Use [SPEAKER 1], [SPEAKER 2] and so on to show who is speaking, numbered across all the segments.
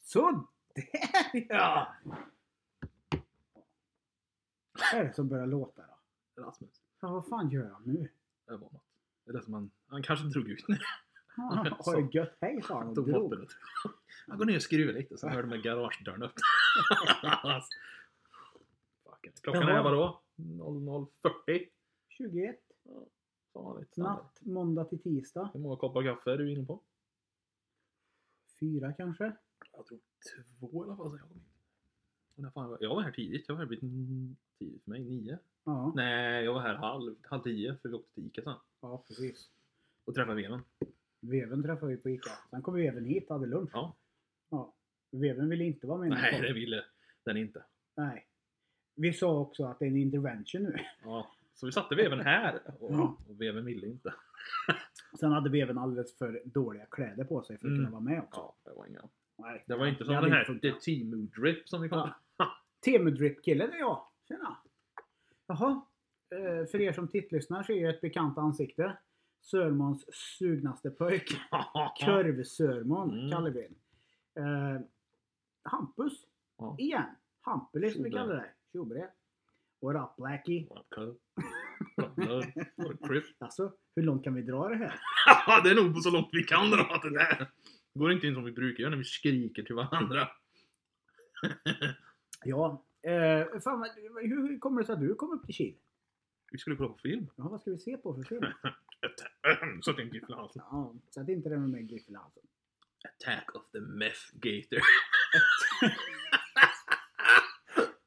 [SPEAKER 1] Så där ja! Vad är det som börjar låta då?
[SPEAKER 2] Rasmus.
[SPEAKER 1] Ja, vad fan gör han nu?
[SPEAKER 2] Det var något. Eller som han, han kanske drog ut när
[SPEAKER 1] Ah, har det gött? Hej sa han
[SPEAKER 2] han
[SPEAKER 1] och
[SPEAKER 2] tog bort
[SPEAKER 1] drog.
[SPEAKER 2] det. Han går ner och skruvar lite, så hörde man garagedörren upp. Fuck it. Klockan
[SPEAKER 1] Jaha.
[SPEAKER 2] är vadå? 00.40?
[SPEAKER 1] 21.
[SPEAKER 2] Som vanligt. standard.
[SPEAKER 1] Natt, måndag till tisdag.
[SPEAKER 2] Hur många koppar kaffe är du inne på?
[SPEAKER 1] Fyra kanske.
[SPEAKER 2] Jag tror två i alla fall sen jag kom hit. Och när fan var- Jag var här tidigt. Jag var här vid n- tidigt för mig. Nio?
[SPEAKER 1] Ja,
[SPEAKER 2] Nej, jag var här halv, halv tio för vi åkte till Ica sen.
[SPEAKER 1] ja precis.
[SPEAKER 2] Och träffade Veven.
[SPEAKER 1] Veven träffade vi på Ica. Sen kom Veven hit och hade lunch.
[SPEAKER 2] Ja.
[SPEAKER 1] Ja. Veven ville inte vara med. när vi
[SPEAKER 2] Nej,
[SPEAKER 1] kom.
[SPEAKER 2] det ville den inte.
[SPEAKER 1] Nej. Vi sa också att det är en intervention nu.
[SPEAKER 2] Ja. Så vi satte Veven här. Och,
[SPEAKER 1] Ja.
[SPEAKER 2] och Veven ville inte.
[SPEAKER 1] Sen hade Veven alldeles för dåliga kläder på sig för att
[SPEAKER 2] Mm.
[SPEAKER 1] kunna vara med också.
[SPEAKER 2] Ja, det var inga.
[SPEAKER 1] Nej.
[SPEAKER 2] Det var inte som
[SPEAKER 1] Det hade
[SPEAKER 2] den
[SPEAKER 1] inte
[SPEAKER 2] här
[SPEAKER 1] funkat.
[SPEAKER 2] The Timu Drip som vi kallade
[SPEAKER 1] Temudrip-killen är jag. Tjena! Jaha. Eh, För er som tittlyssnar så är jag ett bekant ansikte. Sörmons sugnaste pojk.
[SPEAKER 2] ja.
[SPEAKER 1] Körv-Sörmon
[SPEAKER 2] Mm.
[SPEAKER 1] kallar vi en. eh, Hampus.
[SPEAKER 2] Ja.
[SPEAKER 1] Igen. Hampelis som vi
[SPEAKER 2] Tjobre.
[SPEAKER 1] kallar dig. Tjobre. What up Blackie?
[SPEAKER 2] What color? What blood? What crip?
[SPEAKER 1] Alltså, hur långt kan vi dra det här?
[SPEAKER 2] det är nog på så långt vi kan dra det där. Det går inte in som vi brukar göra när vi skriker till varandra.
[SPEAKER 1] Ja. Eh, fan, vad- hur hur kommer det sig att du kom upp till Kil?
[SPEAKER 2] Vi skulle kolla på film.
[SPEAKER 1] Ja, vad ska vi se på för film?
[SPEAKER 2] Så tänkte jag alltså.
[SPEAKER 1] Ja, så att inte det var med Griffin alltså.
[SPEAKER 2] Attack of the Meth Gator.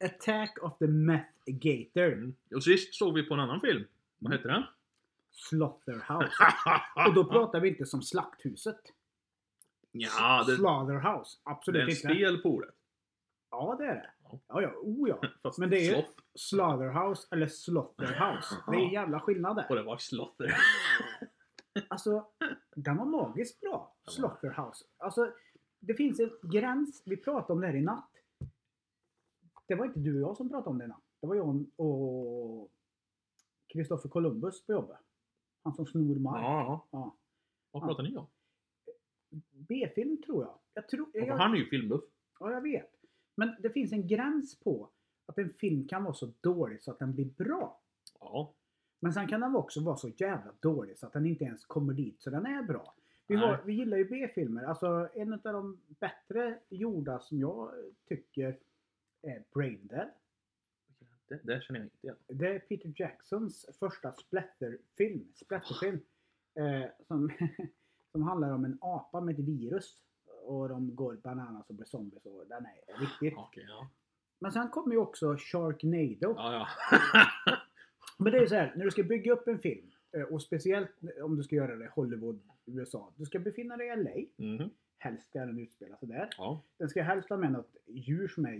[SPEAKER 1] Attack of the Meth Gator.
[SPEAKER 2] Och sist såg vi på en annan film. Vad heter den?
[SPEAKER 1] Slaughterhouse.
[SPEAKER 2] Ah,
[SPEAKER 1] Och då pratar vi inte som Slakthuset.
[SPEAKER 2] ja, det,
[SPEAKER 1] Slaughterhouse.
[SPEAKER 2] det är
[SPEAKER 1] Absolut
[SPEAKER 2] en
[SPEAKER 1] inte.
[SPEAKER 2] stel polare.
[SPEAKER 1] Ja, det är det.
[SPEAKER 2] Ja.
[SPEAKER 1] Ja, ja. Oh, ja.
[SPEAKER 2] Fast
[SPEAKER 1] Men det är ju
[SPEAKER 2] slott.
[SPEAKER 1] Slaughterhouse eller Slaughterhouse. Det är en jävla skillnad
[SPEAKER 2] Och
[SPEAKER 1] där.
[SPEAKER 2] det var slotter.
[SPEAKER 1] Alltså, den var magiskt bra. Slaughterhouse. Alltså, det finns en gräns. Vi pratade om det här i natt. Det var inte du och jag som pratade om det i natt. Det var jag och Kristoffer Columbus på jobbet. Han som snor mark.
[SPEAKER 2] Ja.
[SPEAKER 1] Ja.
[SPEAKER 2] Vad pratar ni om?
[SPEAKER 1] B-film tror jag. Jag, tror,
[SPEAKER 2] Ja, för
[SPEAKER 1] jag,
[SPEAKER 2] Han är ju filmbuff.
[SPEAKER 1] ja, jag vet. Men det finns en gräns på att en film kan vara så dålig så att den blir bra.
[SPEAKER 2] Ja.
[SPEAKER 1] Men sen kan den också vara så jävla dålig så att den inte ens kommer dit så den är bra. Vi,
[SPEAKER 2] Nej.
[SPEAKER 1] har, vi gillar ju B-filmer. Alltså en av de bättre gjorda som jag tycker är Braindead.
[SPEAKER 2] Det, det känner jag inte igen.
[SPEAKER 1] Det är Peter Jacksons första splatterfilm. Splatterfilm. Eh, som, som handlar om en apa med ett virus. Och de går bananas och blir zombies. Och den är riktigt.
[SPEAKER 2] Okej, ja.
[SPEAKER 1] Men sen kommer ju också Sharknado.
[SPEAKER 2] Ja, ja.
[SPEAKER 1] Men det är ju så här, när du ska bygga upp en film. eh, Och speciellt om du ska göra det i Hollywood, USA. Du ska befinna dig i LA.
[SPEAKER 2] Mhm.
[SPEAKER 1] Helst ska den utspela sig där.
[SPEAKER 2] Ja.
[SPEAKER 1] Den ska helst ha med något djur som är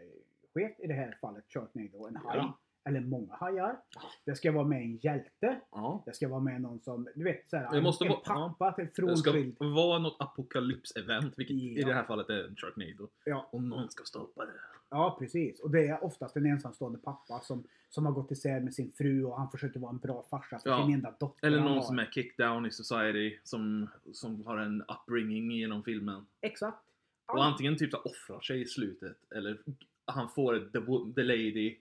[SPEAKER 1] jätteskevt. I det här fallet Sharknado. En haj.
[SPEAKER 2] Ja.
[SPEAKER 1] Eller många hajar.
[SPEAKER 2] Ja.
[SPEAKER 1] Det ska vara med en hjälte.
[SPEAKER 2] ja.
[SPEAKER 1] Det ska vara med någon som, du vet såhär,
[SPEAKER 2] Det måste
[SPEAKER 1] en
[SPEAKER 2] vara-
[SPEAKER 1] pappa till
[SPEAKER 2] Det ska
[SPEAKER 1] frånskild.
[SPEAKER 2] vara något apokalyps-event, vilket i
[SPEAKER 1] Ja.
[SPEAKER 2] det här fallet är en Sharknado.
[SPEAKER 1] Ja,
[SPEAKER 2] Och någon ska stoppa det.
[SPEAKER 1] ja, precis. Och det är oftast en ensamstående pappa som, som har gått isär med sin fru och han försöker vara en bra farsa för
[SPEAKER 2] Ja.
[SPEAKER 1] sin enda dotter.
[SPEAKER 2] Eller
[SPEAKER 1] han
[SPEAKER 2] någon
[SPEAKER 1] har.
[SPEAKER 2] som är kicked down i society, som, som har en upbringing genom filmen.
[SPEAKER 1] Exakt. Ja.
[SPEAKER 2] Och antingen typ så här offrar sig i slutet, eller han får ett the, wo- the lady,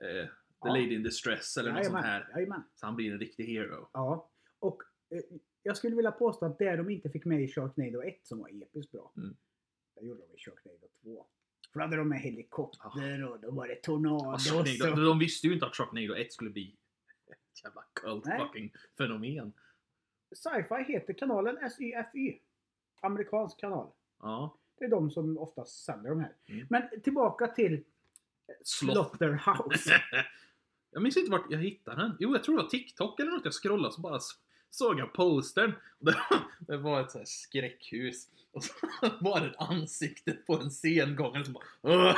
[SPEAKER 2] eh, the
[SPEAKER 1] Ja.
[SPEAKER 2] lady in distress eller något
[SPEAKER 1] Jajamän,
[SPEAKER 2] sånt här.
[SPEAKER 1] Jajamän.
[SPEAKER 2] Så han blir en riktig hero.
[SPEAKER 1] Ja. Och eh, jag skulle vilja påstå att det de inte fick med i Sharknado 1 som var episkt bra.
[SPEAKER 2] Mm.
[SPEAKER 1] Det gjorde de i Sharknado 2. För då hade de med helikopter och då var det tornado.
[SPEAKER 2] Ja,
[SPEAKER 1] och
[SPEAKER 2] Ah. Alltså, Sharknado,
[SPEAKER 1] så-
[SPEAKER 2] de visste ju inte att Sharknado 1 skulle bli ett jävla cult
[SPEAKER 1] Nej.
[SPEAKER 2] fucking fenomen.
[SPEAKER 1] Sci-fi heter kanalen SYFY. Amerikansk kanal.
[SPEAKER 2] Ja.
[SPEAKER 1] Det är de som oftast sänder de här.
[SPEAKER 2] Mm.
[SPEAKER 1] Men tillbaka till
[SPEAKER 2] Slott.
[SPEAKER 1] Slaughterhouse.
[SPEAKER 2] jag minns inte vart jag hittade den. Jo, jag tror det var TikTok eller något jag scrollade så bara s- såg jag postern. Och Det, det var ett så här skräckhus. Och så var det ett ansikte på en scengång. Och så, bara, "Åh!"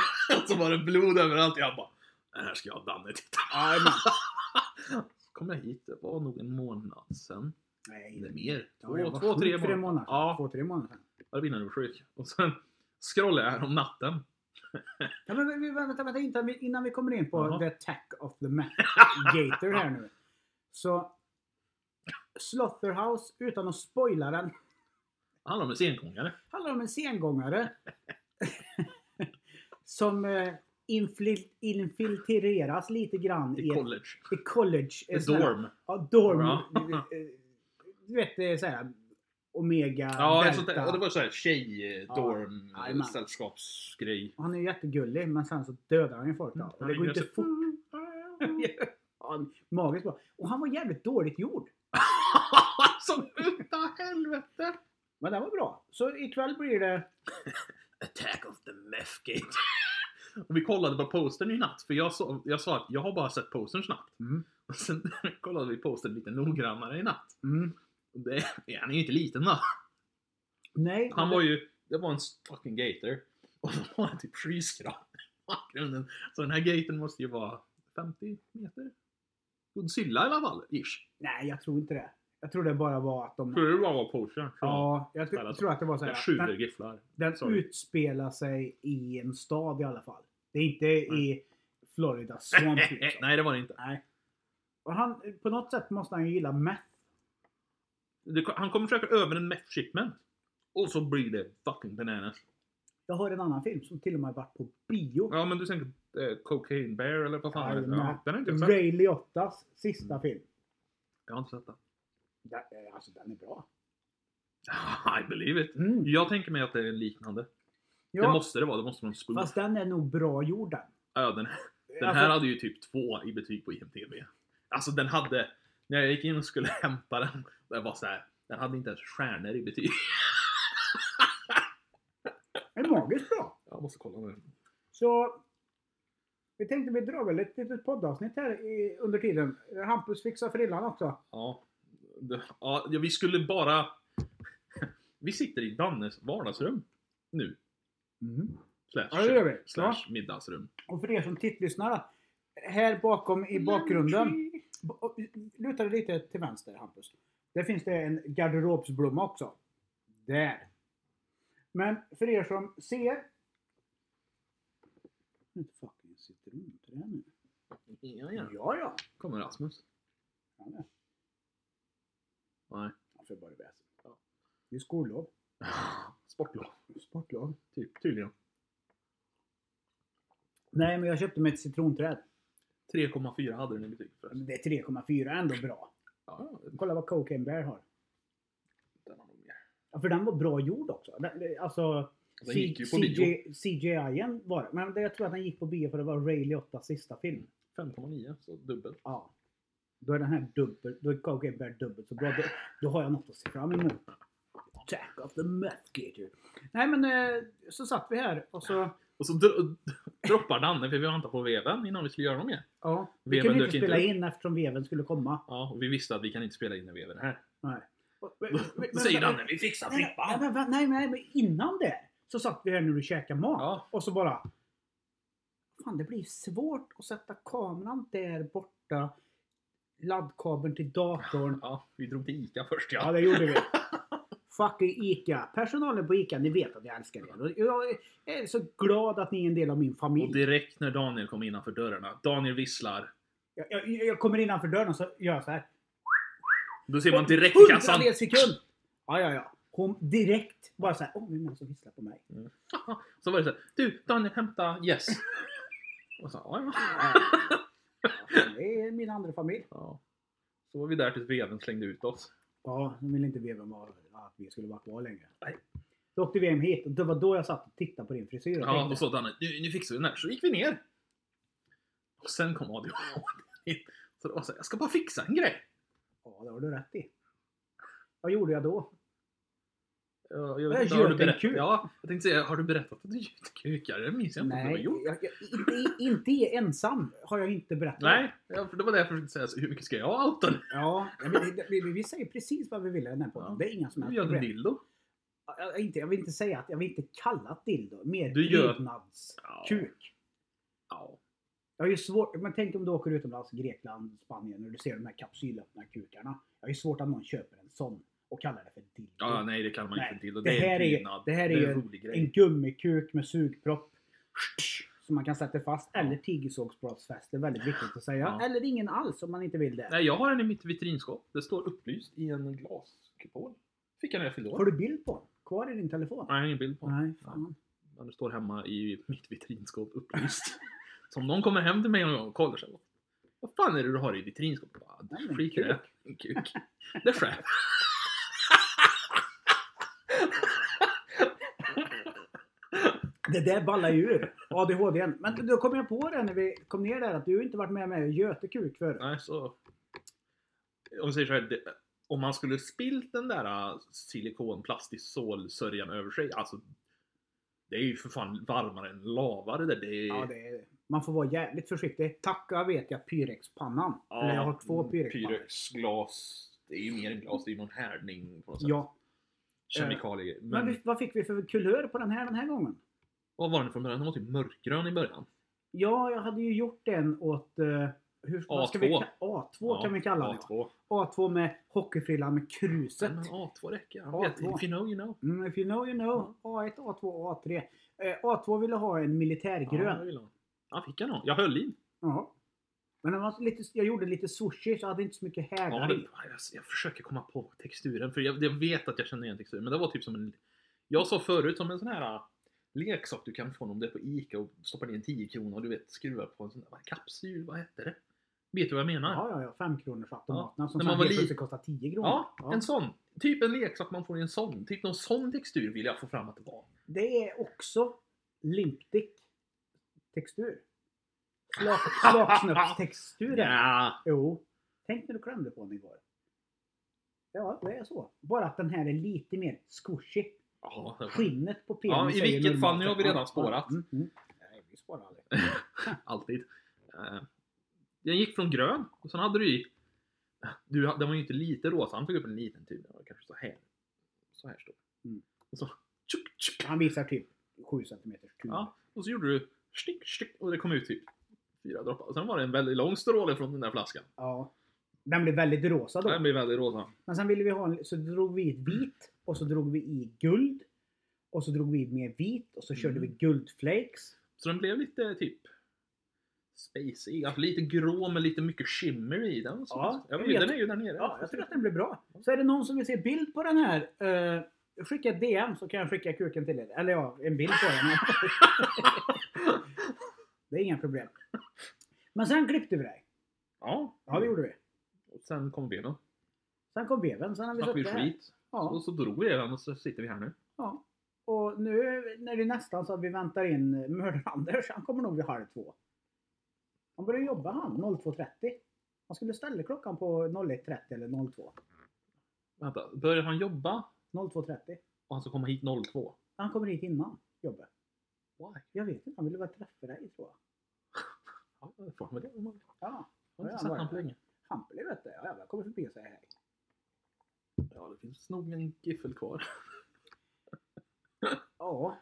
[SPEAKER 2] och så var det blod överallt. Jag bara, det här ska jag och Danne titta
[SPEAKER 1] Jajamän.
[SPEAKER 2] Så kom jag hit, det var nog en månad sen.
[SPEAKER 1] Nej,
[SPEAKER 2] Eller mer.
[SPEAKER 1] Ja,
[SPEAKER 2] Två,
[SPEAKER 1] jag var
[SPEAKER 2] två
[SPEAKER 1] sjuk
[SPEAKER 2] tre
[SPEAKER 1] för en månad
[SPEAKER 2] månader.
[SPEAKER 1] sedan.
[SPEAKER 2] Ja.
[SPEAKER 1] Två, tre månader sedan.
[SPEAKER 2] Det var innan du var sjuk. Och sen scrollade jag här om natten.
[SPEAKER 1] Ja, men, vi- vi- vänta, vänta, innan vi, innan vi kommer in på
[SPEAKER 2] Jaha.
[SPEAKER 1] The Attack of the Meth Gator här nu. Så Slaughterhouse, utan att spoila den,
[SPEAKER 2] Det handlar om en sengångare.
[SPEAKER 1] handlar om en sengångare som eh, infil- infiltreras lite grann
[SPEAKER 2] I
[SPEAKER 1] i, ett,
[SPEAKER 2] college.
[SPEAKER 1] i college.
[SPEAKER 2] The
[SPEAKER 1] eh, sån här-
[SPEAKER 2] dorm.
[SPEAKER 1] Ja, dorm.
[SPEAKER 2] Bra.
[SPEAKER 1] eh, eh, Du vet, eh, såhär Omega,
[SPEAKER 2] Ja, sånt där.
[SPEAKER 1] Delta.
[SPEAKER 2] Och det var såhär
[SPEAKER 1] Ja.
[SPEAKER 2] tjej-dorm,
[SPEAKER 1] Jajamän.
[SPEAKER 2] sällskapsgrej.
[SPEAKER 1] Han är ju jättegullig men sen så dödar han ju folk. då. Och det
[SPEAKER 2] Mm, Han
[SPEAKER 1] går
[SPEAKER 2] gör
[SPEAKER 1] inte
[SPEAKER 2] så-
[SPEAKER 1] fort. Ja, magiskt bra. Och han var jävligt dåligt gjord.
[SPEAKER 2] Som utav helvete!
[SPEAKER 1] Men den var bra. Så ikväll blir det...
[SPEAKER 2] Attack of the meth gate. Och vi kollade på postern i natt, för jag, så, jag sa att jag har bara sett postern snabbt.
[SPEAKER 1] Mm.
[SPEAKER 2] Och sen kollade vi postern lite noggrannare i natt.
[SPEAKER 1] Mm.
[SPEAKER 2] Och Det, han är ju inte liten då.
[SPEAKER 1] Nej.
[SPEAKER 2] Han
[SPEAKER 1] men-
[SPEAKER 2] var ju, det var en fucking gator. Och så var han typ skyskrapa i bakgrunden. Så den här gaten måste ju vara 50 meter? Godzilla i alla fall, ish.
[SPEAKER 1] Nej, jag tror inte det. Jag tror det bara var att de...
[SPEAKER 2] Tror du det bara var Porsche?
[SPEAKER 1] Ja, jag tr- tror att det var så
[SPEAKER 2] Jag
[SPEAKER 1] här.
[SPEAKER 2] skjuter
[SPEAKER 1] Den,
[SPEAKER 2] gifflar.
[SPEAKER 1] den
[SPEAKER 2] Sorry.
[SPEAKER 1] utspelar sig i en stad i alla fall. Det är inte i Florida Swamp liksom.
[SPEAKER 2] Nej, det var det inte.
[SPEAKER 1] Nej. Och han, på något sätt måste han ju gilla meth.
[SPEAKER 2] Det, han kommer försöka över en meth shipment. Och så blir det fucking bananas.
[SPEAKER 1] Jag har en annan film som till och med varit på bio.
[SPEAKER 2] Ja, men du tänker eh, Cocaine Bear eller vad fan heter det? Mm.
[SPEAKER 1] Jajamän.
[SPEAKER 2] Ja, den har inte jag sett.
[SPEAKER 1] Ray Liottas sista film.
[SPEAKER 2] Jag har inte sett den.
[SPEAKER 1] Den, eh, alltså den är bra.
[SPEAKER 2] I believe it.
[SPEAKER 1] Mm.
[SPEAKER 2] Jag tänker mig att det är liknande. Det
[SPEAKER 1] Ja,
[SPEAKER 2] måste det vara. Det måste vara en spoof.
[SPEAKER 1] fast den är nog bra gjord den. Alltså,
[SPEAKER 2] Ja, ja, den Den här hade ju typ två i betyg på IMDB. Alltså den hade, när jag gick in och skulle hämta den, det var så här, den hade inte ens stjärnor i betyg.
[SPEAKER 1] Den är magiskt bra.
[SPEAKER 2] Jag måste kolla nu.
[SPEAKER 1] Så vi tänkte vi drar väl ett litet poddavsnitt här i, under tiden. Hampus fixar frillan också.
[SPEAKER 2] Ja, det, ja, vi skulle bara... Vi sitter i Dannes vardagsrum nu.
[SPEAKER 1] Mm.
[SPEAKER 2] Slash,
[SPEAKER 1] Ja, det gör vi.
[SPEAKER 2] slash
[SPEAKER 1] Ja.
[SPEAKER 2] middagsrum.
[SPEAKER 1] Och för er som tittlyssnar då, Här bakom i bakgrunden. Luta dig lite till vänster Hampus. Där finns det en garderobsblomma också. Där. Men för er som ser. Nu fucking sitter du inte där nu.
[SPEAKER 2] Ja,
[SPEAKER 1] Ja,
[SPEAKER 2] ja.
[SPEAKER 1] ja.
[SPEAKER 2] Kommer Rasmus.
[SPEAKER 1] Han är.
[SPEAKER 2] Nej.
[SPEAKER 1] Han får bara väsen.
[SPEAKER 2] Ja.
[SPEAKER 1] Det är skollov.
[SPEAKER 2] Sportlov.
[SPEAKER 1] Sportlov.
[SPEAKER 2] Typ, tydligen.
[SPEAKER 1] Nej, men jag köpte mig ett citronträd.
[SPEAKER 2] 3,4 hade den i betyg förresten.
[SPEAKER 1] Men Det är 3,4 ändå bra.
[SPEAKER 2] Ja,
[SPEAKER 1] Kolla vad Coke and Bear har.
[SPEAKER 2] den har nog mer.
[SPEAKER 1] Ja, för den var bra gjord också. Den, alltså,
[SPEAKER 2] Den gick ju på bio.
[SPEAKER 1] CJ CGI-en var det. Men det- jag tror att den gick på bio för det var Ray Liottas sista film.
[SPEAKER 2] 5,9, så dubbelt.
[SPEAKER 1] Ja. Då är den här dubbel, då är Coke and Bear dubbelt så bra. Då, då har jag något att se fram emot. Attack of the Meth Gator. Nej men eh, så satt vi här och så...
[SPEAKER 2] Och så dro- droppar Danne för vi väntade på veven innan vi skulle göra något mer.
[SPEAKER 1] Ja. Vi
[SPEAKER 2] Veven
[SPEAKER 1] kunde
[SPEAKER 2] dök
[SPEAKER 1] inte
[SPEAKER 2] inte
[SPEAKER 1] spela
[SPEAKER 2] upp.
[SPEAKER 1] in eftersom veven skulle komma.
[SPEAKER 2] Ja, och vi visste att vi kan inte spela in när veven är här.
[SPEAKER 1] Nej.
[SPEAKER 2] Då säger Danne, vi fixar
[SPEAKER 1] Nej,
[SPEAKER 2] flippan!
[SPEAKER 1] men- men- nej, nej, men innan det så satt vi här när du käkade mat
[SPEAKER 2] Ja.
[SPEAKER 1] och så bara... Fan, det blir svårt att sätta kameran där borta, laddkabeln till datorn.
[SPEAKER 2] Ja, vi drog till ICA först
[SPEAKER 1] Ja,
[SPEAKER 2] ja.
[SPEAKER 1] det gjorde vi. Fucking ICA. Personalen på ICA, ni vet att jag älskar er. Och Jag är så glad att ni är en del av min
[SPEAKER 2] Och
[SPEAKER 1] familj.
[SPEAKER 2] direkt när Daniel kom innanför dörrarna, Daniel visslar.
[SPEAKER 1] Jag, jag, jag kommer innanför dörren och så gör jag så här.
[SPEAKER 2] Då ser man direkt i kassan.
[SPEAKER 1] Hundradels sekund! Ja, ja, ja. Hon direkt bara så här. Åh, oh, nu är det någon som visslar på mig.
[SPEAKER 2] Så var det så här, du Daniel hämta yes. Och så, ja, ja.
[SPEAKER 1] Ja, det är min andra familj.
[SPEAKER 2] ja. Så var vi där tills veven slängde ut oss.
[SPEAKER 1] Ja, nu ville inte VM vara, att vi skulle vara kvar längre.
[SPEAKER 2] Nej.
[SPEAKER 1] Då åkte VM hit och det var då jag satt och tittade på din frisyr och
[SPEAKER 2] Ja,
[SPEAKER 1] tänkte,
[SPEAKER 2] och så Danne, nu, nu fixar vi den här. Så gick vi ner. Och sen kom ADHD in. Så det var så här, jag ska bara fixa en grej.
[SPEAKER 1] ja det har du rätt i. Vad gjorde jag då?
[SPEAKER 2] Ja,
[SPEAKER 1] Jag
[SPEAKER 2] jag, jag,
[SPEAKER 1] gjöt
[SPEAKER 2] har du
[SPEAKER 1] en
[SPEAKER 2] berätt...
[SPEAKER 1] kuk.
[SPEAKER 2] ja, jag tänkte säga, har du berättat att du gjöt kukar? Det minns jag inte om du har
[SPEAKER 1] Nej,
[SPEAKER 2] gjort.
[SPEAKER 1] jag, jag, inte, inte är ensam har jag inte berättat.
[SPEAKER 2] Nej, ja, för det var det jag försökte säga. Så hur mycket ska jag outa nu?
[SPEAKER 1] Ja, men det- vi, vi säger precis vad vi vill i den här podden.
[SPEAKER 2] Ja.
[SPEAKER 1] Det är inga som
[SPEAKER 2] Du
[SPEAKER 1] helst
[SPEAKER 2] gör en
[SPEAKER 1] problem.
[SPEAKER 2] dildo.
[SPEAKER 1] Ja, Jag, inte, jag vill inte säga att jag vill inte kalla det dildo. Mer
[SPEAKER 2] Du gör- Ja.
[SPEAKER 1] prydnadskuk.
[SPEAKER 2] Ja.
[SPEAKER 1] Jag har ju svårt, men tänk om du åker utomlands, Grekland, Spanien och du ser de här kapsylöppna kukarna. Jag har ju svårt att någon köper en sån och kallar det för dildo.
[SPEAKER 2] ja, nej det kallar man inte
[SPEAKER 1] Mm. Nej,
[SPEAKER 2] för dildo.
[SPEAKER 1] det
[SPEAKER 2] Det, är
[SPEAKER 1] här är-
[SPEAKER 2] en prydnad.
[SPEAKER 1] det här är
[SPEAKER 2] det är
[SPEAKER 1] ju
[SPEAKER 2] en rolig grej.
[SPEAKER 1] En gummikuk med sugpropp. Som man kan sätta fast. Eller tigersågsbrottsfäste. Väldigt viktigt att säga.
[SPEAKER 2] Ja.
[SPEAKER 1] Eller ingen alls om man inte vill det.
[SPEAKER 2] Nej, jag har en i mitt vitrinskåp. Det står upplyst i en glaskupol. Fick jag när jag fyllde
[SPEAKER 1] Har
[SPEAKER 2] år.
[SPEAKER 1] du bild på den? Kvar i din telefon?
[SPEAKER 2] Nej, jag har ingen bild på den.
[SPEAKER 1] Nej, fan.
[SPEAKER 2] Den står hemma i mitt vitrinskåp upplyst. så om någon kommer hem till mig någon gång och kollar sig. Vad fan är det du har i vitrinskåpet? Bara,
[SPEAKER 1] Nej, men
[SPEAKER 2] Skit i det. En kuk. Det är skämt.
[SPEAKER 1] Det där ballar ju ur. ADHD. n. Men då kom jag på det när vi kom ner där att du inte varit med mig och Götekuk förut.
[SPEAKER 2] Nej, så... Om vi säger så här, det, om man skulle spilt den där äh, silikonplast i solsörjan över sig, alltså det är ju för fan varmare än lava det där. Det är,
[SPEAKER 1] Ja, det är, man får vara jävligt försiktig. Tacka vet jag Pyrex-pannan. Eller jag har två Pyrex-pannor.
[SPEAKER 2] Pyrexglas. mm, Det är ju mer än glas, det är ju någon härdning på något sätt.
[SPEAKER 1] Ja. eh,
[SPEAKER 2] Kemikalier. Men,
[SPEAKER 1] Men vi, vad fick vi för kulör på den här den här gången?
[SPEAKER 2] vad var den från början? Den var typ mörkgrön i början.
[SPEAKER 1] Ja, jag hade ju gjort en åt... eh, hur, Vad ska vi,
[SPEAKER 2] A2.
[SPEAKER 1] ka- A2 kan vi kalla det.
[SPEAKER 2] A2.
[SPEAKER 1] A2 med hockeyfrilla med
[SPEAKER 2] Ja,
[SPEAKER 1] kruset.
[SPEAKER 2] men A2 räcker. Jag
[SPEAKER 1] A2.
[SPEAKER 2] vet, If you know, you know.
[SPEAKER 1] Mm, if you know you know. A1, A2, A3. Eh, A2 ville ha en
[SPEAKER 2] Ja, det
[SPEAKER 1] militärgrön.
[SPEAKER 2] vill han. han fick han ha. Jag höll i.
[SPEAKER 1] Ja. Men den var lite, jag gjorde lite sushi så jag hade inte så mycket
[SPEAKER 2] Ja,
[SPEAKER 1] härdar
[SPEAKER 2] det,
[SPEAKER 1] i.
[SPEAKER 2] jag, jag försöker komma på texturen, för jag, jag vet att jag känner igen texturen, men det var typ som en... Jag sa förut som en sån här äh, leksak du kan få om du är på ICA och stoppar ner en 10 krona och du vet skruvar på en sån där vad, kapsyl, vad hette det? Vet du vad jag menar?
[SPEAKER 1] Ja, ja, ja. Femkronorsautomaterna som
[SPEAKER 2] när
[SPEAKER 1] sen
[SPEAKER 2] man var
[SPEAKER 1] helt
[SPEAKER 2] li-
[SPEAKER 1] plötsligt kostar 10 kronor.
[SPEAKER 2] Ja, en sån. Typ en leksak man får i en sån. Typ någon sån textur vill jag få fram att det var.
[SPEAKER 1] Det är också limptic textur. Slak- Slaksnöppstextur. är det.
[SPEAKER 2] Ja.
[SPEAKER 1] Jo. Tänk när du klämde på den igår. Ja, det är så. Bara att den här är lite mer squishy.
[SPEAKER 2] Ja, det var-
[SPEAKER 1] Skinnet på penisen
[SPEAKER 2] Ja, i
[SPEAKER 1] säger
[SPEAKER 2] vilket
[SPEAKER 1] normalt
[SPEAKER 2] fall, nu
[SPEAKER 1] sett-
[SPEAKER 2] har vi redan
[SPEAKER 1] Ja,
[SPEAKER 2] spårat.
[SPEAKER 1] Mm, mm. Nej, vi spårar aldrig.
[SPEAKER 2] alltid. Eh, Den gick från grön och sen hade du i... Du, den var ju inte lite rosa, han tog upp en liten tub. Den var kanske så här. Så här stor.
[SPEAKER 1] Mm.
[SPEAKER 2] Och så... Tjuk, tjuk,
[SPEAKER 1] Han visar typ 7 cm tub.
[SPEAKER 2] Ja, och så gjorde du stick, stick och det kom ut typ fyra droppar. Och sen var det en väldigt lång stråle från den där flaskan.
[SPEAKER 1] Ja. Den blev väldigt rosa då.
[SPEAKER 2] Den blev väldigt rosa.
[SPEAKER 1] Men sen ville vi ha en, så drog vi i ett vit och så drog vi i guld. Och så drog vi i mer vit och så körde
[SPEAKER 2] Mm.
[SPEAKER 1] vi guldflakes.
[SPEAKER 2] Så den blev lite typ... Spacey, alltså lite grå med lite mycket shimmer i den. Så
[SPEAKER 1] Ja,
[SPEAKER 2] jag
[SPEAKER 1] jag
[SPEAKER 2] vet,
[SPEAKER 1] vet.
[SPEAKER 2] den är ju där nere.
[SPEAKER 1] Ja, jag tror att den blir bra. Så är det någon som vill se bild på den här, eh, skicka ett DM så kan jag skicka kuken till er. Eller ja, en bild på den. det är inga problem. Men sen klippte vi dig.
[SPEAKER 2] Ja,
[SPEAKER 1] Ja, det gjorde vi.
[SPEAKER 2] Och sen kom benen.
[SPEAKER 1] Sen kom veven, sen har vi
[SPEAKER 2] Snackade vi
[SPEAKER 1] suttit här.
[SPEAKER 2] skit. Och
[SPEAKER 1] Ja,
[SPEAKER 2] så drog vi den och så sitter vi här nu.
[SPEAKER 1] ja. Och nu när det är nästan så att vi väntar in eh, Mördar-Anders, han kommer nog vid halv två. Han börjar jobba han, 02.30. Han skulle ställa klockan på 01.30 eller 02.
[SPEAKER 2] Vänta, börjar han jobba
[SPEAKER 1] 02.30.
[SPEAKER 2] och han ska komma hit 02?
[SPEAKER 1] Han kommer hit innan jobbet.
[SPEAKER 2] Why?
[SPEAKER 1] Jag vet inte, han ville bara träffa dig tror jag.
[SPEAKER 2] Ja, det får han väl göra om han vill.
[SPEAKER 1] Ja,
[SPEAKER 2] Jag har
[SPEAKER 1] Ja,
[SPEAKER 2] inte sett
[SPEAKER 1] var
[SPEAKER 2] honom
[SPEAKER 1] det.
[SPEAKER 2] på länge.
[SPEAKER 1] Hampeli vet du. Ja, jag kommer förbi och säger hej.
[SPEAKER 2] Ja, det finns nog en giffel kvar.
[SPEAKER 1] Ja.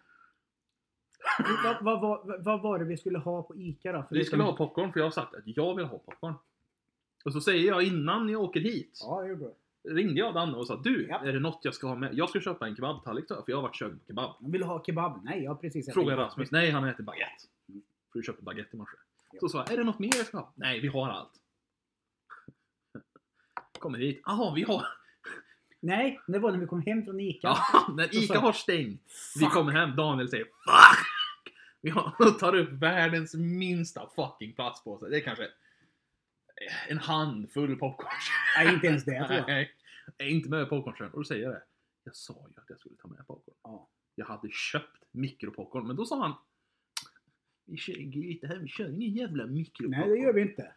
[SPEAKER 1] vad, vad, vad, vad var det vi skulle ha på ICA då?
[SPEAKER 2] Vi
[SPEAKER 1] Förutom-
[SPEAKER 2] skulle ha popcorn för jag har sagt att jag vill ha popcorn. Och så säger jag innan jag åker hit,
[SPEAKER 1] Ja, det gjorde du.
[SPEAKER 2] ringde jag Danne och sa du,
[SPEAKER 1] Ja.
[SPEAKER 2] är det något jag ska ha med? Jag ska köpa en kebabtallrik då, för jag har varit sugen på kebab.
[SPEAKER 1] Han ville ha kebab. Nej, jag har precis ätit
[SPEAKER 2] Frågade
[SPEAKER 1] kebab.
[SPEAKER 2] Rasmus, nej han äter baguette.
[SPEAKER 1] Mm.
[SPEAKER 2] För du köpte baguette i morse.
[SPEAKER 1] Ja.
[SPEAKER 2] Så sa jag, är det något mer jag ska ha? Nej, vi har allt. Kommer hit, jaha vi har...
[SPEAKER 1] Nej, det var när vi kom hem från ICA.
[SPEAKER 2] Ja, när
[SPEAKER 1] Så sa
[SPEAKER 2] ICA
[SPEAKER 1] jag,
[SPEAKER 2] har stängt. Vi
[SPEAKER 1] Fuck.
[SPEAKER 2] kommer hem, Daniel säger FUCK! Vi har- tar upp världens minsta fucking plastpåse. Det är kanske en handfull popcorn.
[SPEAKER 1] Nej, inte ens det tror jag.
[SPEAKER 2] Nej, jag är inte med popcornskärm. Och då säger jag det. Jag sa ju att jag skulle ta med popcorn.
[SPEAKER 1] Ja.
[SPEAKER 2] Jag hade köpt mikropopcorn, men då sa han vi kör, inte här, vi kör ingen jävla mikropopcorn.
[SPEAKER 1] Nej, det gör vi inte.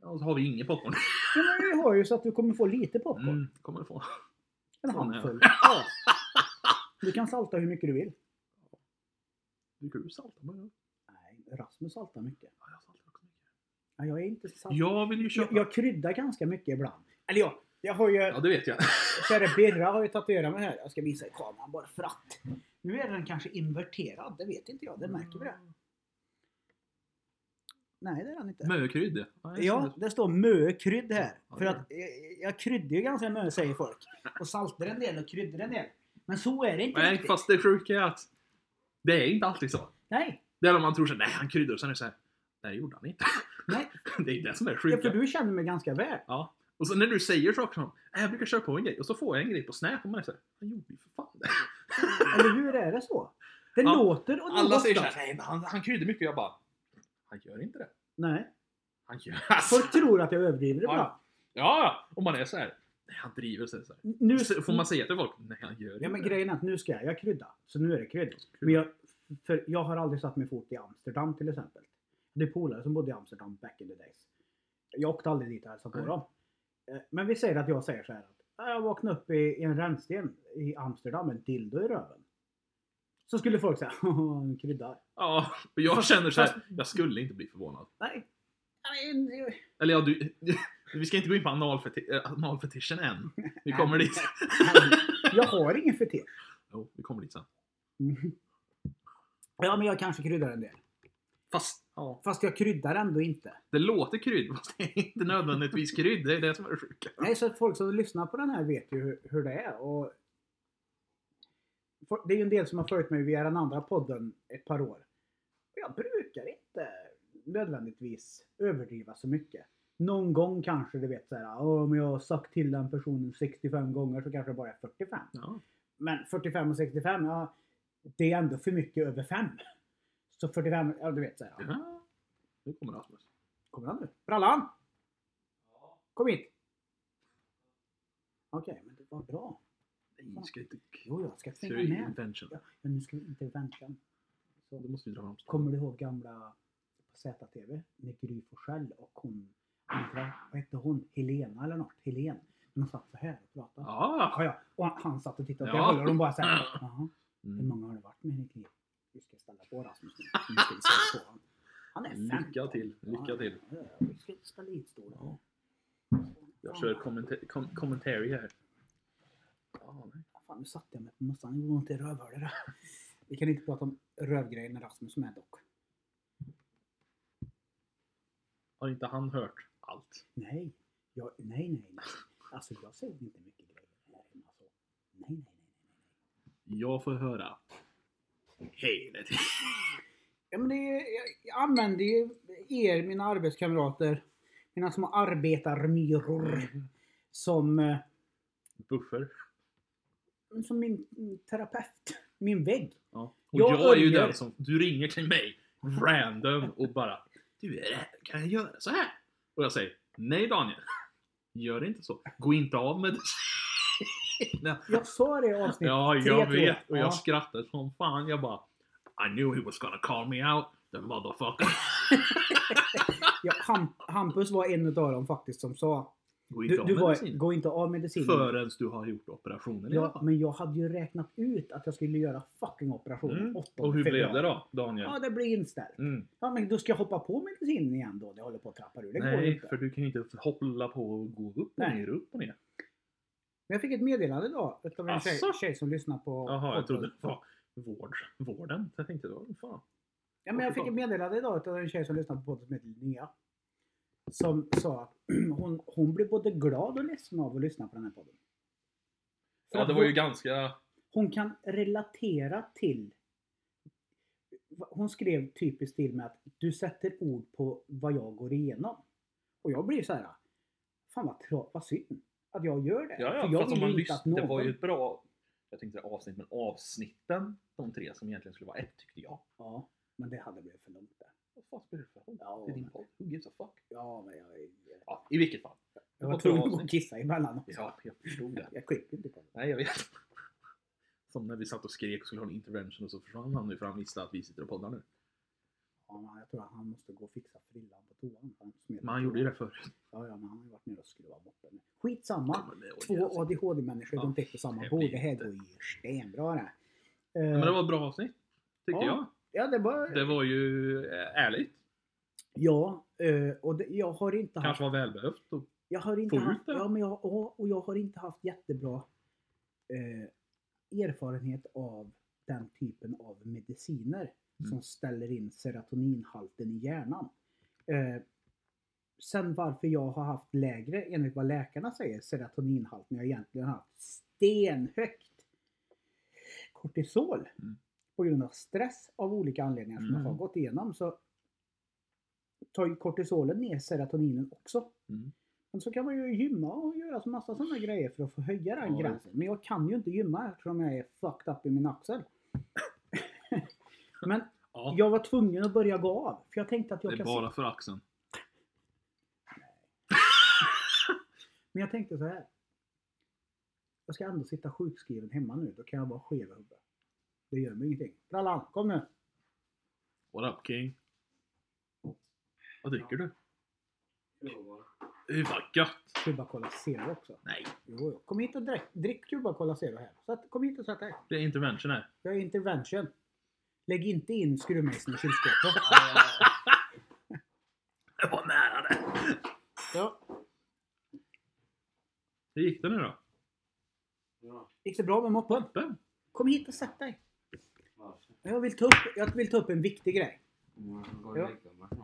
[SPEAKER 2] Ja, Och så har vi ingen popcorn.
[SPEAKER 1] Ja, men vi har ju så att du kommer få lite popcorn.
[SPEAKER 2] Mm, kommer du få.
[SPEAKER 1] En
[SPEAKER 2] sån är
[SPEAKER 1] handfull. Ja. Du kan salta hur mycket du vill.
[SPEAKER 2] Brukar du salta? med det?
[SPEAKER 1] Nej, Rasmus saltar mycket.
[SPEAKER 2] Ja, jag saltar också mycket.
[SPEAKER 1] Ja, jag är inte salt.
[SPEAKER 2] Jag vill ju
[SPEAKER 1] jag,
[SPEAKER 2] köpa.
[SPEAKER 1] jag kryddar ganska mycket ibland. Eller ja, jag har ju...
[SPEAKER 2] Ja, det vet jag.
[SPEAKER 1] Käre Birra har ju tatuerat mig här. Jag ska visa i kameran bara för att. Nu är den kanske inverterad, det vet inte jag. Det märker vi det. Nej, det är den inte.
[SPEAKER 2] Mökrydd. Ja, jag
[SPEAKER 1] Ja,
[SPEAKER 2] ser
[SPEAKER 1] det står mökrydd här.
[SPEAKER 2] Ja,
[SPEAKER 1] För
[SPEAKER 2] det
[SPEAKER 1] att jag, jag kryddar ju ganska mycket säger folk. Och saltar en del och kryddar en del. Men så är det
[SPEAKER 2] det.
[SPEAKER 1] inte
[SPEAKER 2] Nej,
[SPEAKER 1] riktigt.
[SPEAKER 2] fast det sjuka är att det är inte alltid så.
[SPEAKER 1] Nej,
[SPEAKER 2] Det är när man tror såhär, nej han kryddar och sen är det såhär, nej det gjorde han inte.
[SPEAKER 1] nej.
[SPEAKER 2] Det är det som är
[SPEAKER 1] Ja, för
[SPEAKER 2] sjuka.
[SPEAKER 1] du känner mig ganska väl.
[SPEAKER 2] Ja. Och så när du säger saker som, nej jag brukar köra på en grej och så får jag en grej på Snap och man är såhär, han gjorde ju för fan det.
[SPEAKER 1] Eller hur är det så? Det
[SPEAKER 2] Ja.
[SPEAKER 1] låter åt
[SPEAKER 2] Alla
[SPEAKER 1] något
[SPEAKER 2] säger
[SPEAKER 1] säger
[SPEAKER 2] såhär, nej men han, han kryddar mycket. Jag bara, han gör inte det.
[SPEAKER 1] Nej.
[SPEAKER 2] Han gör alltså.
[SPEAKER 1] Folk tror att jag överdriver det
[SPEAKER 2] Ja.
[SPEAKER 1] bra.
[SPEAKER 2] Ja, om man är så här. Nej, han driver så här. så här.
[SPEAKER 1] Nu,
[SPEAKER 2] Så Får man säga till folk, nej han gör inte
[SPEAKER 1] Ja men
[SPEAKER 2] det.
[SPEAKER 1] grejen är att nu ska jag, jag krydda. Så nu är det krydd. Men jag, för jag har aldrig satt min fot i Amsterdam till exempel. Det är polare som bodde i Amsterdam back in the days. Jag åkte aldrig dit och hälsade på
[SPEAKER 2] Nej.
[SPEAKER 1] dem. Eh, Men vi säger att jag säger så här att "Ja, jag vaknade upp i, i en rännsten i Amsterdam med en dildo i röven. Så skulle folk säga han kryddar.
[SPEAKER 2] Ja, och jag känner så här,
[SPEAKER 1] Fast-
[SPEAKER 2] jag skulle inte bli förvånad.
[SPEAKER 1] Nej. Nej, det-
[SPEAKER 2] Eller ja, du, vi ska inte gå in på analfeti- eh, analfetischen än. Vi kommer dit.
[SPEAKER 1] Jag har ingen fetisch.
[SPEAKER 2] Jo, vi kommer dit sen.
[SPEAKER 1] Mhm. Ja men jag kanske kryddar en del.
[SPEAKER 2] Fast, ja.
[SPEAKER 1] Fast jag kryddar ändå inte.
[SPEAKER 2] Det låter krydd, fast det är inte nödvändigtvis krydd. Det är det som är det sjuka.
[SPEAKER 1] Nej, så att folk som lyssnar på den här vet ju hur, hur det är. Och For- det är ju en del som har följt mig via den andra podden ett par år. Och Jag brukar inte nödvändigtvis överdriva så mycket. Någon gång kanske du vet såhär, om jag har sagt till den personen 65 gånger så kanske det bara är 45.
[SPEAKER 2] Ja.
[SPEAKER 1] Men 45 och 65, ja, det är ändå för mycket över 5. Så 45, ja du vet såhär. Ja.
[SPEAKER 2] Ja. Nu kommer Rasmus.
[SPEAKER 1] Kommer han nu? Brallan! Kom hit! Okej, men det var bra.
[SPEAKER 2] Nej, ska inte...
[SPEAKER 1] Jo, jag ska
[SPEAKER 2] Ska
[SPEAKER 1] följa
[SPEAKER 2] vi
[SPEAKER 1] med.
[SPEAKER 2] invention?
[SPEAKER 1] Ja, men nu ska vi inte vänta.
[SPEAKER 2] Då måste vi dra fram
[SPEAKER 1] Kommer du ihåg gamla ZTV? Med Gry Forssell och hon andra, vad hette hon? Helena eller något? Helen. De satt så här och pratade.
[SPEAKER 2] Ja.
[SPEAKER 1] Ja, ja. Och han, han satt och tittade åt
[SPEAKER 2] Ja.
[SPEAKER 1] det hållet och de bara såhär. Jaha, hur
[SPEAKER 2] Mm.
[SPEAKER 1] många har det varit med Nick Lee? Vi ska ställa på Rasmus nu. Vi ska ställa på honom. Han är 15.
[SPEAKER 2] Lycka till. Lycka till.
[SPEAKER 1] Ja, ja, ja. Vi ska ställa hit stolen.
[SPEAKER 2] Ja. Jag kör kommenta- kom- commentary här. Ja, nej.
[SPEAKER 1] Fan, nu satte jag mig på mössan. Det gjorde ont i rövhålet. där. Vi kan inte prata om rövgrejer när Rasmus är med dock.
[SPEAKER 2] Har inte han hört allt?
[SPEAKER 1] Nej. Jag, nej, nej, nej. Alltså jag säger inte mycket grejer här hemma. Så. Nej, nej, nej.
[SPEAKER 2] Jag får höra. Hej, det är
[SPEAKER 1] Ja, men det är, jag, jag använder ju er, mina arbetskamrater, mina små arbetarmyror, som, eh,
[SPEAKER 2] Buffer.
[SPEAKER 1] som min mm, terapeut. Min vägg.
[SPEAKER 2] Ja. Och
[SPEAKER 1] Jag
[SPEAKER 2] jag, är ju
[SPEAKER 1] örjer.
[SPEAKER 2] den som, du ringer till mig random och bara Du är det, kan jag göra så här? Och jag säger Nej Daniel, gör inte så. Gå inte av med det.
[SPEAKER 1] Jag sa det i avsnitt
[SPEAKER 2] Ja,
[SPEAKER 1] tre,
[SPEAKER 2] jag
[SPEAKER 1] tror jag.
[SPEAKER 2] vet. Och
[SPEAKER 1] Ja.
[SPEAKER 2] jag skrattade som fan. Jag bara I knew he was gonna call me out, the motherfucker.
[SPEAKER 1] Ja, Ham, Hampus var en av dem faktiskt som sa
[SPEAKER 2] Gå inte
[SPEAKER 1] du,
[SPEAKER 2] av
[SPEAKER 1] du
[SPEAKER 2] med
[SPEAKER 1] var,
[SPEAKER 2] medicin.
[SPEAKER 1] gå inte av medicinen.
[SPEAKER 2] Förrän du har gjort operationen i alla
[SPEAKER 1] Ja,
[SPEAKER 2] fall.
[SPEAKER 1] men jag hade ju räknat ut att jag skulle göra fucking operationen
[SPEAKER 2] Mm.
[SPEAKER 1] 8
[SPEAKER 2] Och hur blev
[SPEAKER 1] februari.
[SPEAKER 2] det då, Daniel?
[SPEAKER 1] Ja, det blir inställt.
[SPEAKER 2] Mm.
[SPEAKER 1] Ja, men då ska jag hoppa på medicinen igen då? Det håller på att trappa ur. Det går ju
[SPEAKER 2] Nej,
[SPEAKER 1] inte.
[SPEAKER 2] för du kan ju inte hålla på och gå upp och
[SPEAKER 1] Nej.
[SPEAKER 2] ner, upp och ner.
[SPEAKER 1] Men jag fick ett meddelande idag utav en tjej,
[SPEAKER 2] Asså?
[SPEAKER 1] tjej som lyssnar på
[SPEAKER 2] Jaha, jag
[SPEAKER 1] podden.
[SPEAKER 2] trodde det var vård, vården. Så jag tänkte, då, fan.
[SPEAKER 1] Ja, men jag fick ett meddelande idag utav en tjej som lyssnar på podden som heter Linnea. Som sa att hon, hon blev både glad och ledsen av att lyssna på den här podden. För
[SPEAKER 2] Ja,
[SPEAKER 1] att
[SPEAKER 2] det var ju
[SPEAKER 1] hon-
[SPEAKER 2] ganska...
[SPEAKER 1] Hon kan relatera till... Hon skrev typiskt till med att du sätter ord på vad jag går igenom. Och jag blir så här. Fan vad, tra- vad synd att jag gör det.
[SPEAKER 2] Ja, ja,
[SPEAKER 1] För jag
[SPEAKER 2] fast om
[SPEAKER 1] vill
[SPEAKER 2] man
[SPEAKER 1] ju inte att
[SPEAKER 2] lyssnade,
[SPEAKER 1] någon...
[SPEAKER 2] det var ju ett bra... Jag tänkte det avsnitt, men avsnitten, de tre som egentligen skulle vara ett, tyckte jag.
[SPEAKER 1] Ja, men det hade blivit för långt där.
[SPEAKER 2] Vad fan spelar det för roll?
[SPEAKER 1] Ja,
[SPEAKER 2] Det är din
[SPEAKER 1] men-
[SPEAKER 2] podd. Who gives a fuck?
[SPEAKER 1] Ja, men jag,
[SPEAKER 2] Ja, i vilket fall.
[SPEAKER 1] jag
[SPEAKER 2] var
[SPEAKER 1] var
[SPEAKER 2] bra
[SPEAKER 1] tvungen att gå och
[SPEAKER 2] avsnitt.
[SPEAKER 1] kissa emellan också.
[SPEAKER 2] Ja, jag förstod det.
[SPEAKER 1] Jag klipper inte på det.
[SPEAKER 2] Nej, jag vet. Som när vi satt och skrek och skulle ha en intervention och så försvann han nu för han visste att vi sitter och poddar nu.
[SPEAKER 1] Ja, men jag tror att han måste gå och fixa frillan på toan. Han smet-
[SPEAKER 2] Men han gjorde ju det förut.
[SPEAKER 1] Ja, ja, men han har ju varit nere och skruvat bort den. Skitsamma.
[SPEAKER 2] Kommer med och gör sig.
[SPEAKER 1] Två ADHD-människor, de sitter på samma
[SPEAKER 2] det
[SPEAKER 1] bord.
[SPEAKER 2] blir
[SPEAKER 1] Det här
[SPEAKER 2] inte.
[SPEAKER 1] går ju stenbra det.
[SPEAKER 2] Ja,
[SPEAKER 1] Eh,
[SPEAKER 2] Men det var ett bra avsnitt. Tyckte
[SPEAKER 1] Ja. Ja, det var...
[SPEAKER 2] jag. Det var ju eh, ärligt.
[SPEAKER 1] Ja, eh, och det, jag har inte haft...
[SPEAKER 2] Kanske var välbehövt. Och...
[SPEAKER 1] Jag har inte
[SPEAKER 2] Får ut
[SPEAKER 1] haft
[SPEAKER 2] det?
[SPEAKER 1] ja, men jag, ja, och jag har inte haft jättebra eh, erfarenhet av den typen av mediciner
[SPEAKER 2] Mm.
[SPEAKER 1] som ställer in serotoninhalten i hjärnan. Eh, sen varför jag har haft lägre, enligt vad läkarna säger, serotoninhalt när jag egentligen har haft stenhögt kortisol
[SPEAKER 2] Mm.
[SPEAKER 1] på grund av stress av olika anledningar som jag har
[SPEAKER 2] Mm.
[SPEAKER 1] gått igenom så tar ju kortisolen ner serotoninen också.
[SPEAKER 2] Mm.
[SPEAKER 1] Men så kan man ju gymma och göra så massa sådana grejer för att få höja den
[SPEAKER 2] Ja,
[SPEAKER 1] gränsen. Men jag kan ju inte gymma eftersom jag är fucked up i min axel. Men
[SPEAKER 2] Ja,
[SPEAKER 1] jag var tvungen att börja gå av. För jag tänkte att
[SPEAKER 2] det
[SPEAKER 1] jag
[SPEAKER 2] är
[SPEAKER 1] kan
[SPEAKER 2] bara för axeln.
[SPEAKER 1] Men jag tänkte så här. Jag ska ändå sitta sjukskriven hemma nu. Då kan jag vara skev i huvudet. Det gör mig ingenting. Brallan, kom nu!
[SPEAKER 2] What up king? Vad dricker du? Det är fan gött!
[SPEAKER 1] Cuba Cola Zero också.
[SPEAKER 2] Nej,
[SPEAKER 1] Jo, jo. Kom hit och drick, drick Cuba Cola Zero här. Så att, kom hit och sätt dig.
[SPEAKER 2] det är intervention här.
[SPEAKER 1] Jag är intervention. Lägg inte in skruvmejseln i kylskåpet.
[SPEAKER 2] Det var nära det!
[SPEAKER 1] Ja.
[SPEAKER 2] Hur gick det nu då?
[SPEAKER 1] Gick det bra med moppen?
[SPEAKER 2] Vem?
[SPEAKER 1] Kom hit och sätt dig. Jag vill ta upp, jag vill ta upp en viktig grej.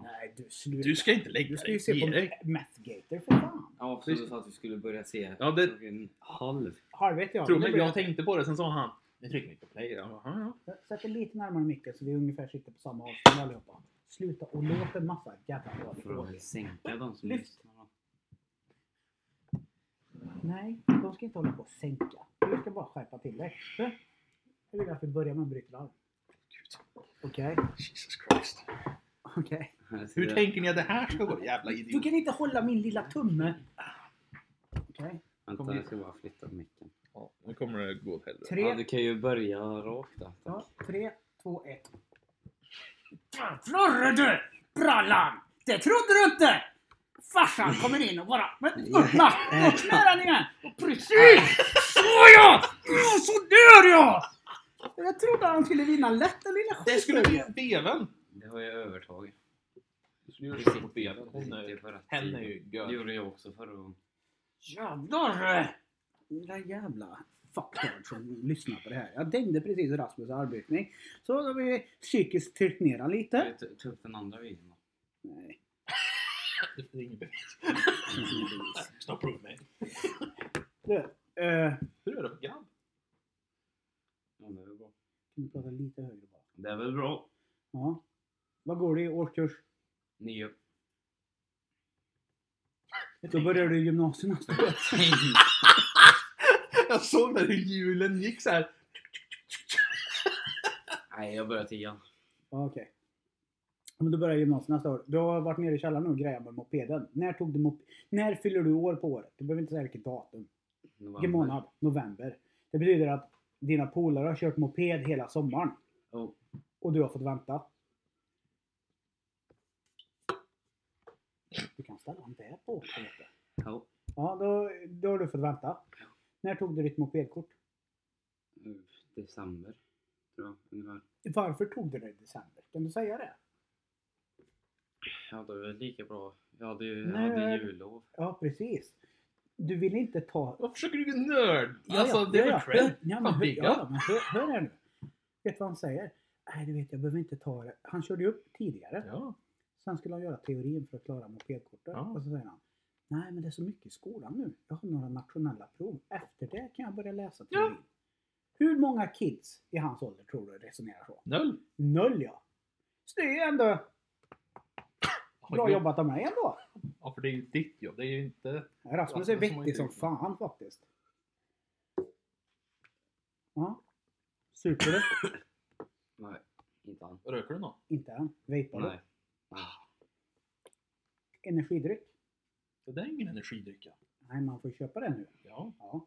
[SPEAKER 1] Nej, du sluta.
[SPEAKER 2] Du ska inte lägga
[SPEAKER 1] Du
[SPEAKER 2] dig.
[SPEAKER 1] ska ju se på
[SPEAKER 2] Ge dig.
[SPEAKER 1] Methgator för fan.
[SPEAKER 3] Ja, för du sa att vi skulle börja se
[SPEAKER 2] Ja, det-
[SPEAKER 3] klockan halv.
[SPEAKER 1] Halvvet jag.
[SPEAKER 2] Tror
[SPEAKER 1] men det
[SPEAKER 2] mig,
[SPEAKER 1] blir
[SPEAKER 2] jag
[SPEAKER 1] okej.
[SPEAKER 2] tänkte på det, sen sa han Nu trycker vi på play. Jag bara, "Ja, ja."
[SPEAKER 1] Sätt dig lite närmare micken så vi ungefär sitter på samma avstånd allihopa. Sluta och låt en massa jävla
[SPEAKER 3] För
[SPEAKER 1] frågor.
[SPEAKER 3] att sänka de som
[SPEAKER 1] Lyft.
[SPEAKER 3] lyssnar. då.
[SPEAKER 1] Nej, de ska inte hålla på och sänka. Du ska bara skärpa till dig. Du, Jag vill att vi börjar med att bryta larm. Okej,
[SPEAKER 2] Jesus Christ.
[SPEAKER 1] okej.
[SPEAKER 3] Här ser
[SPEAKER 2] Hur
[SPEAKER 3] jag.
[SPEAKER 2] tänker ni att det här ska gå? Jävla
[SPEAKER 1] Du
[SPEAKER 2] idiot.
[SPEAKER 1] kan inte hålla min lilla tumme! Okej.
[SPEAKER 2] Kom
[SPEAKER 3] Vänta,
[SPEAKER 2] hit.
[SPEAKER 3] jag ska bara flytta micken.
[SPEAKER 2] Ja, nu kommer det gå åt helvete.
[SPEAKER 1] Tre,
[SPEAKER 3] Ja, du kan ju börja rakt då.
[SPEAKER 1] ja,
[SPEAKER 3] Tack.
[SPEAKER 1] tre, två, ett. Florre du! Brallan! Det trodde du inte! Farsan kommer in och bara... Men öppna! Öppna den igen! Precis! Såja! Mm, Sådär ja! Jag trodde han skulle vinna lätt den lilla
[SPEAKER 2] Det skulle
[SPEAKER 1] skiten.
[SPEAKER 2] bli veven!
[SPEAKER 3] Det har jag övertagit.
[SPEAKER 2] Du skulle göra
[SPEAKER 3] Du
[SPEAKER 2] så mot
[SPEAKER 3] sitter-
[SPEAKER 2] veven.
[SPEAKER 3] du
[SPEAKER 2] Hon är
[SPEAKER 3] sitter
[SPEAKER 2] ju-
[SPEAKER 3] för att-
[SPEAKER 2] Hen är ju
[SPEAKER 3] Det
[SPEAKER 2] gör.
[SPEAKER 3] gjorde jag också förra gången.
[SPEAKER 1] Jävlar! Lilla jävla fuckard som lyssnar på det här. Jag dängde precis Rasmus arbetning. Så då har vi psykiskt tryckt ner han
[SPEAKER 3] Ska
[SPEAKER 1] lite.
[SPEAKER 3] vi ta- Ta upp den andra videon då.
[SPEAKER 1] Nej,
[SPEAKER 2] Det är inget bevis.
[SPEAKER 1] det finns inget bevis.
[SPEAKER 2] Stoppa upp mig.
[SPEAKER 1] Du, eh,
[SPEAKER 2] Hur är det för grabb?
[SPEAKER 3] Ja, det är väl bra.
[SPEAKER 1] kan du prata lite högre bara?
[SPEAKER 3] Det är väl bra.
[SPEAKER 1] Ja. Vad går det i årskurs?
[SPEAKER 3] Nio.
[SPEAKER 1] Då börjar du gymnasiet nästa år.
[SPEAKER 2] Jag såg när hjulen gick så här.
[SPEAKER 3] Nej, jag börjar tian.
[SPEAKER 1] Ja, Okej. Men du börjar gymnasiet nästa år. Du har varit nere i källaren och grejat med mopeden. När tog du mop- När fyller du år på året? Du behöver inte säga vilket datum.
[SPEAKER 3] November.
[SPEAKER 1] Vilken månad? November. Det betyder att dina polare har kört moped hela sommaren.
[SPEAKER 3] Ja.
[SPEAKER 1] Och du har fått vänta. Du kan ställa en där på också, vet du.
[SPEAKER 3] Ja.
[SPEAKER 1] Ja, då, då har du fått vänta. När tog du ditt mopedkort?
[SPEAKER 3] Mm, December. Tror jag. Ungefär.
[SPEAKER 1] Varför tog du det i december? Kan du säga det?
[SPEAKER 3] Ja, det är väl lika bra. Jag hade ju jag
[SPEAKER 1] Nej.
[SPEAKER 3] hade jullov.
[SPEAKER 1] Ja, precis. Du vill inte ta...
[SPEAKER 2] Vad försöker du nörd? Alltså det är väl cred?
[SPEAKER 1] Ja, men,
[SPEAKER 2] Fan,
[SPEAKER 1] hör,
[SPEAKER 2] bygga.
[SPEAKER 1] ja, men hör, hör här nu. Vet du vad han säger? Nej, du vet, jag behöver inte ta det. Han körde ju upp tidigare.
[SPEAKER 2] Ja.
[SPEAKER 1] Sen skulle han göra teorin för att klara mopedkortet.
[SPEAKER 2] Ja.
[SPEAKER 1] Och så säger han. Nej, men det är så mycket i skolan nu. Jag har några nationella prov. Efter det kan jag börja läsa teorin. Hur många kids i hans ålder tror du resonerar så?
[SPEAKER 2] Noll.
[SPEAKER 1] Noll ja. Så det är ju ändå bra
[SPEAKER 2] Ja,
[SPEAKER 1] jobbat av mig ändå.
[SPEAKER 2] Ja, för det är ju ditt jobb. Det är ju inte...
[SPEAKER 1] Rasmus
[SPEAKER 2] Ja,
[SPEAKER 1] är
[SPEAKER 2] det får man
[SPEAKER 1] vettig
[SPEAKER 2] inte
[SPEAKER 1] som
[SPEAKER 2] gjort.
[SPEAKER 1] fan faktiskt. Ja. Super du?
[SPEAKER 3] Nej, inte han.
[SPEAKER 2] Röker du något?
[SPEAKER 1] Inte än. Vejpar du?
[SPEAKER 3] Nej. Nej.
[SPEAKER 1] Energidryck?
[SPEAKER 2] Det där är ingen energidryck.
[SPEAKER 1] Nej, man får köpa det nu.
[SPEAKER 2] Ja.
[SPEAKER 1] Ja.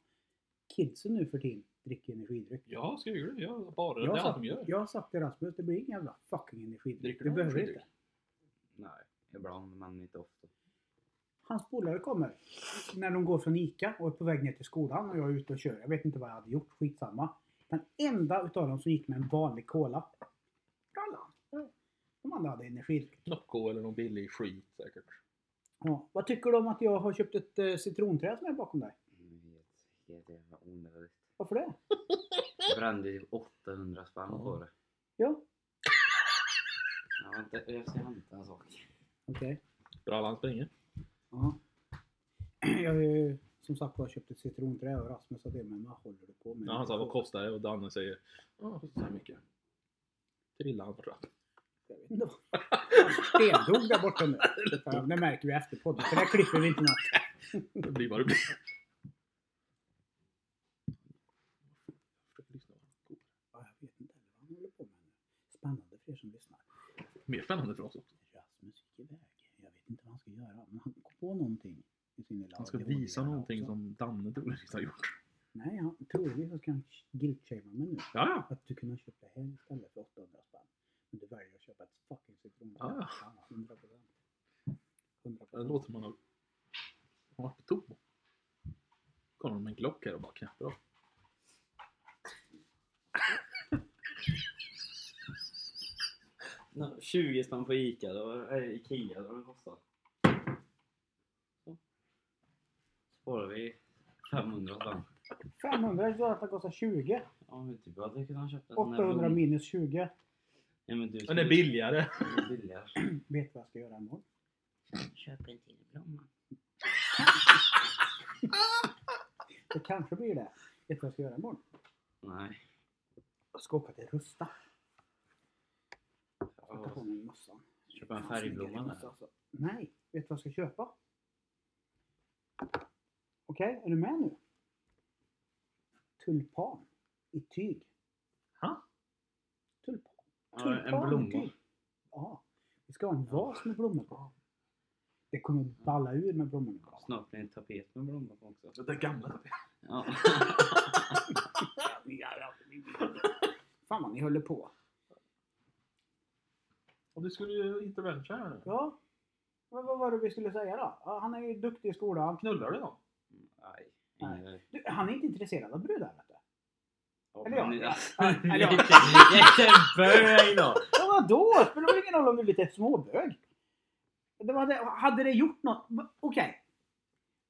[SPEAKER 1] Kidsen nu för tiden dricker energidryck.
[SPEAKER 2] Ja, ska jag göra det? Ja, bara
[SPEAKER 1] Jag
[SPEAKER 2] det är allt
[SPEAKER 1] sa-
[SPEAKER 2] de gör.
[SPEAKER 1] Jag har sagt till Rasmus, det blir ingen jävla fucking energidryck.
[SPEAKER 2] Dricker
[SPEAKER 1] Du
[SPEAKER 2] du
[SPEAKER 1] behöver
[SPEAKER 2] energidryck?
[SPEAKER 1] inte.
[SPEAKER 3] Nej. Ibland, men inte ofta.
[SPEAKER 1] Hans polare kommer när de går från ICA och är på väg ner till skolan och jag är ute och kör. Jag vet inte vad jag hade gjort, skitsamma. Den enda utav dem som gick med en vanlig cola. Brallan. De andra hade energidryck.
[SPEAKER 2] Knoppko eller någon billig skit säkert.
[SPEAKER 1] Ja. Vad tycker du om att jag har köpt ett eh, citronträ som är bakom dig?
[SPEAKER 3] Jag vet. Helt jävla onödigt.
[SPEAKER 1] Varför det?
[SPEAKER 3] Jag brände ju 800 spänn på det.
[SPEAKER 1] Ja,
[SPEAKER 3] Ja, vänta, jag ska hämta en sak.
[SPEAKER 1] okej.
[SPEAKER 2] Brallan springer.
[SPEAKER 1] Ja. Jag har ju som sagt var köpt ett citronträ och Rasmus sa det, men vad håller du på med?
[SPEAKER 2] Ja, han sa vad kostar det? Och Danne säger ja, så här mycket. Trillar han på trappan.
[SPEAKER 1] Jag vet inte vad- Stendog där borta nu. Fan, Det märker vi efter podden, för där klipper vi inte något.
[SPEAKER 2] Det blir vad det blir. Jag försöker lyssna.
[SPEAKER 1] Ja, jag vet inte heller vad han håller på med nu. Spännande för
[SPEAKER 2] mer spännande för oss också.
[SPEAKER 1] Rasmus gick iväg. Jag vet inte vad han ska göra. Men han kom på någonting. I sin lilla
[SPEAKER 2] Han ska
[SPEAKER 1] ADHD
[SPEAKER 2] visa någonting
[SPEAKER 1] också.
[SPEAKER 2] som Danne troligtvis har gjort.
[SPEAKER 1] Nej, han, troligtvis så ska han guilt-shamea mig nu.
[SPEAKER 2] Ja, ja.
[SPEAKER 1] Att du kunde ha köpt det här istället för 800 spänn. Men du väljer att köpa ett fucking citron.
[SPEAKER 2] Ja, ja.
[SPEAKER 1] Fan, 100 procent. 100
[SPEAKER 2] Ah. Det låter som man har har varit på toa. Kommer de med en Glock här och bara knäpper av.
[SPEAKER 4] Nej, 20 spänn på Ica, då, äh, Ikea, då den kostar. Så. Sparar vi 500 spänn.
[SPEAKER 1] 500 så att det kostar 20.
[SPEAKER 4] Ja, men typ hade kunnat köpa en sån här
[SPEAKER 1] 800
[SPEAKER 4] blom-
[SPEAKER 1] minus 20.
[SPEAKER 4] Ja, men du
[SPEAKER 2] Den är billigare.
[SPEAKER 4] Den är billigare.
[SPEAKER 1] Vet du vad jag ska göra imorgon?
[SPEAKER 4] Köp en till blomma.
[SPEAKER 1] Det kanske blir det. Vet du vad jag ska göra imorgon?
[SPEAKER 4] Nej.
[SPEAKER 1] Jag ska åka till Rusta. Jag ska ta
[SPEAKER 4] Ja,
[SPEAKER 1] på mig mössan.
[SPEAKER 4] Köpa en
[SPEAKER 1] Fan, snyggare
[SPEAKER 4] färgblomma
[SPEAKER 1] mössa,
[SPEAKER 4] där.
[SPEAKER 1] alltså. Nej, vet du vad jag ska köpa? Okej, är du med nu? Tulpan i tyg.
[SPEAKER 2] Ha?
[SPEAKER 1] Tulpan.
[SPEAKER 4] Ja, en
[SPEAKER 1] Tulpan i
[SPEAKER 4] blomma.
[SPEAKER 1] tyg. Ja. Vi ska ha en vas med blommor på. Det kommer balla ur med blommorna.
[SPEAKER 4] Snart blir det en tapet med blommor på också.
[SPEAKER 2] Den gamla.
[SPEAKER 4] Ja.
[SPEAKER 1] Fan vad ni håller på.
[SPEAKER 2] Och du skulle ju intervention här nu.
[SPEAKER 1] Ja. Men vad var det vi skulle säga då? Ja, Han är ju duktig i skolan.
[SPEAKER 2] Knullar du någon?
[SPEAKER 4] Nej.
[SPEAKER 1] Nej.
[SPEAKER 4] Ingen-
[SPEAKER 1] Du, han är inte intresserad av brudar vet du.
[SPEAKER 4] Ja,
[SPEAKER 1] Eller ja.
[SPEAKER 4] men-
[SPEAKER 1] eller ja.
[SPEAKER 4] Vilken vilken bög då!
[SPEAKER 1] Ja, vadå? Det spelar väl ingen roll om du är lite småbög? Det hade, hade det gjort något... va- Okej.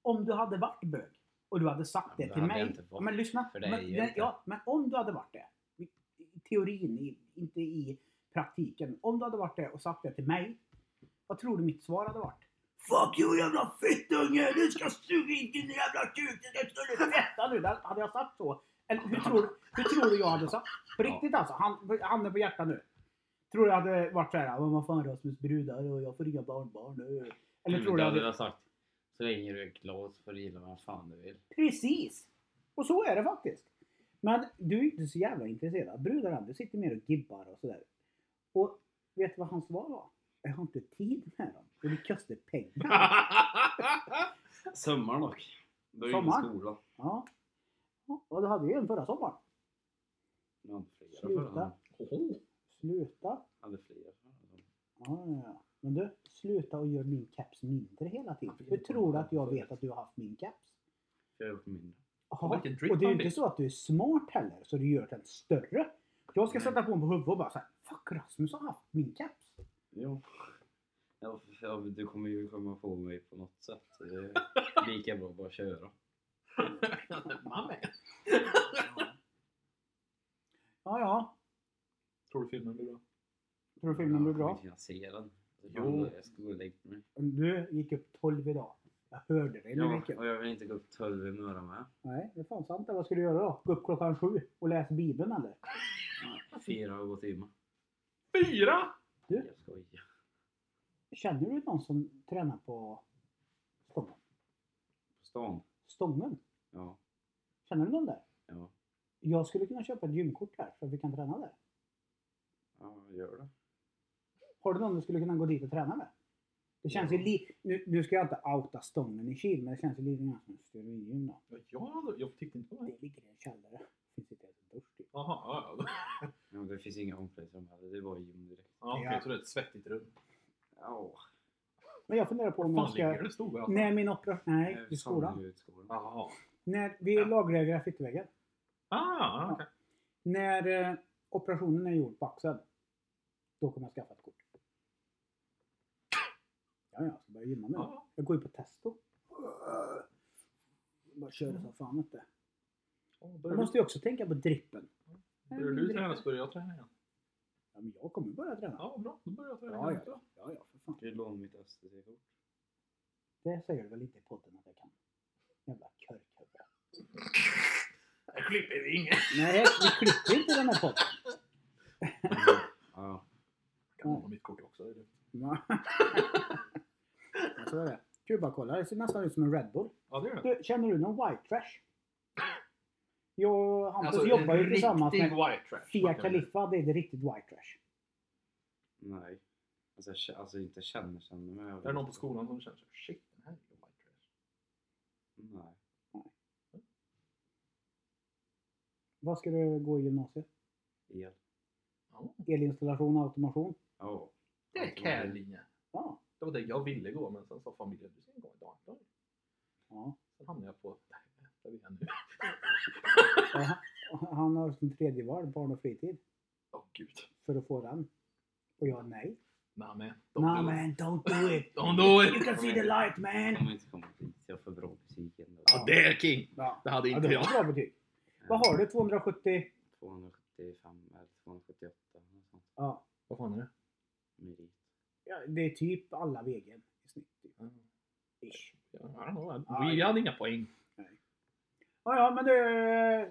[SPEAKER 1] Om du hade varit bög och du hade sagt
[SPEAKER 4] Ja,
[SPEAKER 1] det
[SPEAKER 4] men
[SPEAKER 1] till
[SPEAKER 4] det hade jag
[SPEAKER 1] mig.
[SPEAKER 4] inte varit,
[SPEAKER 1] Men lyssna.
[SPEAKER 4] för det är
[SPEAKER 1] men,
[SPEAKER 4] ju inte-
[SPEAKER 1] ja, men om du hade varit det. I i teorin, i, inte i praktiken. Om du hade varit det och sagt det till mig. Vad tror du mitt svar hade varit? Fuck you jävla fittunge! Du ska suga in din jävla kuk! Du ska fetta nu! Det- Hade jag sagt så? Eller hur tror, hur tror du jag hade sagt? På riktigt alltså, han- handen på hjärtat nu. Tror du jag hade varit såhär, "Ja, men vad fan Rasmus brudar och jag får inga barnbarn nu. Eller tror
[SPEAKER 4] Men Mm, det
[SPEAKER 1] du jag
[SPEAKER 4] hade
[SPEAKER 1] hade...
[SPEAKER 4] jag sagt. Så länge du är glad så får du gilla vad fan du vill.
[SPEAKER 1] Precis! Och så är det faktiskt. Men du är inte så jävla intresserad av brudar än. Du sitter mer och gibbar och sådär. Och vet du vad hans svar var? Jag har inte tid med dem. Och det kostar pengar.
[SPEAKER 4] Sommaren dock. Då är det ingen
[SPEAKER 1] Sommaren?
[SPEAKER 4] skola.
[SPEAKER 1] Ja. Ja, Och du hade ju en förra sommaren.
[SPEAKER 4] Jag hade flera
[SPEAKER 1] Sluta.
[SPEAKER 4] förra.
[SPEAKER 2] Oho.
[SPEAKER 1] Sluta.
[SPEAKER 4] Jag hade flera förra.
[SPEAKER 1] Ja, ja, ja. Men du, sluta och gör min caps mindre hela tiden. Hur tror du att jag vet att du har haft min caps?
[SPEAKER 4] Jag har gjort mindre.
[SPEAKER 1] Jaha,
[SPEAKER 2] Vilken drip
[SPEAKER 1] och det är ju
[SPEAKER 2] han
[SPEAKER 1] inte
[SPEAKER 2] fick.
[SPEAKER 1] så att du är smart heller, så du gör den större. Jag ska
[SPEAKER 4] Nej.
[SPEAKER 1] sätta på den på huvudet och bara såhär, Fuck Rasmus har haft min caps.
[SPEAKER 4] Ja. Ja, för- ja, men du kommer ju komma på mig på något sätt. Så Det är lika bra att bara köra.
[SPEAKER 2] Mamma.
[SPEAKER 1] Ja, ja.
[SPEAKER 2] Tror du filmen blir bra?
[SPEAKER 1] Tror du filmen blir
[SPEAKER 4] Jag
[SPEAKER 1] bra?
[SPEAKER 4] kommer inte se den.
[SPEAKER 2] Jo.
[SPEAKER 4] Jo. Jag ska gå och lägga mig.
[SPEAKER 1] Du gick upp 12 idag. Jag hörde dig när du
[SPEAKER 4] Ja,
[SPEAKER 1] gick upp.
[SPEAKER 4] och jag vill inte gå upp 12 i morgon med.
[SPEAKER 1] Nej, det är fan sant. det. Vad ska du göra då? Gå upp klockan sju och läsa Bibeln eller?
[SPEAKER 4] Fyra och gå till gymmet.
[SPEAKER 2] Fyra!
[SPEAKER 4] Jag skojar.
[SPEAKER 1] Känner du någon som tränar på stången?
[SPEAKER 4] På stan?
[SPEAKER 1] Stången?
[SPEAKER 4] Ja.
[SPEAKER 1] Känner du någon där?
[SPEAKER 4] Ja.
[SPEAKER 1] Jag skulle kunna köpa ett gymkort här så att vi kan träna där.
[SPEAKER 4] Ja, gör det.
[SPEAKER 1] Har du någon du skulle kunna gå dit och träna med? Det känns ju
[SPEAKER 4] Ja.
[SPEAKER 1] li- nu, nu ska jag inte outa stången i Kil, men det känns ju lite grann som en steroidgym då.
[SPEAKER 2] Ja, jag, jag tyckte inte på det.
[SPEAKER 1] Det ligger i en källare. Finns inte ens en dusch typ.
[SPEAKER 2] Jaha, ja, ja.
[SPEAKER 4] Ja, men det finns inga omklädningsrum heller. Det är bara gym direkt.
[SPEAKER 2] ja okej,
[SPEAKER 1] Ja.
[SPEAKER 2] så det är ett svettigt rum.
[SPEAKER 4] Ja.
[SPEAKER 1] Men jag funderar på om
[SPEAKER 2] Fan,
[SPEAKER 1] jag ska...
[SPEAKER 2] ligger det stora?
[SPEAKER 1] När min operation... Nej,
[SPEAKER 4] Eh,
[SPEAKER 1] i skolan.
[SPEAKER 4] Utskolan.
[SPEAKER 2] Jaha.
[SPEAKER 1] När vi lagrar graffitiväggen.
[SPEAKER 2] Ah, okej.
[SPEAKER 1] När eh, operationen är gjord på axeln. Då kommer jag skaffa ett kort. Ja, ja, jag ska börja gymma nu.
[SPEAKER 2] Ja.
[SPEAKER 1] Jag går ju på testo. Bara kör som fan inte.
[SPEAKER 2] Ja,
[SPEAKER 1] Jag
[SPEAKER 2] Börjar
[SPEAKER 1] måste ju också tänka på drippen.
[SPEAKER 2] du- börjar du träna så börjar jag träna igen.
[SPEAKER 1] Ja, men jag kommer börja träna.
[SPEAKER 2] Ja, bra. Då börjar jag träna
[SPEAKER 1] Ja,
[SPEAKER 2] igen
[SPEAKER 1] ja,
[SPEAKER 2] också.
[SPEAKER 1] ja, ja, ja, för fan.
[SPEAKER 4] Du lånar mitt SVT-kort.
[SPEAKER 1] Det säger du väl inte i podden att jag kan? Jävla körkubbe.
[SPEAKER 2] Jag klipper inget.
[SPEAKER 1] Nej, vi klipper inte den här podden.
[SPEAKER 4] Ja.
[SPEAKER 2] Jag kan låna mitt kort också. är det-
[SPEAKER 1] Ja. Ja, Så är det. Kubakolla, det ser nästan ut som en Red Bull.
[SPEAKER 2] Ja, det gör det.
[SPEAKER 1] Du, känner du någon white trash? Jag och Hampus
[SPEAKER 2] Alltså, en
[SPEAKER 1] jobbar ju tillsammans
[SPEAKER 2] riktig
[SPEAKER 1] med
[SPEAKER 2] white trash.
[SPEAKER 1] Fia
[SPEAKER 2] snackar vi.
[SPEAKER 1] Khalifa, det är det riktigt white trash.
[SPEAKER 4] Nej.
[SPEAKER 3] Alltså, jag kä- alltså inte känner känner men jag
[SPEAKER 2] Är det någon på skolan som känner så här, shit den här är ju white trash.
[SPEAKER 3] Nej.
[SPEAKER 1] Vad ska du gå i gymnasiet?
[SPEAKER 3] El.
[SPEAKER 2] Ja,
[SPEAKER 1] Elinstallation och automation?
[SPEAKER 3] Ja.
[SPEAKER 2] det är care-linje.
[SPEAKER 1] Ja.
[SPEAKER 2] Det var det jag ville gå men sen sa familjen du ska gå i dag.
[SPEAKER 1] ja.
[SPEAKER 2] Sen hamnade jag på där vi är nu.
[SPEAKER 1] Och han, och han har som tredje val barn och fritid
[SPEAKER 2] Åh gud.
[SPEAKER 1] för att få den. Och jag nej.
[SPEAKER 2] Nah, man. Don't
[SPEAKER 1] Nah
[SPEAKER 2] do
[SPEAKER 1] man,
[SPEAKER 2] it.
[SPEAKER 1] don't do it!
[SPEAKER 2] Don't do
[SPEAKER 1] You
[SPEAKER 2] it!
[SPEAKER 1] can see the light man!
[SPEAKER 3] kommer inte komma dit. Jag får bra betyg ändå.
[SPEAKER 2] Ja, det är king!
[SPEAKER 1] Ja,
[SPEAKER 2] Det hade
[SPEAKER 1] ja
[SPEAKER 2] inte
[SPEAKER 1] det
[SPEAKER 2] jag.
[SPEAKER 1] var bra betyg. Vad har du? 270?
[SPEAKER 3] 275 Eh, eller 278 eller sånt.
[SPEAKER 1] Ja.
[SPEAKER 2] Vad fan är det?
[SPEAKER 3] Merit.
[SPEAKER 1] Ja, Det är typ alla vägen i snitt. Typ. Ish.
[SPEAKER 2] Ja, I don't know.
[SPEAKER 1] Ja,
[SPEAKER 2] Vi
[SPEAKER 1] ja.
[SPEAKER 2] hade inga poäng.
[SPEAKER 1] Ja, ja, men du... eh,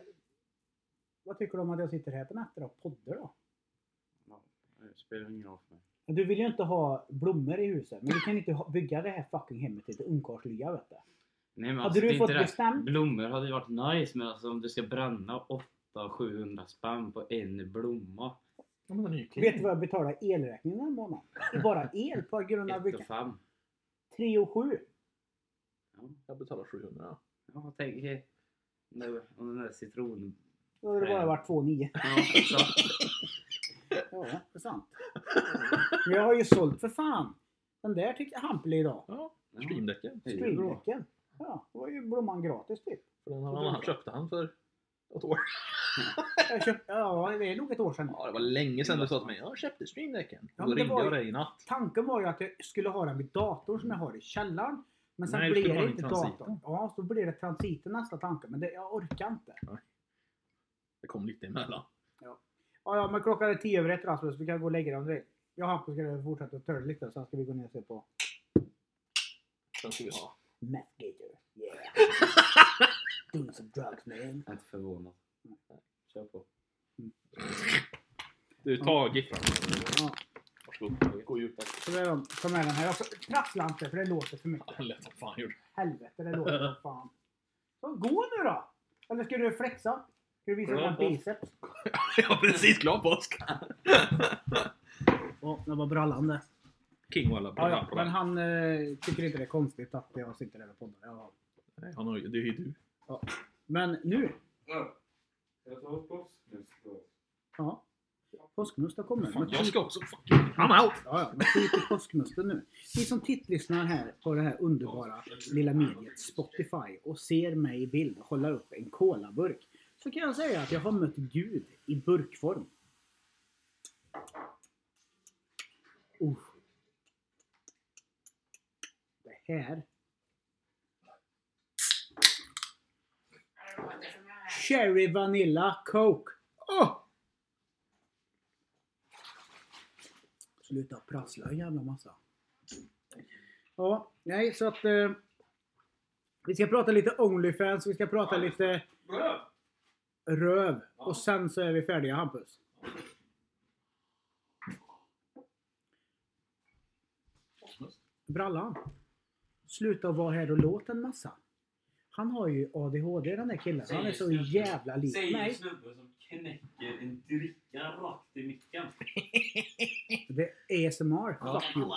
[SPEAKER 1] Vad tycker du om att jag sitter här på nätterna och poddar då?
[SPEAKER 3] Ja, det spelar ingen roll för mig.
[SPEAKER 1] Men Du vill ju inte ha blommor i huset, men du kan inte ha- bygga det här fucking hemmet till ett ungkarlslya vet du.
[SPEAKER 3] Nej, men
[SPEAKER 1] Hade
[SPEAKER 4] alltså,
[SPEAKER 1] du
[SPEAKER 3] det är
[SPEAKER 1] fått
[SPEAKER 3] inte det.
[SPEAKER 1] bestämt?
[SPEAKER 3] Blommor hade ju varit nice men alltså om du ska bränna 800-700 spänn på en blomma.
[SPEAKER 2] Ja, men den är ju king.
[SPEAKER 1] Vet du vad jag betalar elräkningen den här månaden? Det är bara el på grund av
[SPEAKER 3] 1 och
[SPEAKER 1] vilka...
[SPEAKER 3] 5.
[SPEAKER 1] 3 och 7.
[SPEAKER 3] Ja,
[SPEAKER 2] Jag betalar 700.
[SPEAKER 3] ja tänk eh, nu, om den där citronen.
[SPEAKER 1] Då hade det bara
[SPEAKER 3] Nej.
[SPEAKER 1] varit 2 och 9.
[SPEAKER 3] Ja, alltså,
[SPEAKER 1] Ja, det är sant. Men jag har ju sålt för fan. Den där tyckte Hampel idag.
[SPEAKER 2] Ja,
[SPEAKER 3] Ja.
[SPEAKER 2] streamdäcken.
[SPEAKER 3] Det är ju bra.
[SPEAKER 1] Streamdäcken. Ja, det var ju blomman gratis typ.
[SPEAKER 2] För den hade han köpte han för ett år
[SPEAKER 1] Jag köpte, ja, det är nog ett år sedan.
[SPEAKER 2] Ja, det var länge sedan du sa till mig. Jag köpte streamdäcken.
[SPEAKER 1] Ja,
[SPEAKER 2] Då
[SPEAKER 1] men det
[SPEAKER 2] ringde
[SPEAKER 1] var
[SPEAKER 2] jag
[SPEAKER 1] ju-
[SPEAKER 2] dig i natt.
[SPEAKER 1] Tanken var ju att jag skulle ha den vid datorn som jag har i källaren. Men sen
[SPEAKER 2] Nej, du
[SPEAKER 1] blev
[SPEAKER 2] skulle ha
[SPEAKER 1] det
[SPEAKER 2] den i
[SPEAKER 1] inte
[SPEAKER 2] transiten.
[SPEAKER 1] datorn. Ja, så blev det transiten nästa tanke. Men det, jag orkar inte.
[SPEAKER 2] Det kom lite emellan.
[SPEAKER 1] Ja, ja, men klockan är tio över ett Rasmus. Vi kan gå och lägga den direkt. Jag och Hampus ska fortsätta att törra lite. Sen ska vi gå ner och se på
[SPEAKER 2] Sen ska vi ha.
[SPEAKER 1] Meth Gator. Yeah. Doing some drugs man.
[SPEAKER 3] jag är inte förvånad. Kör på.
[SPEAKER 2] Du, ta Giffran.
[SPEAKER 1] Ja,
[SPEAKER 2] Varsågod. Gå ut.
[SPEAKER 1] så det är de. Ta med den här. Jag får- Prassla inte för det låter för mycket.
[SPEAKER 2] Ja, det lät som fan gjorde.
[SPEAKER 1] Helvete, det låter som fan. Så gå nu då! Eller ska du flexa? Ska du visa
[SPEAKER 3] Ja,
[SPEAKER 1] dina
[SPEAKER 3] ja.
[SPEAKER 1] biceps?
[SPEAKER 2] Jag är precis glad påsk.
[SPEAKER 1] Ja, det var brallande.
[SPEAKER 2] King Walla.
[SPEAKER 1] Ja, ja, men han eh, tycker inte det är konstigt att jag sitter där och poddar. Ja.
[SPEAKER 2] Nej, han har ju, det är ju du.
[SPEAKER 1] Men nu!
[SPEAKER 3] Jag tar påsknus.
[SPEAKER 1] Ja. Påskmust har kommit.
[SPEAKER 2] Fan,
[SPEAKER 1] Men
[SPEAKER 2] jag
[SPEAKER 1] skit-
[SPEAKER 2] ska också. Fuck you. I'm out!
[SPEAKER 1] Ja, ja, men skit i påskmusten nu. Ni som tittlyssnar här på det här underbara lilla mediet Spotify och ser mig i bild hålla upp en kolaburk. Så kan jag säga att jag har mött Gud i burkform. Oh. Det här. Cherry Vanilla Coke. Åh!
[SPEAKER 2] Ah!
[SPEAKER 1] Sluta prassla en jävla massa. Ja, nej så att... Eh, vi ska prata lite Onlyfans, vi ska prata lite röv. Och sen så är vi färdiga Hampus. Brallan. Sluta vara här och låt en massa. Han har ju ADHD den där killen. Han är så jävla lik mig.
[SPEAKER 3] snubbe som knäcker en dricka rakt i micken.
[SPEAKER 1] Det är ASMR.
[SPEAKER 2] Ja.
[SPEAKER 1] Fuck you.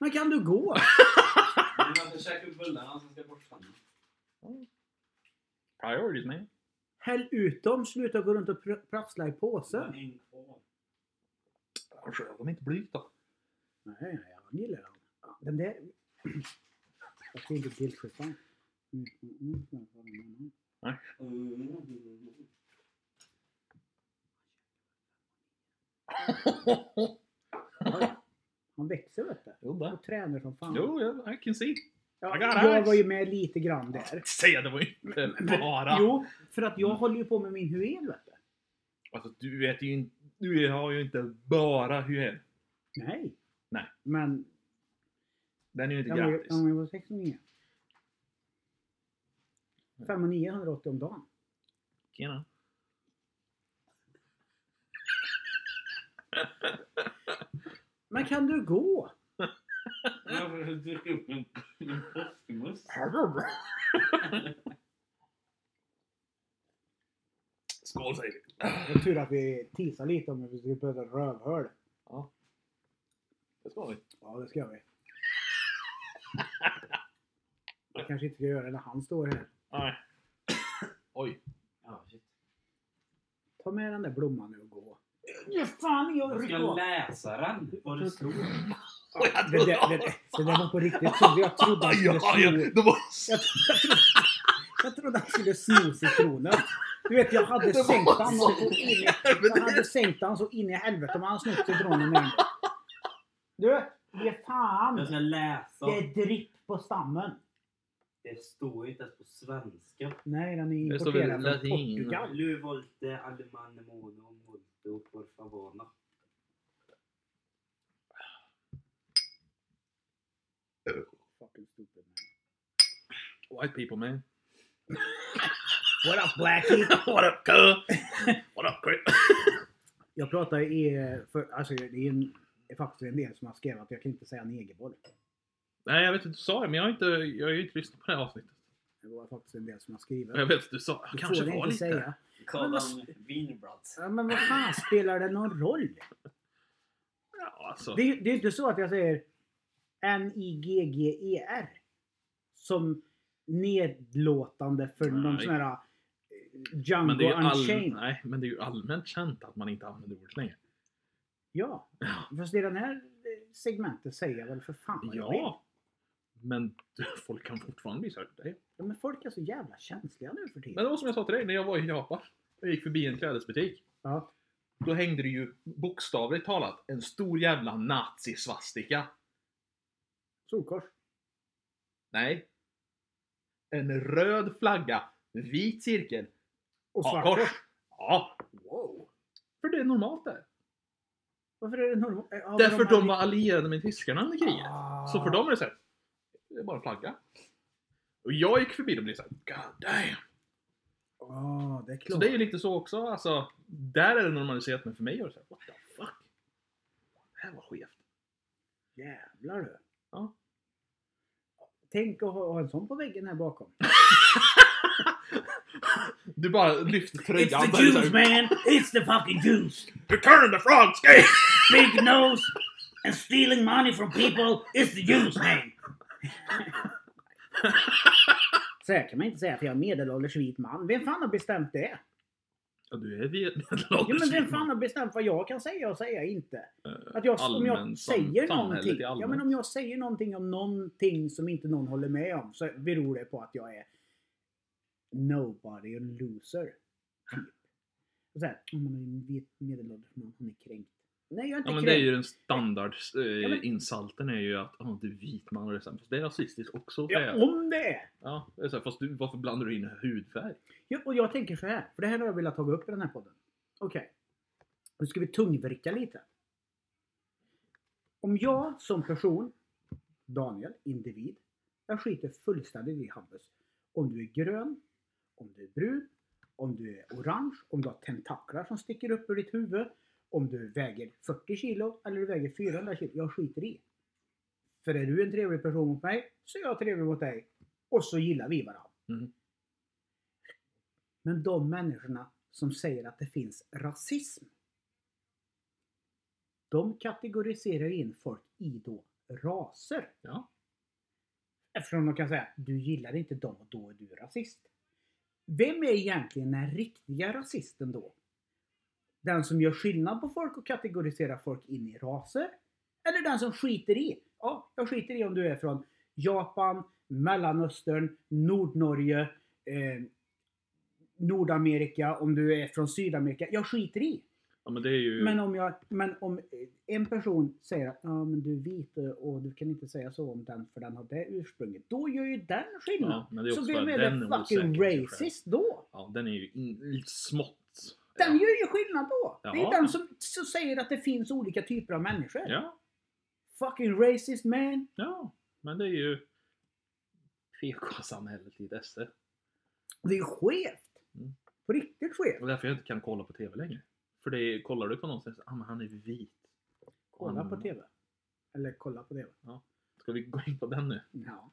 [SPEAKER 1] Men kan du gå?
[SPEAKER 3] Men varför käkar du bullarna som ska bort sen?
[SPEAKER 2] Priorities man.
[SPEAKER 1] Häll ut dem, sluta gå runt och pr- prassla i påsen.
[SPEAKER 3] En kvar.
[SPEAKER 2] Röv dem inte blygt då.
[SPEAKER 1] Nej, nej, jag gillar den. Ja, Den där... Jag ska inte guilt-trippa. Mm, mm, mm, mm, mm, mm.
[SPEAKER 3] Mm.
[SPEAKER 1] Ja, Han växer vet du.
[SPEAKER 2] Jo, där.
[SPEAKER 1] Och tränar som fan.
[SPEAKER 2] Jo, jag- I can see.
[SPEAKER 1] Ja,
[SPEAKER 2] I got
[SPEAKER 1] jag
[SPEAKER 2] eyes.
[SPEAKER 1] var ju med lite grann där.
[SPEAKER 2] Säg det var ju inte bara...
[SPEAKER 1] Jo, för att jag håller ju på med min huen vet du.
[SPEAKER 2] Alltså, du vet ju inte... Du har ju inte bara hyel.
[SPEAKER 1] Nej.
[SPEAKER 2] Nej.
[SPEAKER 1] Men
[SPEAKER 2] Den är ju inte
[SPEAKER 1] den var ju
[SPEAKER 2] gratis.
[SPEAKER 1] den var ju på 69. 5 980 om dagen.
[SPEAKER 2] Tjena.
[SPEAKER 1] Men kan du gå?
[SPEAKER 3] Varför har du druckit upp en, en påskmust?
[SPEAKER 2] Skål säger vi.
[SPEAKER 1] Det var tur att vi teasade lite om hur vi skulle prata rövhål.
[SPEAKER 3] Ja. Det ska vi.
[SPEAKER 1] Ja, det ska vi. Jag kanske inte ska göra det när han står här.
[SPEAKER 2] Nej. Oj.
[SPEAKER 3] Ja, shit.
[SPEAKER 1] Ta med den där blomman nu och gå. Ja, fan, jag
[SPEAKER 3] Jag ska läsa den. Vad det stod.
[SPEAKER 1] Det där, det, där- det där var på riktigt så Jag trodde han skulle
[SPEAKER 2] Ja, ja,
[SPEAKER 1] sno...
[SPEAKER 2] det var...
[SPEAKER 1] Jag trodde, jag trodde han skulle sno citronen. Du vet, jag hade
[SPEAKER 2] Det var
[SPEAKER 1] sänkt han
[SPEAKER 2] så
[SPEAKER 1] så in i... Jag
[SPEAKER 2] Helvete.
[SPEAKER 1] hade sänkt han så in i helvete om han snott citronen med den. Du, ge fan!
[SPEAKER 3] Jag ska läsa.
[SPEAKER 1] Det är dripp på stammen.
[SPEAKER 3] Det står ju inte ens på svenska.
[SPEAKER 1] Nej, den är
[SPEAKER 2] Det står väl
[SPEAKER 1] importerad från
[SPEAKER 2] latin.
[SPEAKER 1] Portugal.
[SPEAKER 3] Lu volte allemane mono molto por favona.
[SPEAKER 1] Fucking stupid man.
[SPEAKER 2] White people man.
[SPEAKER 1] What up Blackie?
[SPEAKER 2] What up cuh? What up Chris?
[SPEAKER 1] Jag pratar i... eh, För, alltså, det är, en, det är faktiskt en del som har skrivit att jag kan inte säga negerboll.
[SPEAKER 2] Nej jag vet att du sa det men jag har inte, jag har ju inte lyssnat på det här avsnittet.
[SPEAKER 1] Det var faktiskt en del som har skrivit.
[SPEAKER 2] Men jag vet att du sa
[SPEAKER 1] Du
[SPEAKER 2] det. Kanske
[SPEAKER 1] får det
[SPEAKER 2] var
[SPEAKER 1] inte
[SPEAKER 2] lite.
[SPEAKER 1] säga. Men vad s-
[SPEAKER 3] vinbrats.
[SPEAKER 1] Ja, men vad fan spelar det någon roll?
[SPEAKER 2] Ja, alltså.
[SPEAKER 1] Det, är- det är inte så att jag säger N-I-G-G-E-R E som nedlåtande för någon
[SPEAKER 2] Nej.
[SPEAKER 1] sån här eh,
[SPEAKER 2] Men det,
[SPEAKER 1] Django
[SPEAKER 2] är ju all...
[SPEAKER 1] Unchained.
[SPEAKER 2] Nej, men det är ju allmänt känt att man inte använder ordet längre.
[SPEAKER 1] Ja. Fast i den här eh, segmentet säger jag väl för fan vad jag vill.
[SPEAKER 2] Ja. Men du, folk kan fortfarande bli sura på dig.
[SPEAKER 1] Ja, men folk är så jävla känsliga nu för tiden.
[SPEAKER 2] Men det var som jag sa till dig när jag var i Japan. Jag gick förbi en klädesbutik.
[SPEAKER 1] Ja.
[SPEAKER 2] Då hängde det ju bokstavligt talat en stor jävla nazisvastika.
[SPEAKER 1] Solkors.
[SPEAKER 2] Nej. En röd flagga, vit cirkel,
[SPEAKER 1] Och
[SPEAKER 2] ja,
[SPEAKER 1] svartkors.
[SPEAKER 2] kors. Ja,
[SPEAKER 1] Wow.
[SPEAKER 2] för det är normalt där.
[SPEAKER 1] Varför är det normalt? Ja, men
[SPEAKER 2] Därför de var
[SPEAKER 1] hade-
[SPEAKER 2] allierade med tyskarna under kriget.
[SPEAKER 1] Ah.
[SPEAKER 2] Så för dem är det såhär, det är bara en flagga. Och jag gick förbi dem och blev såhär, God damn.
[SPEAKER 1] Ja, ah, det är
[SPEAKER 2] Så
[SPEAKER 1] klart.
[SPEAKER 2] det är ju lite så också, alltså. Där är det normaliserat, men för mig är det såhär, what the fuck? Det här var skevt.
[SPEAKER 1] Jävlar du.
[SPEAKER 2] Ja.
[SPEAKER 1] Tänk att ha, ha en sån på väggen här bakom.
[SPEAKER 2] Du bara lyfter tröjan.
[SPEAKER 1] It's
[SPEAKER 2] där
[SPEAKER 1] the
[SPEAKER 2] och så här,
[SPEAKER 1] Jews man! It's the fucking Jews!
[SPEAKER 2] Return the frogs game!
[SPEAKER 1] Big nose and stealing money from people! It's the Jews man! Så här kan man inte säga för jag är en medelålders vit man. Vem fan har bestämt det?
[SPEAKER 2] Ja, du är
[SPEAKER 1] Jo men
[SPEAKER 2] medelålders.
[SPEAKER 1] vem fan har bestämt vad jag kan säga och säga inte? Att jag, om jag säger någonting. Ja, men om jag säger någonting om någonting som inte någon håller med om så beror det på att jag är nobody and loser. Typ. Och så här, "Ja, men en vit medelålders man, han är kränkt. Nej, jag är inte
[SPEAKER 2] Ja men det
[SPEAKER 1] kränkt.
[SPEAKER 2] är ju den standard eh,
[SPEAKER 1] Ja, men-
[SPEAKER 2] insulten är ju att oh, du är vit man och det är så här, fast det är rasistiskt också. säger jag.
[SPEAKER 1] ja, om det är!
[SPEAKER 2] Ja, det är så här, fast du, varför blandar du in hudfärg?
[SPEAKER 1] Ja, och jag tänker så här, för det här har jag velat ta upp i den här podden. Okej. Nu ska vi tungvricka lite. Om jag som person, Daniel, individ, jag skiter fullständigt i Hampus. Om du är grön, om du är brun, om du är orange, om du har tentaklar som sticker upp ur ditt huvud, om du väger 40 kilo eller du väger 400 kilo. Jag skiter i. För är du en trevlig person mot mig, så är jag trevlig mot dig. Och så gillar vi varandra. Men de människorna som säger att det finns rasism. De kategoriserar in folk i då raser.
[SPEAKER 2] Ja.
[SPEAKER 1] Eftersom de kan säga du gillar inte dem och då är du rasist. Vem är egentligen den riktiga rasisten då? Den som gör skillnad på folk och kategoriserar folk in i raser? Eller den som skiter i? Ja, jag skiter i om du är från Japan, Mellanöstern, Nordnorge, eh, Nordamerika, om du är från Sydamerika. Jag skiter i.
[SPEAKER 2] Ja men det är ju...
[SPEAKER 1] Men om, jag, men om en person säger att ja, men du är vit och du kan inte säga så om den för den har det ursprunget. Då gör ju den skillnad.
[SPEAKER 2] Ja, men det är
[SPEAKER 1] så
[SPEAKER 2] också
[SPEAKER 1] vem
[SPEAKER 2] bara
[SPEAKER 1] är det
[SPEAKER 2] den är
[SPEAKER 1] fucking
[SPEAKER 2] osäker i sig själv.
[SPEAKER 1] racist då?
[SPEAKER 2] ja, den är ju in, smått.
[SPEAKER 1] Den
[SPEAKER 2] ja.
[SPEAKER 1] gör ju skillnad då. Det
[SPEAKER 2] Ja.
[SPEAKER 1] är den som, som säger att det finns olika typer av människor.
[SPEAKER 2] Ja,
[SPEAKER 1] Fucking racist man.
[SPEAKER 2] ja. Men det är ju PK-samhället i dess.
[SPEAKER 1] Det är skevt.
[SPEAKER 2] Mm.
[SPEAKER 1] På riktigt skevt.
[SPEAKER 2] Och därför jag inte kan kolla på TV längre. För det är, kollar du på någon så är det så, ah, men han är vit.
[SPEAKER 1] Kolla
[SPEAKER 2] Mm.
[SPEAKER 1] på TV. Eller kolla på TV.
[SPEAKER 2] Ska vi gå in på den nu?
[SPEAKER 1] Ja.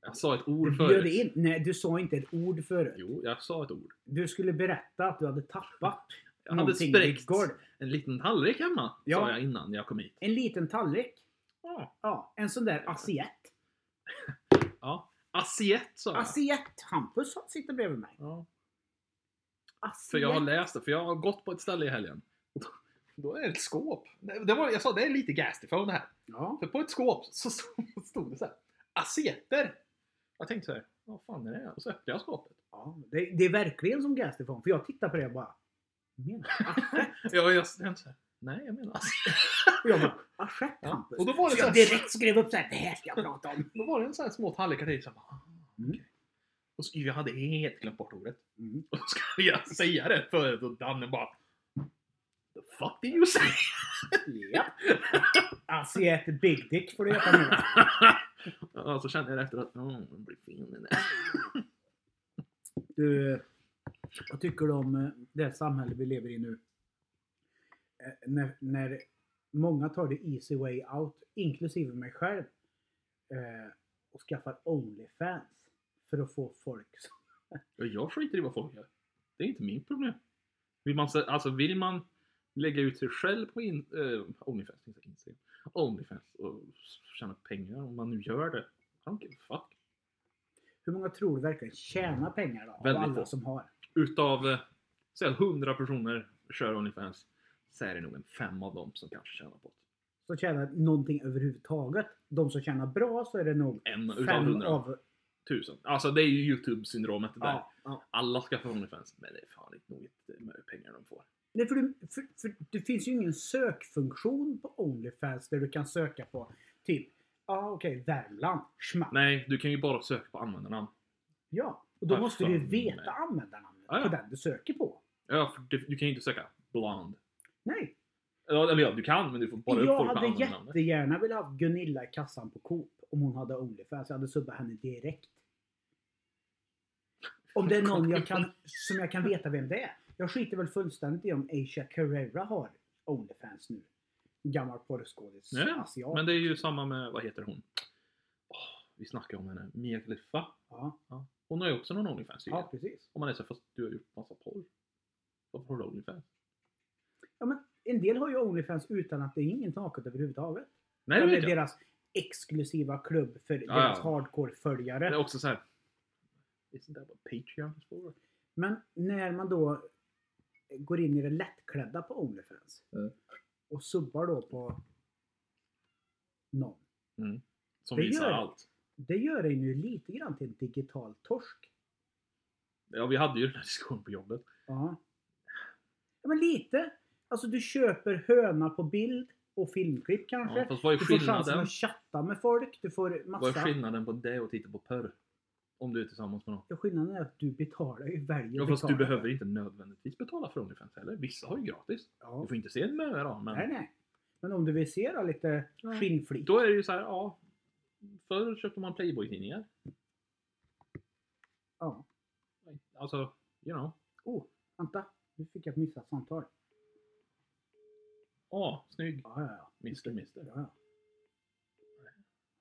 [SPEAKER 2] Jag sa ett
[SPEAKER 1] Du
[SPEAKER 2] ord
[SPEAKER 1] bjöd
[SPEAKER 2] förut.
[SPEAKER 1] in. Nej, du sa inte ett ord förut.
[SPEAKER 2] Jo, jag sa ett ord.
[SPEAKER 1] Du skulle berätta att du hade tappat
[SPEAKER 2] Jag hade
[SPEAKER 1] någonting i ditt
[SPEAKER 2] spräckt
[SPEAKER 1] golv.
[SPEAKER 2] en liten tallrik hemma,
[SPEAKER 1] Ja.
[SPEAKER 2] sa jag innan jag kom hit.
[SPEAKER 1] En liten tallrik.
[SPEAKER 2] Ja.
[SPEAKER 1] Ja, en sån där assiett.
[SPEAKER 2] ja. Asiett sa jag.
[SPEAKER 1] Assiett Hampus sitter bredvid mig.
[SPEAKER 2] ja.
[SPEAKER 1] Assiett.
[SPEAKER 2] För jag har läst det, för jag har gått på ett ställe i helgen. Och då, då är det ett skåp. Det det var, jag sa det är lite gastifone här.
[SPEAKER 1] Ja.
[SPEAKER 2] För på ett skåp så stod, stod det så här. Asieter! Jag tänkte så här. Vad fan är det? Och så öppnade jag skåpet.
[SPEAKER 1] ja det, det är verkligen som Gastifon. För jag tittar på det och bara... Menar du assiett?
[SPEAKER 2] Jag, jag tänkte så här. Nej, jag menar asiett.
[SPEAKER 1] Och jag bara... Assiett Hampus.
[SPEAKER 2] Och då var det
[SPEAKER 1] Så
[SPEAKER 2] så
[SPEAKER 1] jag
[SPEAKER 2] här.
[SPEAKER 1] direkt skrev upp så här. Det här ska jag prata om.
[SPEAKER 2] Då var det en sån här små tallrikar till. Så jag bara, ah,
[SPEAKER 1] Mm.
[SPEAKER 2] okej. Och så, jag hade helt glömt bort ordet.
[SPEAKER 1] Mm.
[SPEAKER 2] Och så skulle jag säga det förut och Danne bara. The fuck did you say?
[SPEAKER 1] Ja. Assiett Big Dick får du heta nu.
[SPEAKER 2] och så kände jag efter att. Oh, det blir fin den där.
[SPEAKER 1] Du, vad tycker du om eh, det här samhälle vi lever i nu? Eh, När, när många tar the easy way out, inklusive mig själv, eh, och skaffar Onlyfans för att få folk som...
[SPEAKER 2] Ja, Jag skiter i vad folk gör. Det är inte mitt problem. Vill man, se- alltså, vill man lägga ut sig själv på in, eh, Onlyfans, inte Instagram, Onlyfans och tjäna pengar om man nu gör det. I don't give a fuck.
[SPEAKER 1] Hur många tror du verkligen tjänar pengar då? Av
[SPEAKER 2] Väldigt
[SPEAKER 1] alla
[SPEAKER 2] få.
[SPEAKER 1] som har.
[SPEAKER 2] Utav, eh, säg att 100 personer kör Onlyfans, så är det nog en fem av dem som kanske tjänar på det.
[SPEAKER 1] Så tjänar någonting överhuvudtaget. De som tjänar bra så är det nog
[SPEAKER 2] En utav
[SPEAKER 1] fem
[SPEAKER 2] 100
[SPEAKER 1] av...
[SPEAKER 2] tusen. Alltså det är ju Youtube-syndromet det där.
[SPEAKER 1] Ja, ja.
[SPEAKER 2] Alla skaffar Onlyfans, men det är fan inte nog inte mycket pengar de får.
[SPEAKER 1] Nej, för, du, för, för det finns ju ingen sökfunktion på Onlyfans där du kan söka på typ, ja ah, okej, Värmland, schmack.
[SPEAKER 2] Nej, du kan ju bara söka på användarnamn.
[SPEAKER 1] Ja, och då
[SPEAKER 2] Vad
[SPEAKER 1] måste du ju
[SPEAKER 2] fan,
[SPEAKER 1] veta
[SPEAKER 2] nej.
[SPEAKER 1] användarnamnet
[SPEAKER 2] Ja, ja.
[SPEAKER 1] på den du söker på.
[SPEAKER 2] Ja, för du, du kan ju inte söka blond.
[SPEAKER 1] Nej,
[SPEAKER 2] Ja, eller ja, du kan, men du får bara upp
[SPEAKER 1] jag
[SPEAKER 2] folk på
[SPEAKER 1] hade
[SPEAKER 2] användarnamnet.
[SPEAKER 1] jättegärna velat ha Gunilla i kassan på Coop om hon hade Onlyfans. Jag hade subbat henne direkt. Om det är någon jag kan, som jag kan veta vem det är. Jag skiter väl fullständigt i om Asia Carrera har Onlyfans nu. Gammal porrskådis.
[SPEAKER 2] Ja,
[SPEAKER 1] asiat.
[SPEAKER 2] Men det är ju samma med, vad heter hon? Åh, vi snackade om henne, Mia Khalifa.
[SPEAKER 1] Ja,
[SPEAKER 2] Ja. Hon har ju också någon Onlyfans
[SPEAKER 1] ja,
[SPEAKER 2] ja.
[SPEAKER 1] precis.
[SPEAKER 2] Om man är så här, fast du har gjort massa porr. Varför har du Onlyfans?
[SPEAKER 1] Ja, men en del har ju Onlyfans utan att det är inget naket överhuvudtaget.
[SPEAKER 2] Nej, det
[SPEAKER 1] det är
[SPEAKER 2] vet jag.
[SPEAKER 1] deras exklusiva klubb för
[SPEAKER 2] Ja,
[SPEAKER 1] deras
[SPEAKER 2] ja.
[SPEAKER 1] hardcore-följare.
[SPEAKER 2] Det är också så här. Isn't that what Patreon is for?
[SPEAKER 1] Men när man då går in i det lättklädda på Onlyfans
[SPEAKER 2] Mm.
[SPEAKER 1] och subbar då på någon.
[SPEAKER 2] Som
[SPEAKER 1] Det
[SPEAKER 2] visar
[SPEAKER 1] gör det.
[SPEAKER 2] allt.
[SPEAKER 1] Det gör en ju lite grann till en digital torsk.
[SPEAKER 2] Ja, vi hade ju den här diskussionen på jobbet.
[SPEAKER 1] Ja. ja men lite. Alltså du köper höna på bild och filmklipp kanske.
[SPEAKER 2] Ja, fast vad är
[SPEAKER 1] du får chansen
[SPEAKER 2] skillnaden?
[SPEAKER 1] att chatta med folk. Du får massa.
[SPEAKER 2] Vad är skillnaden på det och titta på porr? Om du är tillsammans med någon.
[SPEAKER 1] Ja, skillnaden är att du betalar ju. Väljer
[SPEAKER 2] Ja, fast du
[SPEAKER 1] betala.
[SPEAKER 2] behöver inte nödvändigtvis betala för Onlyfans heller. Vissa har ju gratis. Du
[SPEAKER 1] Ja.
[SPEAKER 2] får inte se en möra då, men...
[SPEAKER 1] Nej, nej. Men om du vill se då lite
[SPEAKER 2] Ja.
[SPEAKER 1] skinnflik.
[SPEAKER 2] Då är det ju så här, ja. Förr köpte man Playboy-tidningar.
[SPEAKER 1] Ja.
[SPEAKER 2] Alltså, you know.
[SPEAKER 1] Oh, vänta. Nu fick jag ett missat samtal.
[SPEAKER 2] Ja, snygg.
[SPEAKER 1] Ja, ja, ja.
[SPEAKER 2] Mister, mister.
[SPEAKER 1] Ja, ja.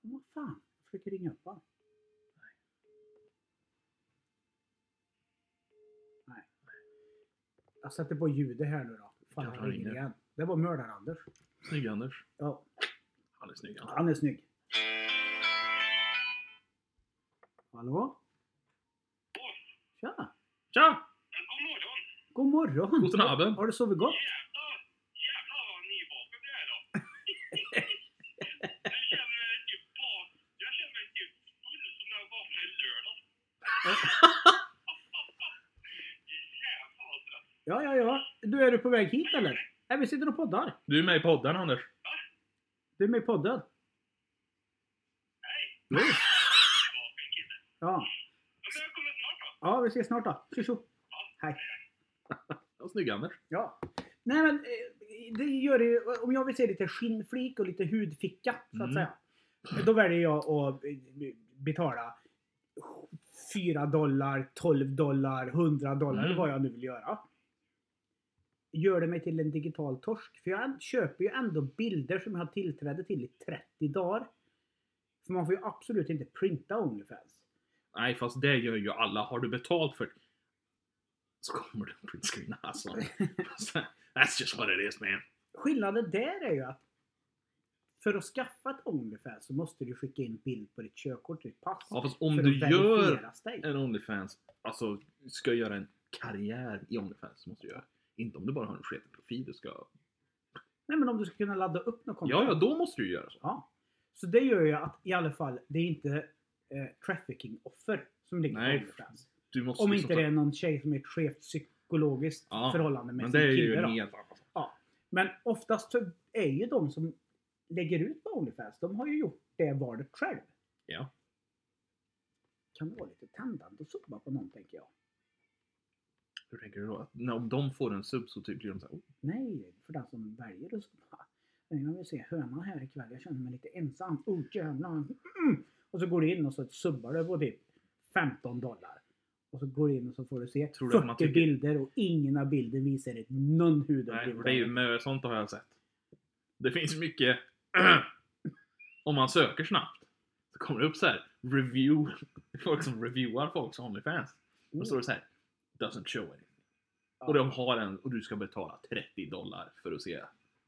[SPEAKER 1] Men Vad fan? Jag försöker ringa upp honom. Nej. Jag sätter på ljudet här nu då. Fan,
[SPEAKER 2] Kanske
[SPEAKER 1] han ringer
[SPEAKER 2] ringer.
[SPEAKER 1] igen. Det var Mördar-Anders.
[SPEAKER 2] Snygg Anders.
[SPEAKER 1] Ja,
[SPEAKER 2] Han är snygg Anders.
[SPEAKER 1] han är snygg. Hallå? Tja!
[SPEAKER 2] Tja!
[SPEAKER 5] God morgon!
[SPEAKER 1] God morgon!
[SPEAKER 2] Guten Abend.
[SPEAKER 1] Har du sovit gott?
[SPEAKER 5] Jävlar, jävlar vad nyvaken du är då! jag känner mig typ bak... Jag känner mig typ full som när jag vaknade i lördags. Jävlar vad trött.
[SPEAKER 1] Ja, ja, ja. Du, är du på väg hit eller? Nej, vi sitter och poddar.
[SPEAKER 2] Du är med i podden Anders.
[SPEAKER 1] Du är med i podden. Nej. Jo.
[SPEAKER 5] Vaken kille.
[SPEAKER 1] Ja.
[SPEAKER 5] Ja, Men jag kommer snart då.
[SPEAKER 1] ja, vi ses snart då. Tjo tjo. Hej.
[SPEAKER 2] Ja, snygg Anders.
[SPEAKER 1] Ja. Nej men, eh, det gör det ju, om jag vill se lite skinnflik och lite hudficka, så att
[SPEAKER 2] Mm.
[SPEAKER 1] säga. Då väljer jag att eh, betala 4 dollar, 12 dollar, 100 dollar,
[SPEAKER 2] Mm.
[SPEAKER 1] eller vad jag nu vill göra. Gör det mig till en digital torsk. För jag köper ju ändå bilder som jag har tillträde till i 30 dagar. För man får ju absolut inte printa Onlyfans.
[SPEAKER 2] Nej, fast det gör ju alla. Har du betalt för Så kommer det en printscreen alltså. That's just what it is man.
[SPEAKER 1] Skillnaden där är ju att för att skaffa ett Onlyfans så måste du skicka in bild på ditt körkort, ditt pass.
[SPEAKER 2] Ja, fast om
[SPEAKER 1] för
[SPEAKER 2] du
[SPEAKER 1] att
[SPEAKER 2] gör
[SPEAKER 1] verifieras dig.
[SPEAKER 2] en Onlyfans, alltså ska göra en karriär i Onlyfans så måste du göra. Inte om du bara har en sketen profil du ska...
[SPEAKER 1] Nej men om du ska kunna ladda upp något konto.
[SPEAKER 2] Ja, ja, då måste du ju göra så.
[SPEAKER 1] Ja. Så det gör ju att i alla fall, det är inte eh, trafficking-offer som ligger
[SPEAKER 2] Nej.
[SPEAKER 1] på Onlyfans.
[SPEAKER 2] Du måste
[SPEAKER 1] Om
[SPEAKER 2] liksom
[SPEAKER 1] inte det är någon tjej som är i ett skevt psykologiskt
[SPEAKER 2] Ja,
[SPEAKER 1] förhållande med
[SPEAKER 2] Men
[SPEAKER 1] sin
[SPEAKER 2] det är ju alltså.
[SPEAKER 1] kille.
[SPEAKER 2] en
[SPEAKER 1] Då.
[SPEAKER 2] helt annan sak.
[SPEAKER 1] Men oftast så är ju de som lägger ut på Onlyfans, de har ju gjort det valet själv.
[SPEAKER 2] Ja.
[SPEAKER 1] Kan vara lite tändande att subba på någon tänker jag.
[SPEAKER 2] Hur tänker du då? Att när, om de får en sub så typ blir de såhär, oh,
[SPEAKER 1] Nej, för den som väljer att subba. Nej, Jag vill se hönan här ikväll, jag känner mig lite ensam. Oh jävlar. Mm. Och så går du in och så subbar du på typ 15 dollar. Och så går du in och så får du se
[SPEAKER 2] Tror du att man
[SPEAKER 1] 40
[SPEAKER 2] tycker-
[SPEAKER 1] bilder och ingen av bilder visar ett någon
[SPEAKER 2] nej,
[SPEAKER 1] hudavdrift.
[SPEAKER 2] för det är ju, men sånt har jag sett. Det finns mycket, om man söker snabbt, så kommer det upp så här, review, folk som reviewar folks Onlyfans. Och då står det så här, doesn't show anything.
[SPEAKER 1] Ja.
[SPEAKER 2] Och de har en, och du ska betala 30 dollar för att se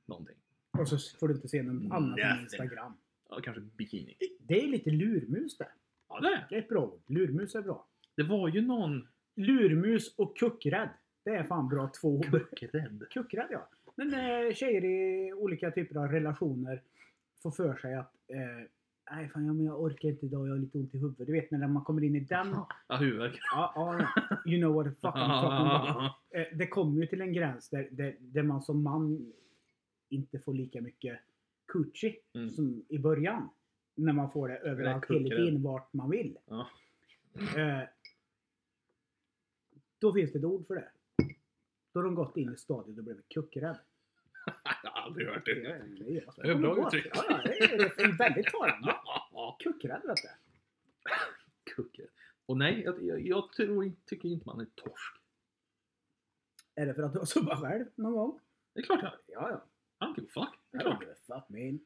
[SPEAKER 2] någonting.
[SPEAKER 1] Och så får du inte se någon annan
[SPEAKER 2] Nothing.
[SPEAKER 1] på Instagram.
[SPEAKER 2] Ja, kanske bikini.
[SPEAKER 1] Det är lite lurmus det.
[SPEAKER 2] Ja, det är
[SPEAKER 1] Det är ett bra ord. Lurmus är bra.
[SPEAKER 2] det. var ju någon
[SPEAKER 1] Lurmus och kuckrädd. Det är fan bra två ord.
[SPEAKER 2] kuckrädd.
[SPEAKER 1] Kuckrädd ja. Men eh, tjejer i olika typer av relationer får för sig att eh, Nej fan, ja, men jag orkar inte idag, jag har lite ont i huvudet. Du vet när man kommer in i den... Ja,
[SPEAKER 2] Ja, huvudvärk.
[SPEAKER 1] ja, ja. You know what the fuck I'm talking about. Eh, det kommer ju till en gräns där, där, där man som man inte får lika mycket coochie
[SPEAKER 2] Mm.
[SPEAKER 1] som i början. När man får det överallt hela
[SPEAKER 2] kuckrädd.
[SPEAKER 1] tiden vart man vill.
[SPEAKER 2] Ja.
[SPEAKER 1] Eh, då finns det ett ord för det. Då har de gått in i stadiet och blivit kuckrädd.
[SPEAKER 2] Jag har aldrig hört
[SPEAKER 1] Det
[SPEAKER 2] det.
[SPEAKER 1] är- det är-
[SPEAKER 2] Det är bra uttryck.
[SPEAKER 1] Ja, ja, det är det är väldigt talande. Kuckrädd vet du.
[SPEAKER 2] Kuckrädd. Och nej, jag, jag, jag tror, inte- tycker inte man är torsk.
[SPEAKER 1] Är det för att du har subbat själv någon gång?
[SPEAKER 2] Det är klart jag
[SPEAKER 1] Ja, ja.
[SPEAKER 2] I don't give a fuck. Det är klart.
[SPEAKER 1] Herregud, fuck me.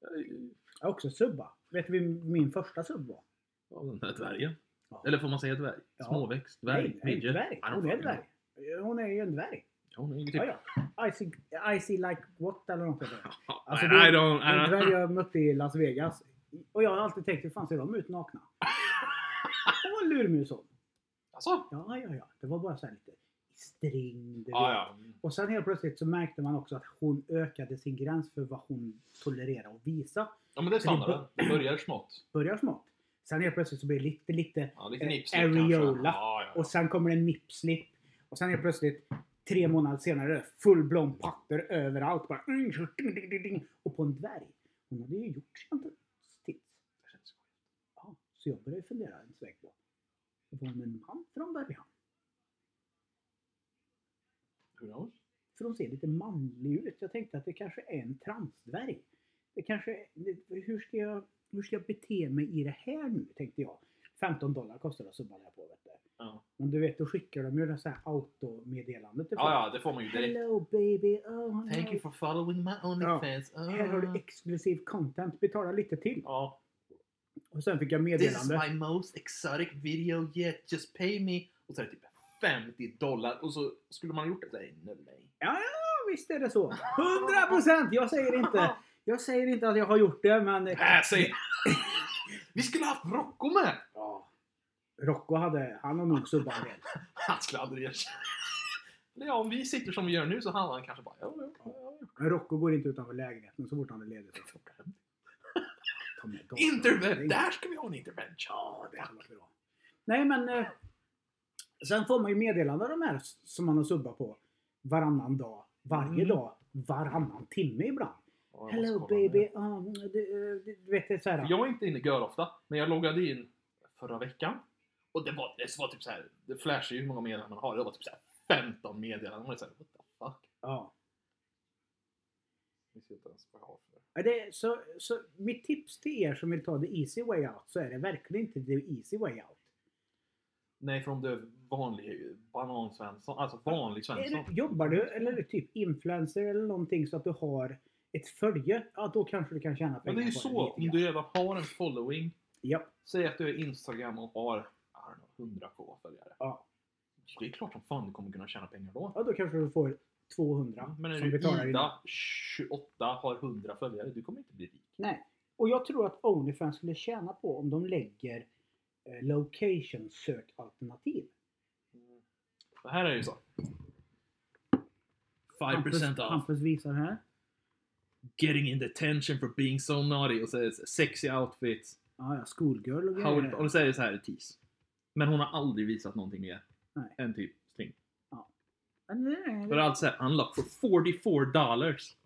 [SPEAKER 2] Jag-
[SPEAKER 1] Jag har också subbat. Vet du vem min första sub var?
[SPEAKER 2] Av den där dvärgen.
[SPEAKER 1] Ja.
[SPEAKER 2] Eller får man säga dvärg?
[SPEAKER 1] Ja.
[SPEAKER 2] Småväxt, dvärg,
[SPEAKER 1] Nej, nej,
[SPEAKER 2] midget.
[SPEAKER 1] dvärg.
[SPEAKER 2] I don't
[SPEAKER 1] Hon är
[SPEAKER 2] fucking
[SPEAKER 1] dvärg. Hon är ju en dvärg.
[SPEAKER 2] know. Hon är ju typ...
[SPEAKER 1] Ja, ja. I see, I see like what eller något sånt där. Alltså,
[SPEAKER 2] I,
[SPEAKER 1] det-
[SPEAKER 2] I don't... I
[SPEAKER 1] En
[SPEAKER 2] don't.
[SPEAKER 1] dvärg jag mötte i Las Vegas. Och jag har alltid tänkt, hur fan ser de ut nakna? Hon var en lurmus hon.
[SPEAKER 2] Alltså?
[SPEAKER 1] Ja, ja, ja. Det var bara så här lite string. du
[SPEAKER 2] Ja,
[SPEAKER 1] vet.
[SPEAKER 2] ja.
[SPEAKER 1] Och sen helt plötsligt så märkte man också att hon ökade sin gräns för vad hon tolererar att visa.
[SPEAKER 2] Ja, men det är
[SPEAKER 1] För det bör-
[SPEAKER 2] standarden. Det börjar smått.
[SPEAKER 1] Börjar smått. Sen helt plötsligt så blir det lite, lite
[SPEAKER 2] Ja, lite
[SPEAKER 1] Eh,
[SPEAKER 2] nipsigt
[SPEAKER 1] areola.
[SPEAKER 2] kanske. Ja, ja.
[SPEAKER 1] Och sen kommer en nipslip. Och sen helt plötsligt, tre månader senare, full-blown papper överallt. Bara, mm, ding, ding, ding, ding. och på en dvärg. Hon hade ju gjort sina tits. Ja, så jag började fundera en sväng på. Var hon en man från början?
[SPEAKER 2] Who knows?
[SPEAKER 1] För hon ser lite manlig ut. Jag tänkte att det kanske är en transdvärg. Det kanske, hur ska jag, hur ska jag bete mig i det här nu? Tänkte jag. 15 dollar kostar det att subba där på vet du.
[SPEAKER 2] Ja.
[SPEAKER 1] Men du vet, då skickar de ju det så här automeddelandet till folk.
[SPEAKER 2] Ja, ja, det får man ju direkt.
[SPEAKER 1] Hello baby, oh,
[SPEAKER 2] Thank you for following my OnlyFans. Ja.
[SPEAKER 1] Här har du exklusiv content, betala lite till.
[SPEAKER 2] ja.
[SPEAKER 1] Och sen fick jag
[SPEAKER 2] This is
[SPEAKER 1] meddelande.
[SPEAKER 2] my most exotic video yet. Just pay me. Och så är det typ 50 dollar. Och så skulle man ha gjort det. Nej, nej, nej.
[SPEAKER 1] Ja, ja, visst är det så. 100 procent! Jag säger inte. Jag säger inte att jag har gjort det, men...
[SPEAKER 2] Äh, säg. Vi skulle ha haft Rocco med!
[SPEAKER 1] Ja. Rocco hade, han har nog subbat en del.
[SPEAKER 2] Han skulle aldrig erkänna. Eller Ja, om vi sitter som vi gör nu så hade han kanske bara... Ja, ja, ja, ja.
[SPEAKER 1] Men Rocco går inte utanför lägenheten så fort han är ledig. Så ta med datorn.
[SPEAKER 2] Interven- Där ska vi ha en intervention!
[SPEAKER 1] Ja, det hade varit bra. Nej, men... Eh, sen får man ju meddelanden av de här s- som man har subbat på varannan dag, varje
[SPEAKER 2] Mm.
[SPEAKER 1] dag, varannan timme ibland.
[SPEAKER 2] Ja, jag måste
[SPEAKER 1] Hello
[SPEAKER 2] kolla nu.
[SPEAKER 1] baby, ah, du, eh, du, du vet det är så här.
[SPEAKER 2] För Jag är inte inne gör ofta, men jag loggade in förra veckan. Och det var, det var typ så här, det flashar ju hur många meddelanden man har. Det var typ så här 15 meddelanden. Man är såhär, what the fuck?
[SPEAKER 1] Ja.
[SPEAKER 2] Vi ser inte ens vad jag har för
[SPEAKER 1] Ja, Det, är- så, så mitt tips till er som vill ta the easy way out så är det verkligen inte the easy way out.
[SPEAKER 2] Nej, för om du är vanlig banan-Svensson, alltså vanlig
[SPEAKER 1] Eller,
[SPEAKER 2] Svensson.
[SPEAKER 1] jobbar du eller typ influencer eller någonting så att du har ett följe, ja då kanske du kan tjäna pengar
[SPEAKER 2] Men det är ju
[SPEAKER 1] på
[SPEAKER 2] så,
[SPEAKER 1] lite
[SPEAKER 2] om
[SPEAKER 1] grann.
[SPEAKER 2] du redan har en following,
[SPEAKER 1] Ja,
[SPEAKER 2] säg att du är Instagram och har, I don't know, 100k följare.
[SPEAKER 1] ja.
[SPEAKER 2] Det är klart som fan du kommer kunna tjäna pengar då.
[SPEAKER 1] Ja, då kanske du får 200
[SPEAKER 2] Men är
[SPEAKER 1] som
[SPEAKER 2] du
[SPEAKER 1] betalar in.
[SPEAKER 2] Ida, 28, har 100 följare, du kommer inte bli rik.
[SPEAKER 1] Nej. Och jag tror att Onlyfans skulle tjäna på om de lägger eh, location search alternativ.
[SPEAKER 2] Det här är ju så. 5%
[SPEAKER 1] Hampus,
[SPEAKER 2] off.
[SPEAKER 1] Hampus visar här.
[SPEAKER 2] Getting in detention for being so naughty. Och så är det så- sexy outfits.
[SPEAKER 1] Ja, ja, schoolgirl och
[SPEAKER 2] How it,
[SPEAKER 1] grejer.
[SPEAKER 2] och så är det så här tease. Men hon har aldrig visat någonting mer.
[SPEAKER 1] Nej.
[SPEAKER 2] Än typ string.
[SPEAKER 1] Men det är-
[SPEAKER 2] Och det är alltså såhär unlock for 44 dollars.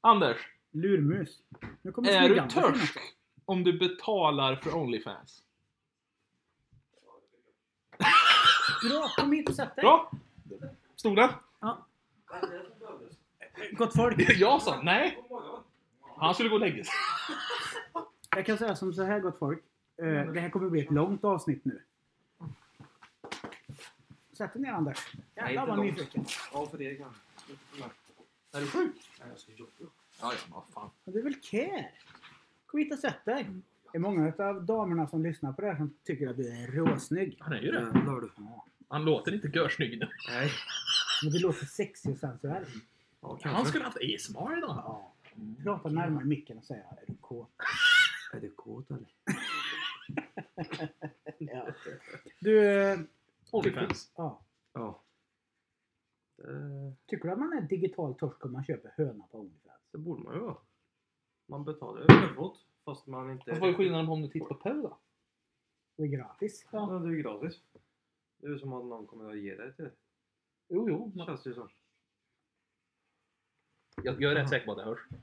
[SPEAKER 2] Anders,
[SPEAKER 1] Lurmus. Nu kommer
[SPEAKER 2] är du
[SPEAKER 1] smygande sen
[SPEAKER 2] törsk
[SPEAKER 1] också.
[SPEAKER 2] om du betalar för Onlyfans?
[SPEAKER 1] Bra, kom hit och sätt dig.
[SPEAKER 2] Bra! Stod den?
[SPEAKER 1] Gott folk.
[SPEAKER 2] Jag sa nej! Han skulle gå och lägga sig.
[SPEAKER 1] Jag kan säga som så här gott folk.
[SPEAKER 3] Mm.
[SPEAKER 1] Eh, det här kommer bli ett långt avsnitt nu. Sätt dig ner Anders. Jävlar
[SPEAKER 3] inte
[SPEAKER 1] vad
[SPEAKER 3] långt.
[SPEAKER 1] nyfiken.
[SPEAKER 3] Ja, för det kan jag.
[SPEAKER 2] Är du sjuk?
[SPEAKER 3] Nej, jag ska jobba.
[SPEAKER 2] Ja, ja, vad fan.
[SPEAKER 1] Men det är väl care? Kom hit och sätt dig. Det är många av damerna som lyssnar på det här som tycker att du är råsnygg.
[SPEAKER 2] Han är ju det.
[SPEAKER 3] Jävlar du.
[SPEAKER 1] Ja.
[SPEAKER 2] Han låter inte görsnygg nu.
[SPEAKER 3] Nej.
[SPEAKER 1] Men du låter sexig och sensuell.
[SPEAKER 3] Ja, kanske.
[SPEAKER 2] Han skulle haft ASMR idag.
[SPEAKER 1] Ja. Prata närmare micken och säga är du kåt?
[SPEAKER 3] Är du kåt eller?
[SPEAKER 1] Ja. Du, eh,
[SPEAKER 2] Onlyfans.
[SPEAKER 1] ja.
[SPEAKER 3] Ja. Det,
[SPEAKER 1] tycker du att man är digital torsk om man köper höna på Onlyfans?
[SPEAKER 3] det borde man ju vara. Man betalar ju förskott fast man inte...
[SPEAKER 2] Vad är skillnaden på om du tittar på Pau då?
[SPEAKER 1] Det är gratis.
[SPEAKER 3] Ja, det är ju gratis. Det är ju som att någon kommer att ge dig till det.
[SPEAKER 2] Jo, jo. men-
[SPEAKER 3] Känns det ju som.
[SPEAKER 2] Jag, jag är rätt säker på att det hörs.
[SPEAKER 1] Ja,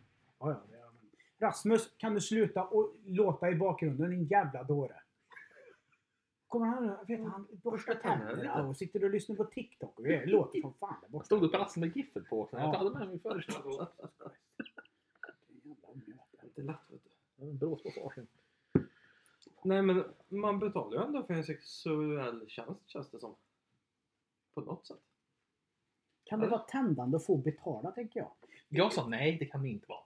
[SPEAKER 1] ja, det gör man. Rasmus, kan du sluta och låta i bakgrunden din jävla dåre? Kommer han, vet du,
[SPEAKER 2] Mm.
[SPEAKER 1] han borstar tänderna och sitter och lyssnar på TikTok. Och det låter som fan där borta.
[SPEAKER 2] Stod det på lasten med giffel på? Så Jag
[SPEAKER 1] Ja.
[SPEAKER 2] hade med mig förut.
[SPEAKER 1] Jävla unge.
[SPEAKER 3] Det är lätt vet du.
[SPEAKER 2] Brås på farsen.
[SPEAKER 3] Nej men man betalar ju ändå för en sexuell tjänst känns det som. På något sätt.
[SPEAKER 1] Kan det vara tändande att få betala, tänker jag?
[SPEAKER 2] Jag sa nej, det kan det inte vara.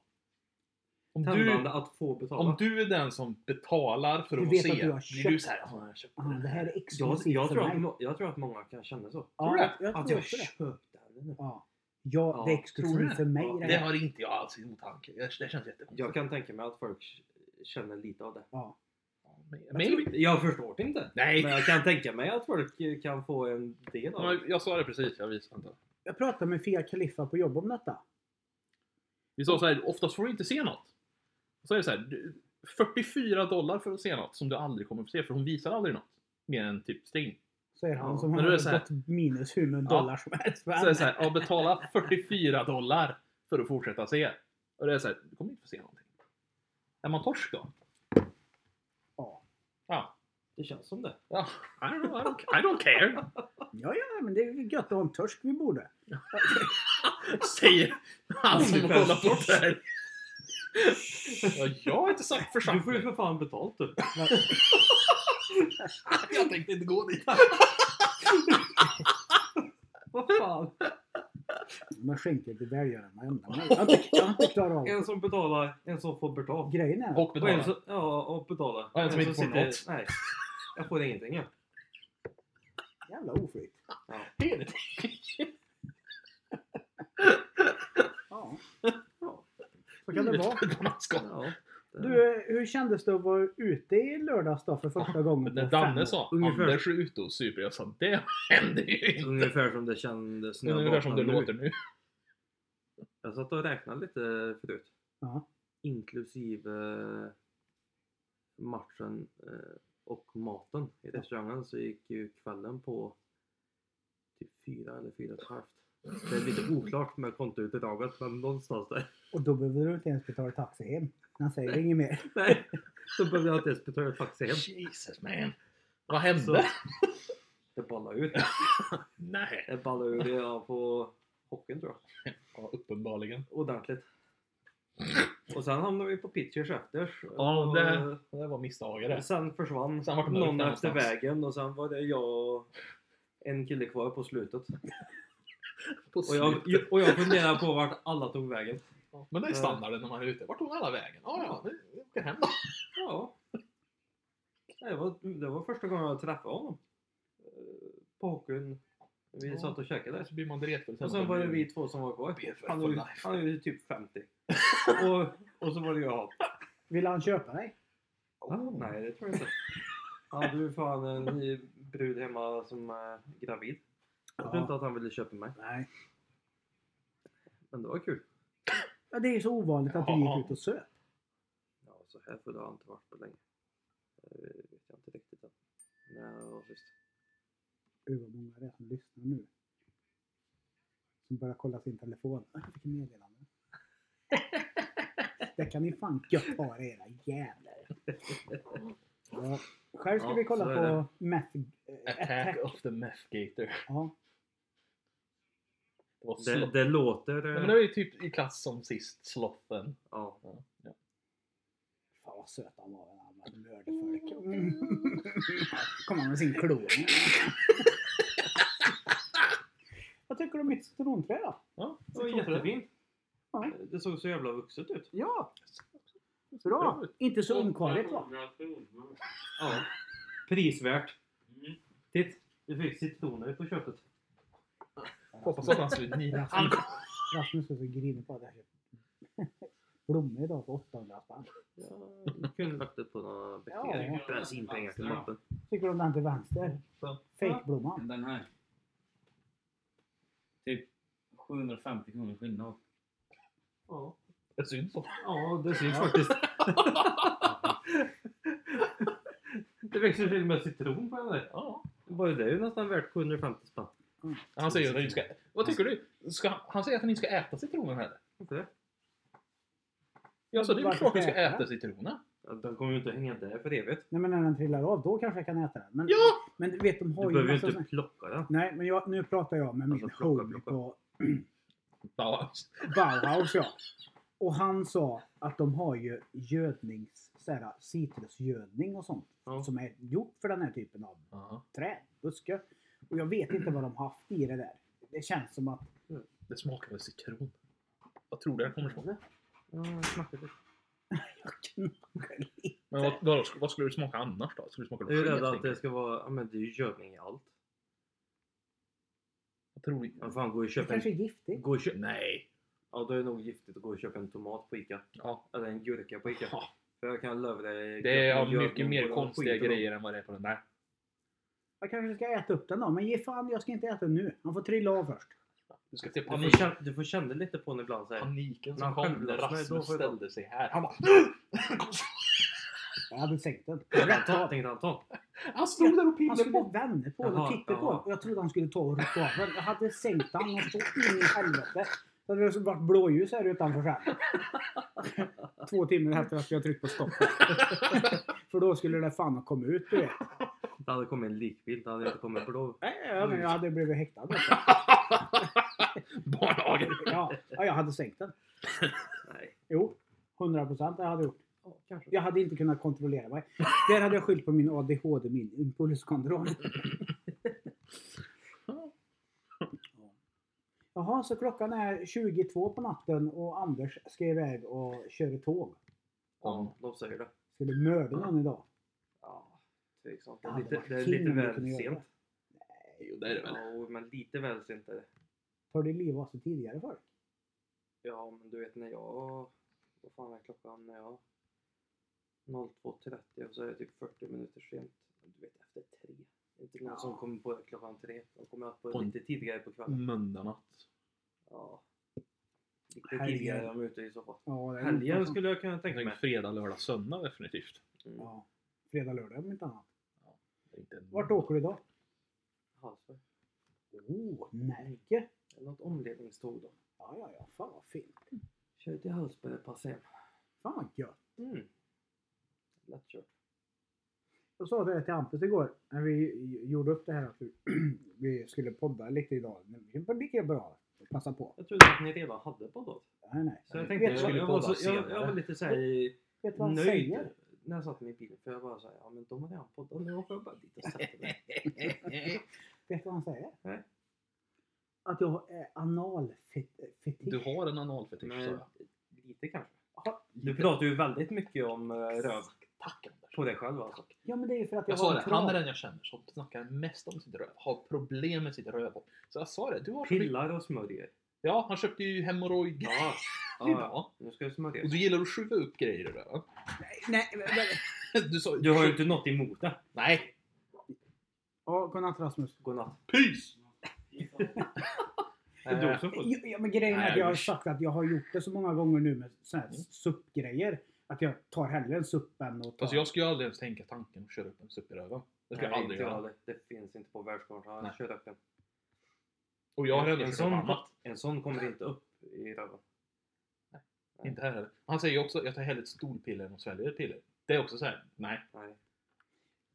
[SPEAKER 2] Om du,
[SPEAKER 3] Tändande att få betala.
[SPEAKER 2] om du är den som betalar för
[SPEAKER 1] Du
[SPEAKER 2] att få
[SPEAKER 1] vet
[SPEAKER 2] se,
[SPEAKER 1] att du har
[SPEAKER 2] blir du
[SPEAKER 1] köpt.
[SPEAKER 2] såhär "Ja, jag köpte
[SPEAKER 1] Ah, det
[SPEAKER 2] den
[SPEAKER 1] här är
[SPEAKER 3] jag,
[SPEAKER 1] exklusivt
[SPEAKER 3] jag,
[SPEAKER 1] för
[SPEAKER 3] tror att,
[SPEAKER 1] mig.
[SPEAKER 3] må- jag tror att många kan känna så.
[SPEAKER 1] Ja,
[SPEAKER 2] det?
[SPEAKER 1] jag
[SPEAKER 3] Att
[SPEAKER 1] tror
[SPEAKER 3] jag
[SPEAKER 1] också det.
[SPEAKER 3] köpte den nu.
[SPEAKER 1] Ja. Ja,
[SPEAKER 3] Ja,
[SPEAKER 1] det är
[SPEAKER 2] tror du
[SPEAKER 1] exklusivt
[SPEAKER 2] det?
[SPEAKER 1] för mig.
[SPEAKER 3] Ja,
[SPEAKER 1] det
[SPEAKER 2] Det
[SPEAKER 1] här.
[SPEAKER 2] har inte jag alls i otanke. Jag- Det känns jättekonstigt.
[SPEAKER 3] Jag kan tänka mig att folk känner lite av det.
[SPEAKER 1] Ja.
[SPEAKER 2] Maybe.
[SPEAKER 3] Jag förstår det inte.
[SPEAKER 2] Nej!
[SPEAKER 3] Men jag kan tänka mig att folk kan få en del av det.
[SPEAKER 2] Men Jag sa det precis, jag visade inte.
[SPEAKER 1] Jag pratade med Fia Khalifa på jobb om detta.
[SPEAKER 2] Vi sa såhär, oftast får du inte se något. Så är det såhär, 44 dollar för att se något som du aldrig kommer att se för hon visar aldrig något. Mer än typ string.
[SPEAKER 1] Säger han
[SPEAKER 3] Ja,
[SPEAKER 1] som
[SPEAKER 2] men
[SPEAKER 1] har
[SPEAKER 2] då är det så här-
[SPEAKER 1] gått minus hur många dollar som helst.
[SPEAKER 2] Så är det såhär, ja, betala 44 dollar för att fortsätta se. Och det är såhär, du kommer inte få se någonting. Är man torsk då?
[SPEAKER 1] Ja.
[SPEAKER 2] Ja.
[SPEAKER 3] Det känns som det.
[SPEAKER 2] ja. I, don't know, I, don't, I don't care.
[SPEAKER 1] Ja, ja, men det är ju gött att ha en törsk vid bordet.
[SPEAKER 2] Säger han som kollar på det här. Ja, jag har inte sagt
[SPEAKER 3] Du
[SPEAKER 2] försatt
[SPEAKER 3] får ju
[SPEAKER 2] mig.
[SPEAKER 3] för fan betalt du.
[SPEAKER 2] Jag tänkte inte gå dit.
[SPEAKER 3] Vad fan.
[SPEAKER 1] Man skänker till välgörande ändamål. Jag har inte- jag har inte klarat av det.
[SPEAKER 3] En som betalar, en som får betalt.
[SPEAKER 1] Grejen är...
[SPEAKER 2] Och
[SPEAKER 3] Och en
[SPEAKER 2] betala.
[SPEAKER 3] som, ja, och betalar.
[SPEAKER 2] Och en som inte får
[SPEAKER 3] sitter-
[SPEAKER 2] något.
[SPEAKER 3] Nej. Jag får ingenting ja.
[SPEAKER 1] Jävla oflyt. Ja. Så kan det vara.
[SPEAKER 3] ja det-
[SPEAKER 1] Du, eh, hur kändes det att vara ute i lördags då för första gången?
[SPEAKER 2] När
[SPEAKER 1] på fem
[SPEAKER 2] Danne
[SPEAKER 1] år?
[SPEAKER 2] sa
[SPEAKER 3] Ungefär.
[SPEAKER 2] Anders är ute och super, jag sa det händer ju inte.
[SPEAKER 3] Ungefär som det kändes när jag
[SPEAKER 2] Ungefär som det
[SPEAKER 3] vaknade nu.
[SPEAKER 2] låter nu.
[SPEAKER 3] Jag satt och räknade lite förut.
[SPEAKER 1] Ja.
[SPEAKER 3] Inklusive matchen eh, och maten i restaurangen så gick ju kvällen på typ fyra eller fyra och ett halvt. Det är lite oklart med kontoutdraget men någonstans där.
[SPEAKER 1] Och då behöver du inte ens betala taxi hem. Han säger inget mer.
[SPEAKER 3] Nej, så behövde jag inte ens betala taxi hem.
[SPEAKER 2] Jesus man. Vad
[SPEAKER 3] Så
[SPEAKER 2] hände?
[SPEAKER 3] det ballade ut.
[SPEAKER 2] Nej.
[SPEAKER 3] Det ballade ur redan på hockeyn tror jag.
[SPEAKER 2] Ja, uppenbarligen.
[SPEAKER 3] Ordentligt. Och sen hamnade vi på pitchers efter.
[SPEAKER 2] Ja,
[SPEAKER 3] Och-
[SPEAKER 2] det, det var misstagare.
[SPEAKER 3] Och sen försvann
[SPEAKER 2] Sen vart det mörkt
[SPEAKER 3] någon efter
[SPEAKER 2] någonstans.
[SPEAKER 3] vägen och sen var det jag och en kille kvar på slutet.
[SPEAKER 2] På
[SPEAKER 3] Och jag,
[SPEAKER 2] slutet.
[SPEAKER 3] och jag funderar på vart alla tog vägen.
[SPEAKER 2] Ja, Men det
[SPEAKER 3] Eh.
[SPEAKER 2] är standarden när man är ute. Vart tog alla vägen? Ja, ja, vi- vi åker hem då.
[SPEAKER 3] Ja. Det var, det var första gången jag träffade honom. Eh, På hockeyn Vi satt och käkade där.
[SPEAKER 2] Så blir man dretfull.
[SPEAKER 3] Och sen var det vi två som var kvar.
[SPEAKER 2] Beer
[SPEAKER 3] Han
[SPEAKER 2] for
[SPEAKER 3] är, ju-
[SPEAKER 2] life.
[SPEAKER 3] han är ju typ 50. och, och så var det jag.
[SPEAKER 1] Vill han köpa dig?
[SPEAKER 3] Nej, det tror jag inte. Han hade ju fan en ny brud hemma som är gravid. Jag tror
[SPEAKER 1] Ja.
[SPEAKER 3] inte att han ville köpa mig.
[SPEAKER 1] Nej.
[SPEAKER 3] Men det var kul.
[SPEAKER 1] Ja, det är ju så ovanligt att du
[SPEAKER 2] Ja.
[SPEAKER 1] gick ut och söp.
[SPEAKER 3] Ja, så här full har han inte varit på länge. Det vet jag inte riktigt än. Nej, det var sist.
[SPEAKER 1] Gud vad många det är som lyssnar nu. Som börjar kolla sin telefon. Jag fick ett meddelande. det kan ni fan gött ha era jävlar. Ja. Själv ska
[SPEAKER 2] Ja,
[SPEAKER 1] vi kolla
[SPEAKER 3] så är
[SPEAKER 1] på Meth eh,
[SPEAKER 2] Attack
[SPEAKER 1] Attack.
[SPEAKER 2] of the Meth Gator.
[SPEAKER 1] Ja.
[SPEAKER 2] Det var
[SPEAKER 3] Det,
[SPEAKER 2] sloth.
[SPEAKER 3] det låter... eh,
[SPEAKER 2] Nej, men det var ju typ i klass som sist, Slothen.
[SPEAKER 3] Ja.
[SPEAKER 2] Ja, ja.
[SPEAKER 1] Fan vad söt han var. när Han bara mördade folk. Mm. Kom han med sin klon. vad tycker du om mitt citronträd då?
[SPEAKER 2] Ja,
[SPEAKER 3] Det var jättefint.
[SPEAKER 1] Ja.
[SPEAKER 3] Det såg så jävla vuxet ut.
[SPEAKER 1] Ja! Bra! Inte så ungkarligt va?
[SPEAKER 3] Ja. Prisvärt.
[SPEAKER 5] Mm.
[SPEAKER 3] Titt! Du fick citroner på köpet.
[SPEAKER 2] Hoppas att han skulle nina.
[SPEAKER 1] Rasmus, Rasmus är så grinig på att jag köpt blommor idag för 800 spänn.
[SPEAKER 3] Jag kunde lagt det på några
[SPEAKER 1] Ja.
[SPEAKER 3] böcker. Bensinpengar till mappen.
[SPEAKER 1] Tycker du om den till vänster? Fejkblomman.
[SPEAKER 4] Den här. Typ 750 kronor skillnad.
[SPEAKER 3] Ja.
[SPEAKER 2] Det är synd på.
[SPEAKER 3] ja, det syns faktiskt. det växer till och med citron på den där.
[SPEAKER 2] Ja.
[SPEAKER 3] Bara det är ju nästan värt 750 spänn.
[SPEAKER 2] Han säger att han inte ska... Vad tycker du? Ska, han- han säger att han inte ska äta citronen heller.
[SPEAKER 3] Inte det?
[SPEAKER 2] Ja, så det är väl
[SPEAKER 1] Varför
[SPEAKER 2] klart du ska
[SPEAKER 1] ska jag
[SPEAKER 2] äta citronen.
[SPEAKER 3] Ja, Den kommer ju inte hänga där för evigt.
[SPEAKER 1] Nej men när den trillar av då kanske jag kan äta den. Men,
[SPEAKER 2] Ja!
[SPEAKER 1] men du vet de har
[SPEAKER 3] Du
[SPEAKER 1] ju
[SPEAKER 3] behöver ju
[SPEAKER 1] massa
[SPEAKER 3] inte
[SPEAKER 1] såna-
[SPEAKER 3] plocka den.
[SPEAKER 1] Nej men jag, nu pratar jag med min
[SPEAKER 3] Alltså, plocka,
[SPEAKER 1] homie
[SPEAKER 3] plocka.
[SPEAKER 1] på
[SPEAKER 2] ja!
[SPEAKER 1] Bauhaus ja. Och han sa att de har ju gödnings, så här, citrusgödning och sånt.
[SPEAKER 3] Ja.
[SPEAKER 1] Som är gjort för den här typen av
[SPEAKER 2] Ja.
[SPEAKER 1] träd, buskar. Och jag vet inte vad de har haft i det där. Det känns som att
[SPEAKER 2] Det smakar väl citron. Vad tror du den kommer smaka?
[SPEAKER 3] Ja, jag smakar det.
[SPEAKER 1] jag knakar lite.
[SPEAKER 2] Men vad, vad, vad skulle du smaka annars då? Skulle du smaka
[SPEAKER 3] Jag är ju
[SPEAKER 2] sket,
[SPEAKER 3] rädd att
[SPEAKER 2] tänker
[SPEAKER 3] det
[SPEAKER 2] jag?
[SPEAKER 3] ska vara... Ja men det är ju gödning i allt.
[SPEAKER 2] Vad tror du?
[SPEAKER 3] Men fan, gå och
[SPEAKER 1] Det
[SPEAKER 3] köp en...
[SPEAKER 1] kanske är giftigt.
[SPEAKER 3] Gå och köp...
[SPEAKER 2] Nej!
[SPEAKER 3] Ja, då är det nog giftigt att gå och köpa en tomat på Ica.
[SPEAKER 2] Ja.
[SPEAKER 3] Eller en gurka på Ica.
[SPEAKER 2] Ja.
[SPEAKER 3] För jag kan lova dig...
[SPEAKER 2] Det är av
[SPEAKER 3] gödning
[SPEAKER 2] mycket mer
[SPEAKER 3] och
[SPEAKER 2] konstiga
[SPEAKER 3] skit och-
[SPEAKER 2] grejer än vad det är på den där.
[SPEAKER 1] Jag kanske ska äta upp den då, men ge fan jag ska inte äta den nu. Han får trilla av först.
[SPEAKER 2] Du ska se
[SPEAKER 3] Du får,
[SPEAKER 2] panik.
[SPEAKER 3] känna, du får känna lite på den ibland så här.
[SPEAKER 2] paniken
[SPEAKER 3] När
[SPEAKER 2] som
[SPEAKER 3] han
[SPEAKER 2] kom när
[SPEAKER 3] självlossnade, då
[SPEAKER 2] Rasmus
[SPEAKER 3] får jag-
[SPEAKER 2] ställde sig här. Han bara...
[SPEAKER 1] Jag hade sänkt den.
[SPEAKER 3] Tänkte han ta? Tänkte han ta?
[SPEAKER 2] Han stod där och
[SPEAKER 1] Han
[SPEAKER 2] pillade
[SPEAKER 1] skulle
[SPEAKER 2] på...
[SPEAKER 1] vända på den och
[SPEAKER 3] Jaha,
[SPEAKER 1] titta på
[SPEAKER 3] jaha.
[SPEAKER 1] den. Och Jag trodde han skulle ta och rycka av den. Jag hade sänkt den och så in i helvete. Så hade det så varit blåljus här utanför sen. Två timmar efter att jag tryckt på stopp. För då skulle det fan ha kommit ut du vet.
[SPEAKER 3] Det hade kommit en likbild. Det hade inte kommit blå.
[SPEAKER 1] Nej, ja, men jag hade blivit häktad. vet du.
[SPEAKER 2] Barnhagen.
[SPEAKER 1] Ja, ja, jag hade sänkt den.
[SPEAKER 3] Nej.
[SPEAKER 1] Jo, 100 procent jag hade gjort.
[SPEAKER 3] Ja, kanske.
[SPEAKER 1] Jag hade inte kunnat kontrollera mig. Där hade jag skyllt på min ADHD, min impulskontroll. Jaha, så klockan är 22 på natten och Anders ska iväg och köra tåg.
[SPEAKER 3] Ja, de säger det.
[SPEAKER 1] Skulle mörda någon idag.
[SPEAKER 3] Ja, tveksamt. Det
[SPEAKER 1] Ja,
[SPEAKER 3] är lite,
[SPEAKER 1] det
[SPEAKER 3] det
[SPEAKER 1] var
[SPEAKER 3] är lite
[SPEAKER 1] kul om vi kunde
[SPEAKER 3] väl
[SPEAKER 1] göra
[SPEAKER 3] sent.
[SPEAKER 2] Jo, det är det väl.
[SPEAKER 3] Ja, men lite väl sent är det.
[SPEAKER 1] Tar det liv av sig tidigare för?
[SPEAKER 3] Ja, men du vet när jag... Vad fan är klockan när jag... 02.30 och så är jag typ 40 minuter sent. Du vet, efter tre. Det är Inte någon
[SPEAKER 1] Ja.
[SPEAKER 3] som kommer på det klockan tre. De kommer att på
[SPEAKER 2] Oj.
[SPEAKER 3] lite tidigare på kvällen.
[SPEAKER 2] Måndag natt.
[SPEAKER 3] Ja. Lite
[SPEAKER 1] Helger.
[SPEAKER 3] tidigare om jag är ute i så fall.
[SPEAKER 1] Ja, det är
[SPEAKER 3] Helger
[SPEAKER 1] inte så.
[SPEAKER 3] skulle jag kunna
[SPEAKER 2] Jag
[SPEAKER 3] tänka
[SPEAKER 2] tänker
[SPEAKER 3] mig.
[SPEAKER 2] fredag, lördag, söndag definitivt.
[SPEAKER 3] Mm.
[SPEAKER 1] Ja, fredag, lördag om inte annat.
[SPEAKER 2] Det är inte en-
[SPEAKER 1] Vart åker du idag?
[SPEAKER 3] Hallsberg.
[SPEAKER 1] Oh, Närke.
[SPEAKER 3] Eller Något omledningståg då.
[SPEAKER 1] Ja, ja, ja. Fan vad fint.
[SPEAKER 3] Kör till Hallsberg och passa hem.
[SPEAKER 1] Fan vad gött.
[SPEAKER 3] Mm. Lätt kört.
[SPEAKER 1] Jag sa det till Hampus igår när vi gjorde upp det här att vi, vi skulle podda lite idag. Men Det var lika bra att passa på.
[SPEAKER 3] Jag trodde att ni redan hade poddat.
[SPEAKER 1] Nej, nej.
[SPEAKER 3] Så
[SPEAKER 2] Nej,
[SPEAKER 3] jag tänkte
[SPEAKER 1] vi
[SPEAKER 3] jag,
[SPEAKER 2] Mm. skulle
[SPEAKER 3] jag, var
[SPEAKER 2] podda
[SPEAKER 3] så, jag,
[SPEAKER 2] senare.
[SPEAKER 3] jag var lite såhär
[SPEAKER 1] Vet du vad han
[SPEAKER 3] nöjd
[SPEAKER 1] säger?
[SPEAKER 3] när jag satt i min bil. För jag bara såhär, ja men de har redan poddat. Nu åker jag bara dit och sätter mig.
[SPEAKER 1] Vet du vad han säger?
[SPEAKER 3] Nej.
[SPEAKER 1] Att jag är analfetisch.
[SPEAKER 2] Du har en analfetisch sa
[SPEAKER 3] Men
[SPEAKER 2] jag.
[SPEAKER 3] lite kanske.
[SPEAKER 1] Ja,
[SPEAKER 3] Du pratar ju väldigt mycket om eh, röv.
[SPEAKER 2] Tack Anders.
[SPEAKER 3] På dig själv alltså?
[SPEAKER 1] Ja men det är ju för att jag,
[SPEAKER 2] Jag sa
[SPEAKER 1] har
[SPEAKER 2] det,
[SPEAKER 1] en
[SPEAKER 2] han är
[SPEAKER 1] trav.
[SPEAKER 2] den jag känner som snackar mest om sitt röv. Har problem med sitt rövhål. Så jag sa det, du har...
[SPEAKER 3] Pillar och smörjer.
[SPEAKER 2] Ja, han köpte ju hemorrojdgrejer
[SPEAKER 3] Ja, ja.
[SPEAKER 2] idag.
[SPEAKER 3] Nu ska det smörjas.
[SPEAKER 2] Och du gillar att skjuta upp grejer i röven.
[SPEAKER 1] Nej, men- men-
[SPEAKER 2] Du sa
[SPEAKER 3] Du har ju inte något emot det.
[SPEAKER 2] Nej!
[SPEAKER 1] Ja, godnatt Rasmus.
[SPEAKER 3] Godnatt.
[SPEAKER 2] Peace!
[SPEAKER 3] Det är du som får...
[SPEAKER 1] Eh, Ja, men grejen är
[SPEAKER 2] Nej,
[SPEAKER 1] att jag har
[SPEAKER 2] usch.
[SPEAKER 1] sagt att jag har gjort det så många gånger nu med såna här
[SPEAKER 2] Mm.
[SPEAKER 1] SUP-grejer. Att jag tar hellre en SUP än att ta...
[SPEAKER 2] Alltså jag skulle ju aldrig ens tänka tanken att köra upp en sup i röven. Det skulle jag
[SPEAKER 3] Nej,
[SPEAKER 2] aldrig
[SPEAKER 3] inte jag
[SPEAKER 2] göra.
[SPEAKER 3] heller. Det finns inte på världskartan.
[SPEAKER 2] Nej.
[SPEAKER 3] Kör upp den.
[SPEAKER 2] Och jag har ändå
[SPEAKER 3] en,
[SPEAKER 2] kört upp
[SPEAKER 3] sån,
[SPEAKER 2] annat.
[SPEAKER 3] en sån kommer inte upp i röven.
[SPEAKER 2] Inte här heller. Han säger ju också jag tar hellre ett stolpiller än att svälja ett piller. Det är också så här. nej.
[SPEAKER 3] Nej.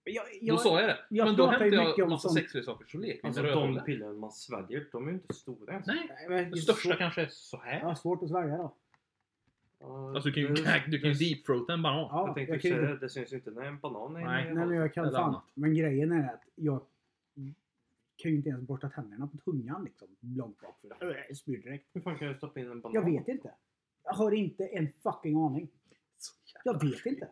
[SPEAKER 1] jag,
[SPEAKER 2] Då sa jag det.
[SPEAKER 1] jag
[SPEAKER 2] men då
[SPEAKER 1] pratar ju
[SPEAKER 2] hämtar jag
[SPEAKER 1] mycket om
[SPEAKER 2] massa
[SPEAKER 1] sånt.
[SPEAKER 2] sexuella saker så leker vi
[SPEAKER 3] Alltså
[SPEAKER 2] med
[SPEAKER 3] de
[SPEAKER 2] rövhålet.
[SPEAKER 3] pillren man sväljer, de är ju inte stora ens.
[SPEAKER 2] Nej.
[SPEAKER 1] Nej, men det
[SPEAKER 2] Det
[SPEAKER 1] är Alltså,
[SPEAKER 2] största
[SPEAKER 1] svårt-
[SPEAKER 2] kanske är så här.
[SPEAKER 1] Jag har svårt att svälja då.
[SPEAKER 3] Ja,
[SPEAKER 2] Alltså du kan ju,
[SPEAKER 3] det-
[SPEAKER 2] du kan ju deepfroata en banan.
[SPEAKER 1] Ja,
[SPEAKER 3] Jag
[SPEAKER 1] jag,
[SPEAKER 3] tänkte
[SPEAKER 1] kan ju
[SPEAKER 3] säga
[SPEAKER 1] inte...
[SPEAKER 3] det, det syns ju inte när en banan är i
[SPEAKER 2] Nej.
[SPEAKER 3] en
[SPEAKER 1] Nej men jag
[SPEAKER 2] Eller
[SPEAKER 1] kan fan.
[SPEAKER 2] annat.
[SPEAKER 1] Men grejen är att jag kan ju inte ens borsta tänderna på tungan liksom. Långt bak. för det Spyr direkt.
[SPEAKER 3] Hur fan kan du stoppa in en banan?
[SPEAKER 1] Jag vet inte. Jag har inte en fucking aning.
[SPEAKER 2] Så jävla
[SPEAKER 1] Jag vet inte.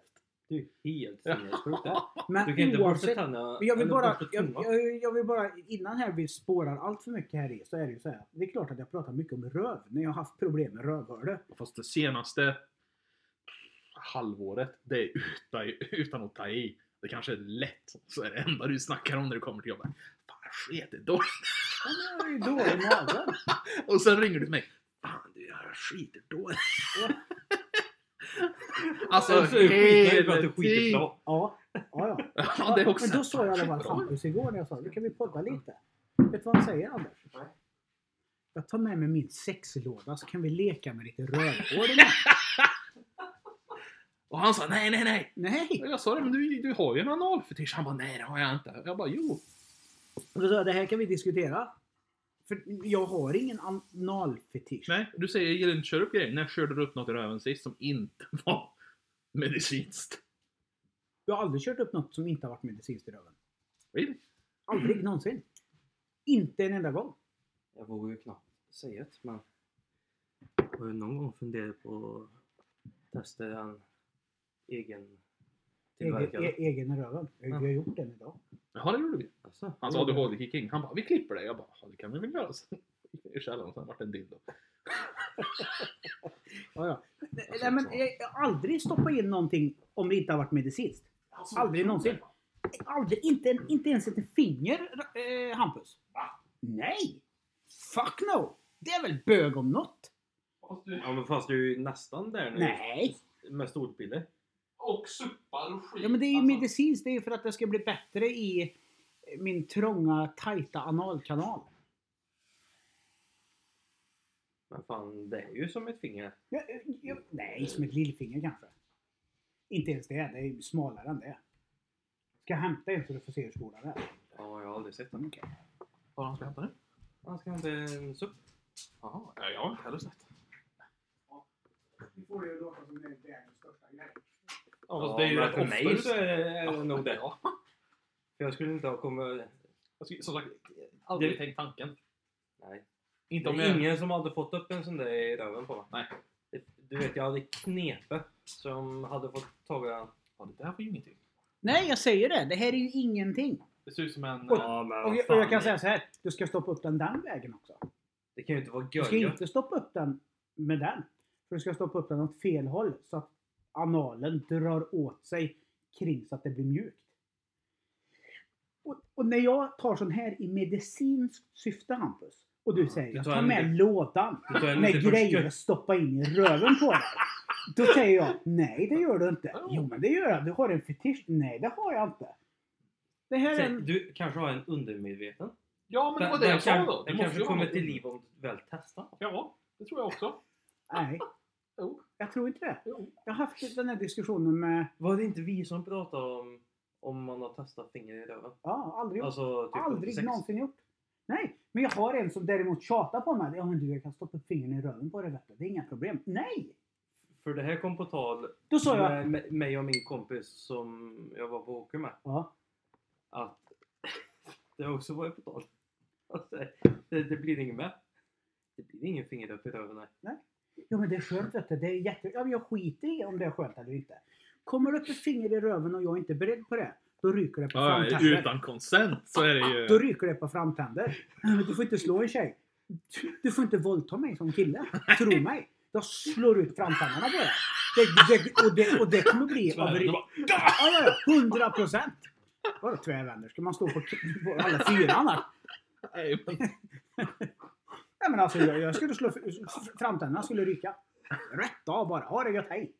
[SPEAKER 3] Det är ju helt sinnessjukt det.
[SPEAKER 1] Men
[SPEAKER 3] Du kan inte borsta
[SPEAKER 1] oavsett-
[SPEAKER 3] tänderna.
[SPEAKER 1] Men jag vill
[SPEAKER 3] eller
[SPEAKER 1] bara,
[SPEAKER 3] borsta
[SPEAKER 1] jag,
[SPEAKER 3] tungan.
[SPEAKER 1] jag, jag vill bara, innan här vi spårar allt för mycket här i så är det ju så här. att Det är klart att jag pratar mycket om röv när jag har haft problem med rövhålet.
[SPEAKER 2] Fast det senaste halvåret, det är utan, utan att ta i. Det kanske är lätt, så är det enda du snackar om när du kommer till jobbet. Fan, sket är dåligt.
[SPEAKER 1] Ja, men jag är ju dålig i magen.
[SPEAKER 2] Och sen ringer du till mig. Fan du, jag skiter dåligt. alltså,
[SPEAKER 3] Alltså, skiter i för att
[SPEAKER 2] hela
[SPEAKER 3] du skiter
[SPEAKER 2] tiden.
[SPEAKER 3] bra.
[SPEAKER 1] Ja, ja, ja.
[SPEAKER 2] Ja, det är också
[SPEAKER 1] Men då sa jag i alla fall
[SPEAKER 2] bra.
[SPEAKER 1] Hampus igår när jag sa nu kan vi podda lite. Vet du vad han säger Anders?
[SPEAKER 3] Nej.
[SPEAKER 1] Jag tar med mig min sexlåda så kan vi leka med lite rövhål i den."
[SPEAKER 2] Och han sa nej, nej, nej.
[SPEAKER 1] Nej!
[SPEAKER 2] Och Jag sa det, men du, du har ju en analfetisch. Han bara, nej det har jag inte. Jag bara, jo.
[SPEAKER 1] Och då sa jag det här kan vi diskutera. För jag har ingen analfetisch.
[SPEAKER 2] Nej, du säger jag gillar inte att köra upp grejer. När körde du upp något i röven sist som inte var medicinskt?
[SPEAKER 1] Jag har aldrig kört upp något som inte har varit medicinskt i röven.
[SPEAKER 2] Really?
[SPEAKER 3] Mm.
[SPEAKER 1] Aldrig någonsin. Inte en enda gång.
[SPEAKER 3] Jag vågar ju knappt säga det men... Har du någon gång funderat på att testa en egen
[SPEAKER 1] Egen,
[SPEAKER 3] tillverkare?
[SPEAKER 1] e- egen i röven. Jag jag har gjort den idag.
[SPEAKER 2] Jaha, det gjorde vi.
[SPEAKER 3] Alltså,
[SPEAKER 2] Hans ADHD gick in. Han bara, vi klipper det. Jag bara, "Ja, det kan vi väl göra. Så gick jag I källaren, sen vart det en dildo.
[SPEAKER 1] Ja, ja. Nej,
[SPEAKER 2] Alltså,
[SPEAKER 1] nej, men
[SPEAKER 2] så.
[SPEAKER 1] jag jag har aldrig stoppat in någonting om det inte har varit medicinskt.
[SPEAKER 2] Alltså,
[SPEAKER 1] Aldrig någonsin. Aldrig, inte, en, inte ens ett finger, eh, Hampus. Nej! Fuck no! Det är väl bög om något?
[SPEAKER 3] Ja men fast du är ju nästan där nu.
[SPEAKER 1] Nej!
[SPEAKER 3] Med storpiller.
[SPEAKER 2] Och suppar och skit.
[SPEAKER 1] Ja, men det är ju medicinskt. Det är ju för att jag ska bli bättre i eh, min trånga, tajta analkanal.
[SPEAKER 3] Men fan det är ju som ett finger.
[SPEAKER 1] Ja, eh, ja, nej, som ett lillfinger kanske. Inte ens det. Det är ju smalare än det. Ska jag hämta en så du får se hur stor den är?
[SPEAKER 3] Ja jag har aldrig sett den.
[SPEAKER 1] Mm, okej.
[SPEAKER 2] Var han ska hämta den?
[SPEAKER 3] Han ska inte en
[SPEAKER 2] Alltså,
[SPEAKER 3] supp.
[SPEAKER 2] Jaha, ja, jag har inte heller sett.
[SPEAKER 1] Nu får det ju låta som det är världens största grej.
[SPEAKER 2] Ja, fast det är ju
[SPEAKER 3] men
[SPEAKER 2] rätt
[SPEAKER 3] för
[SPEAKER 2] ofta
[SPEAKER 3] mig
[SPEAKER 2] du
[SPEAKER 3] så är det nog det.
[SPEAKER 2] Ja.
[SPEAKER 3] För jag skulle inte ha kommit...
[SPEAKER 2] Jag skulle- Som sagt, aldrig tänkt tanken.
[SPEAKER 3] Nej.
[SPEAKER 2] Inte
[SPEAKER 3] Det
[SPEAKER 2] om
[SPEAKER 3] är
[SPEAKER 2] jag...
[SPEAKER 3] ingen som hade fått upp en sån där i röven på mig.
[SPEAKER 2] Nej.
[SPEAKER 3] Det- Du vet jag hade knepe som hade fått tag i den.
[SPEAKER 2] Ja, det där var ju ingenting.
[SPEAKER 1] Nej, jag säger det. Det här är ju ingenting.
[SPEAKER 2] Det ser ut som en...
[SPEAKER 1] Oj.
[SPEAKER 2] eh,
[SPEAKER 3] men
[SPEAKER 1] Och jag, och jag kan säga så här. Du ska stoppa upp den den vägen också.
[SPEAKER 3] Det kan ju inte vara
[SPEAKER 1] Du ska
[SPEAKER 3] görgött.
[SPEAKER 1] inte stoppa upp den med den. För du ska stoppa upp den åt fel håll så att analen drar åt sig kring så att det blir mjukt. Och, och när jag tar sån här i medicinskt syfte Hampus och du
[SPEAKER 3] Ja,
[SPEAKER 1] säger
[SPEAKER 3] du
[SPEAKER 1] jag
[SPEAKER 3] tar
[SPEAKER 1] tar
[SPEAKER 3] en
[SPEAKER 1] med
[SPEAKER 3] liten-
[SPEAKER 1] lådan
[SPEAKER 3] Du tar en
[SPEAKER 1] med
[SPEAKER 3] liten först-
[SPEAKER 1] grejer att stoppa in i röven på dig. Då säger jag nej det gör du inte. Jo men det gör jag. Du har en fetisch. Nej det har jag inte. Det här är
[SPEAKER 3] Säg,
[SPEAKER 1] en...
[SPEAKER 3] Du kanske har en undermedveten?
[SPEAKER 2] Ja, men det var det jag sa då.
[SPEAKER 3] Den kanske
[SPEAKER 2] ju ha
[SPEAKER 3] kommer
[SPEAKER 2] något.
[SPEAKER 3] till liv om du väl testar.
[SPEAKER 2] Ja, det tror jag också.
[SPEAKER 1] Nej.
[SPEAKER 2] Jo.
[SPEAKER 1] Jag tror inte det.
[SPEAKER 2] Jo.
[SPEAKER 1] Jag har haft den här diskussionen med...
[SPEAKER 3] Var det inte vi som pratade om om man har testat finger i röven?
[SPEAKER 1] Ja, aldrig gjort.
[SPEAKER 3] Alltså typ
[SPEAKER 1] Aldrig
[SPEAKER 3] 86.
[SPEAKER 1] någonsin gjort. Nej, men jag har en som däremot tjatar på mig. Ja men du, jag kan stoppa upp fingret i röven på dig vet du. Det är inga problem. Nej!
[SPEAKER 3] För det här kom på tal
[SPEAKER 1] Då sa jag...
[SPEAKER 3] med med mig och min kompis som jag var på åker med.
[SPEAKER 1] Ja,
[SPEAKER 3] Att det har också varit på tal. Alltså, det, det blir inget med. Det blir ingen finger upp i röven. nej.
[SPEAKER 1] ja men det är skönt vet du. Det är jätte... Ja, men jag skiter i om det är skönt eller inte. Kommer det upp ett finger i röven och jag inte är beredd på det, då ryker det på
[SPEAKER 2] Ja,
[SPEAKER 1] framtänder.
[SPEAKER 2] utan konsent så är det
[SPEAKER 1] Då
[SPEAKER 2] ju...
[SPEAKER 1] ryker det på framtänder. Du får inte slå en tjej. Du får inte våldta mig som kille. Tro mig. Jag slår ut framtänderna på dig. Det, det, och, det, och det kommer bli... Av,
[SPEAKER 4] Tvärvänder
[SPEAKER 1] ja, ja, ja, 100 procent! Vadå tvärvänder? Ska man stå på, på alla fyra annars?
[SPEAKER 2] Nej, men-
[SPEAKER 1] Nej men alltså jag, jag skulle slå... f- f- Framtänderna skulle ryka. Rätt av bara. Ha det gött, hej!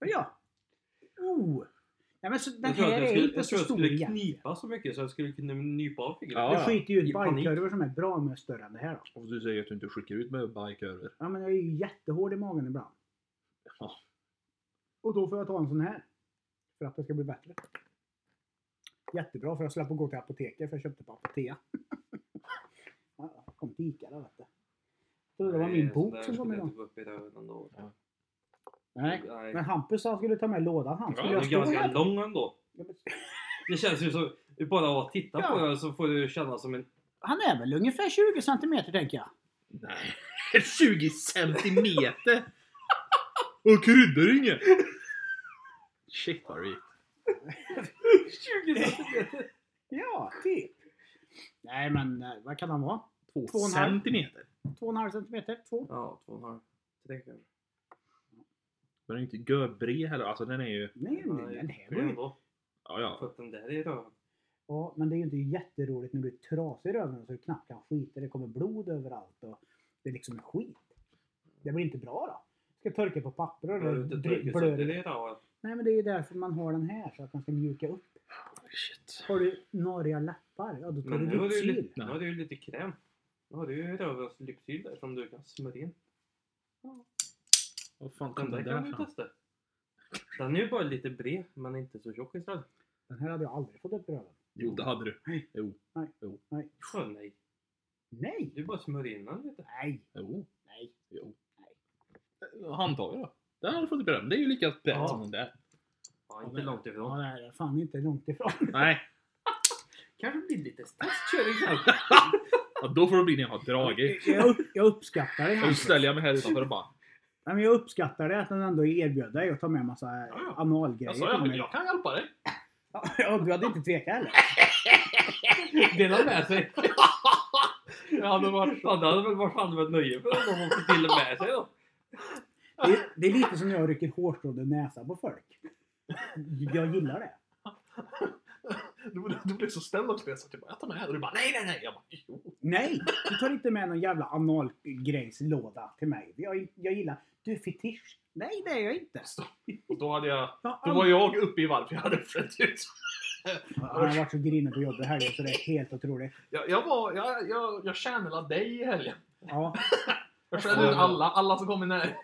[SPEAKER 1] Men ja. Oh! Nej men så, den
[SPEAKER 3] Jag tror
[SPEAKER 1] här
[SPEAKER 3] att jag
[SPEAKER 1] är
[SPEAKER 3] skulle-
[SPEAKER 1] inte
[SPEAKER 3] jag
[SPEAKER 1] så
[SPEAKER 3] tror att
[SPEAKER 1] stor
[SPEAKER 3] jag skulle
[SPEAKER 1] egentligen.
[SPEAKER 3] knipa så mycket så jag skulle kunna nypa av fingret.
[SPEAKER 2] Ja.
[SPEAKER 1] Du skiter ju
[SPEAKER 3] I
[SPEAKER 1] ut
[SPEAKER 3] panik.
[SPEAKER 1] bajkurvor som är bra mycket större än det här då.
[SPEAKER 2] Och du säger att du inte skickar ut med bajkurvor.
[SPEAKER 1] Ja, men jag är ju jättehård i magen ibland.
[SPEAKER 2] Ja.
[SPEAKER 1] Och då får jag ta en sån här. För att det ska bli bättre. Jättebra för jag slapp att gå till apoteket för jag köpte på Apotea. Ja, jag kom till Ica där vet du. Så det var min bok som kom igång.
[SPEAKER 3] igång.
[SPEAKER 1] Nej.
[SPEAKER 3] Nej.
[SPEAKER 1] Men Hampus sa han skulle ta med lådan han.
[SPEAKER 2] Ja,
[SPEAKER 1] Skulle
[SPEAKER 3] Den
[SPEAKER 1] jag
[SPEAKER 3] är
[SPEAKER 1] stå
[SPEAKER 3] ganska
[SPEAKER 1] här?
[SPEAKER 3] lång ändå.
[SPEAKER 1] Ja, men-
[SPEAKER 3] Det känns ju som, bara att titta
[SPEAKER 1] Ja.
[SPEAKER 3] på den så får du känna som en...
[SPEAKER 1] Han är väl ungefär 20 centimeter tänker jag.
[SPEAKER 2] Nej. 20 centimeter! Och kryddor inget! Shit vad rikt.
[SPEAKER 3] 20 centimeter!
[SPEAKER 1] Ja, typ. Nej men eh, vad kan han vara?
[SPEAKER 2] Två
[SPEAKER 1] Två och en halv.
[SPEAKER 2] centimeter?
[SPEAKER 1] 2,5 centimeter? 2?
[SPEAKER 3] Ja, två och en halv. Tre kanske.
[SPEAKER 2] Den är inte göbred heller, alltså den är ju...
[SPEAKER 1] Nej, nej, den här
[SPEAKER 3] Tre
[SPEAKER 1] går ju
[SPEAKER 3] ändå.
[SPEAKER 2] Ja, ja.
[SPEAKER 3] För att den där är röd.
[SPEAKER 1] Ja, men det är ju inte jätteroligt när du är trasig i röven så du knappt kan skita. Det kommer blod överallt och det är liksom skit. Det blir inte bra då. Ska torka på papper och
[SPEAKER 3] Jag har
[SPEAKER 1] det
[SPEAKER 3] inte
[SPEAKER 1] dr-
[SPEAKER 3] druckit så
[SPEAKER 1] blöder.
[SPEAKER 3] den är röd.
[SPEAKER 1] Nej men det är ju därför man har den här så att man ska mjuka upp.
[SPEAKER 2] Shit.
[SPEAKER 1] Har du norriga läppar, ja då tar
[SPEAKER 3] Men nu
[SPEAKER 1] du
[SPEAKER 3] har du ju
[SPEAKER 1] Lypsyl.
[SPEAKER 3] lite- nu har du ju lite kräm. Nu har du ju rövens lyxyl där som du kan smörja in.
[SPEAKER 2] Vad fan kom
[SPEAKER 3] Den
[SPEAKER 2] den
[SPEAKER 3] där
[SPEAKER 2] där
[SPEAKER 3] kan du
[SPEAKER 2] fram?
[SPEAKER 3] testa. Den är ju bara lite bred men inte så tjock istället.
[SPEAKER 1] Den här hade jag aldrig fått upp i röven.
[SPEAKER 2] Jo, det hade du.
[SPEAKER 1] Nej.
[SPEAKER 2] Jo.
[SPEAKER 1] Nej.
[SPEAKER 2] Jo.
[SPEAKER 1] Nej.
[SPEAKER 3] Åh, nej.
[SPEAKER 1] Nej!
[SPEAKER 3] Du bara smörjer in den lite.
[SPEAKER 1] Nej!
[SPEAKER 2] Jo.
[SPEAKER 1] Nej!
[SPEAKER 2] Jo. Handtaget då? Den hade du fått beröm. Det är ju lika brett
[SPEAKER 3] Ja.
[SPEAKER 2] som den där.
[SPEAKER 3] Ja, inte långt
[SPEAKER 1] Ja,
[SPEAKER 3] ifrån.
[SPEAKER 1] det här är fan inte långt ifrån.
[SPEAKER 2] Nej.
[SPEAKER 3] Kanske blir lite testkörning sen.
[SPEAKER 2] Ja, då får det bli när jag har dragit.
[SPEAKER 1] Jag, upp, jag uppskattar det.
[SPEAKER 2] Och så
[SPEAKER 1] Hampus.
[SPEAKER 2] ställer jag mig här utanför och bara...
[SPEAKER 1] Nej, men jag uppskattar det att den ändå erbjöd dig att ta med massa
[SPEAKER 2] ja.
[SPEAKER 1] analgrejer.
[SPEAKER 2] Alltså, Jag sa
[SPEAKER 1] till
[SPEAKER 2] jag,
[SPEAKER 1] mig.
[SPEAKER 2] jag kan hjälpa dig.
[SPEAKER 1] Ja, du hade inte tvekat heller.
[SPEAKER 3] Dela med sig. Det hade varit, fan, det hade väl varit fan med ett nöje för dem om de till med sig då.
[SPEAKER 1] Det, det är lite som när jag rycker hårstrån ur näsan på folk. Jag gillar det.
[SPEAKER 2] Du, du blev så ställd också. Jag sa till dig, jag tar med här. Och du bara, nej, nej, nej. Jag bara, jo.
[SPEAKER 1] Nej! Du tar inte med någon jävla analgrejslåda till mig. Jag, jag gillar... Du är fetisch. Nej, det är jag inte.
[SPEAKER 2] Och då hade jag...
[SPEAKER 1] Jag har
[SPEAKER 2] Då var jag uppe i varv, för jag hade flätt ut.
[SPEAKER 1] aldrig- Han har varit så grinig på jobbet här så det är helt otroligt.
[SPEAKER 2] Jag, jag var... Jag, jag, jag channelade dig i helgen.
[SPEAKER 1] Ja,
[SPEAKER 2] Jag channelade ut alla. Alla som kom i närheten.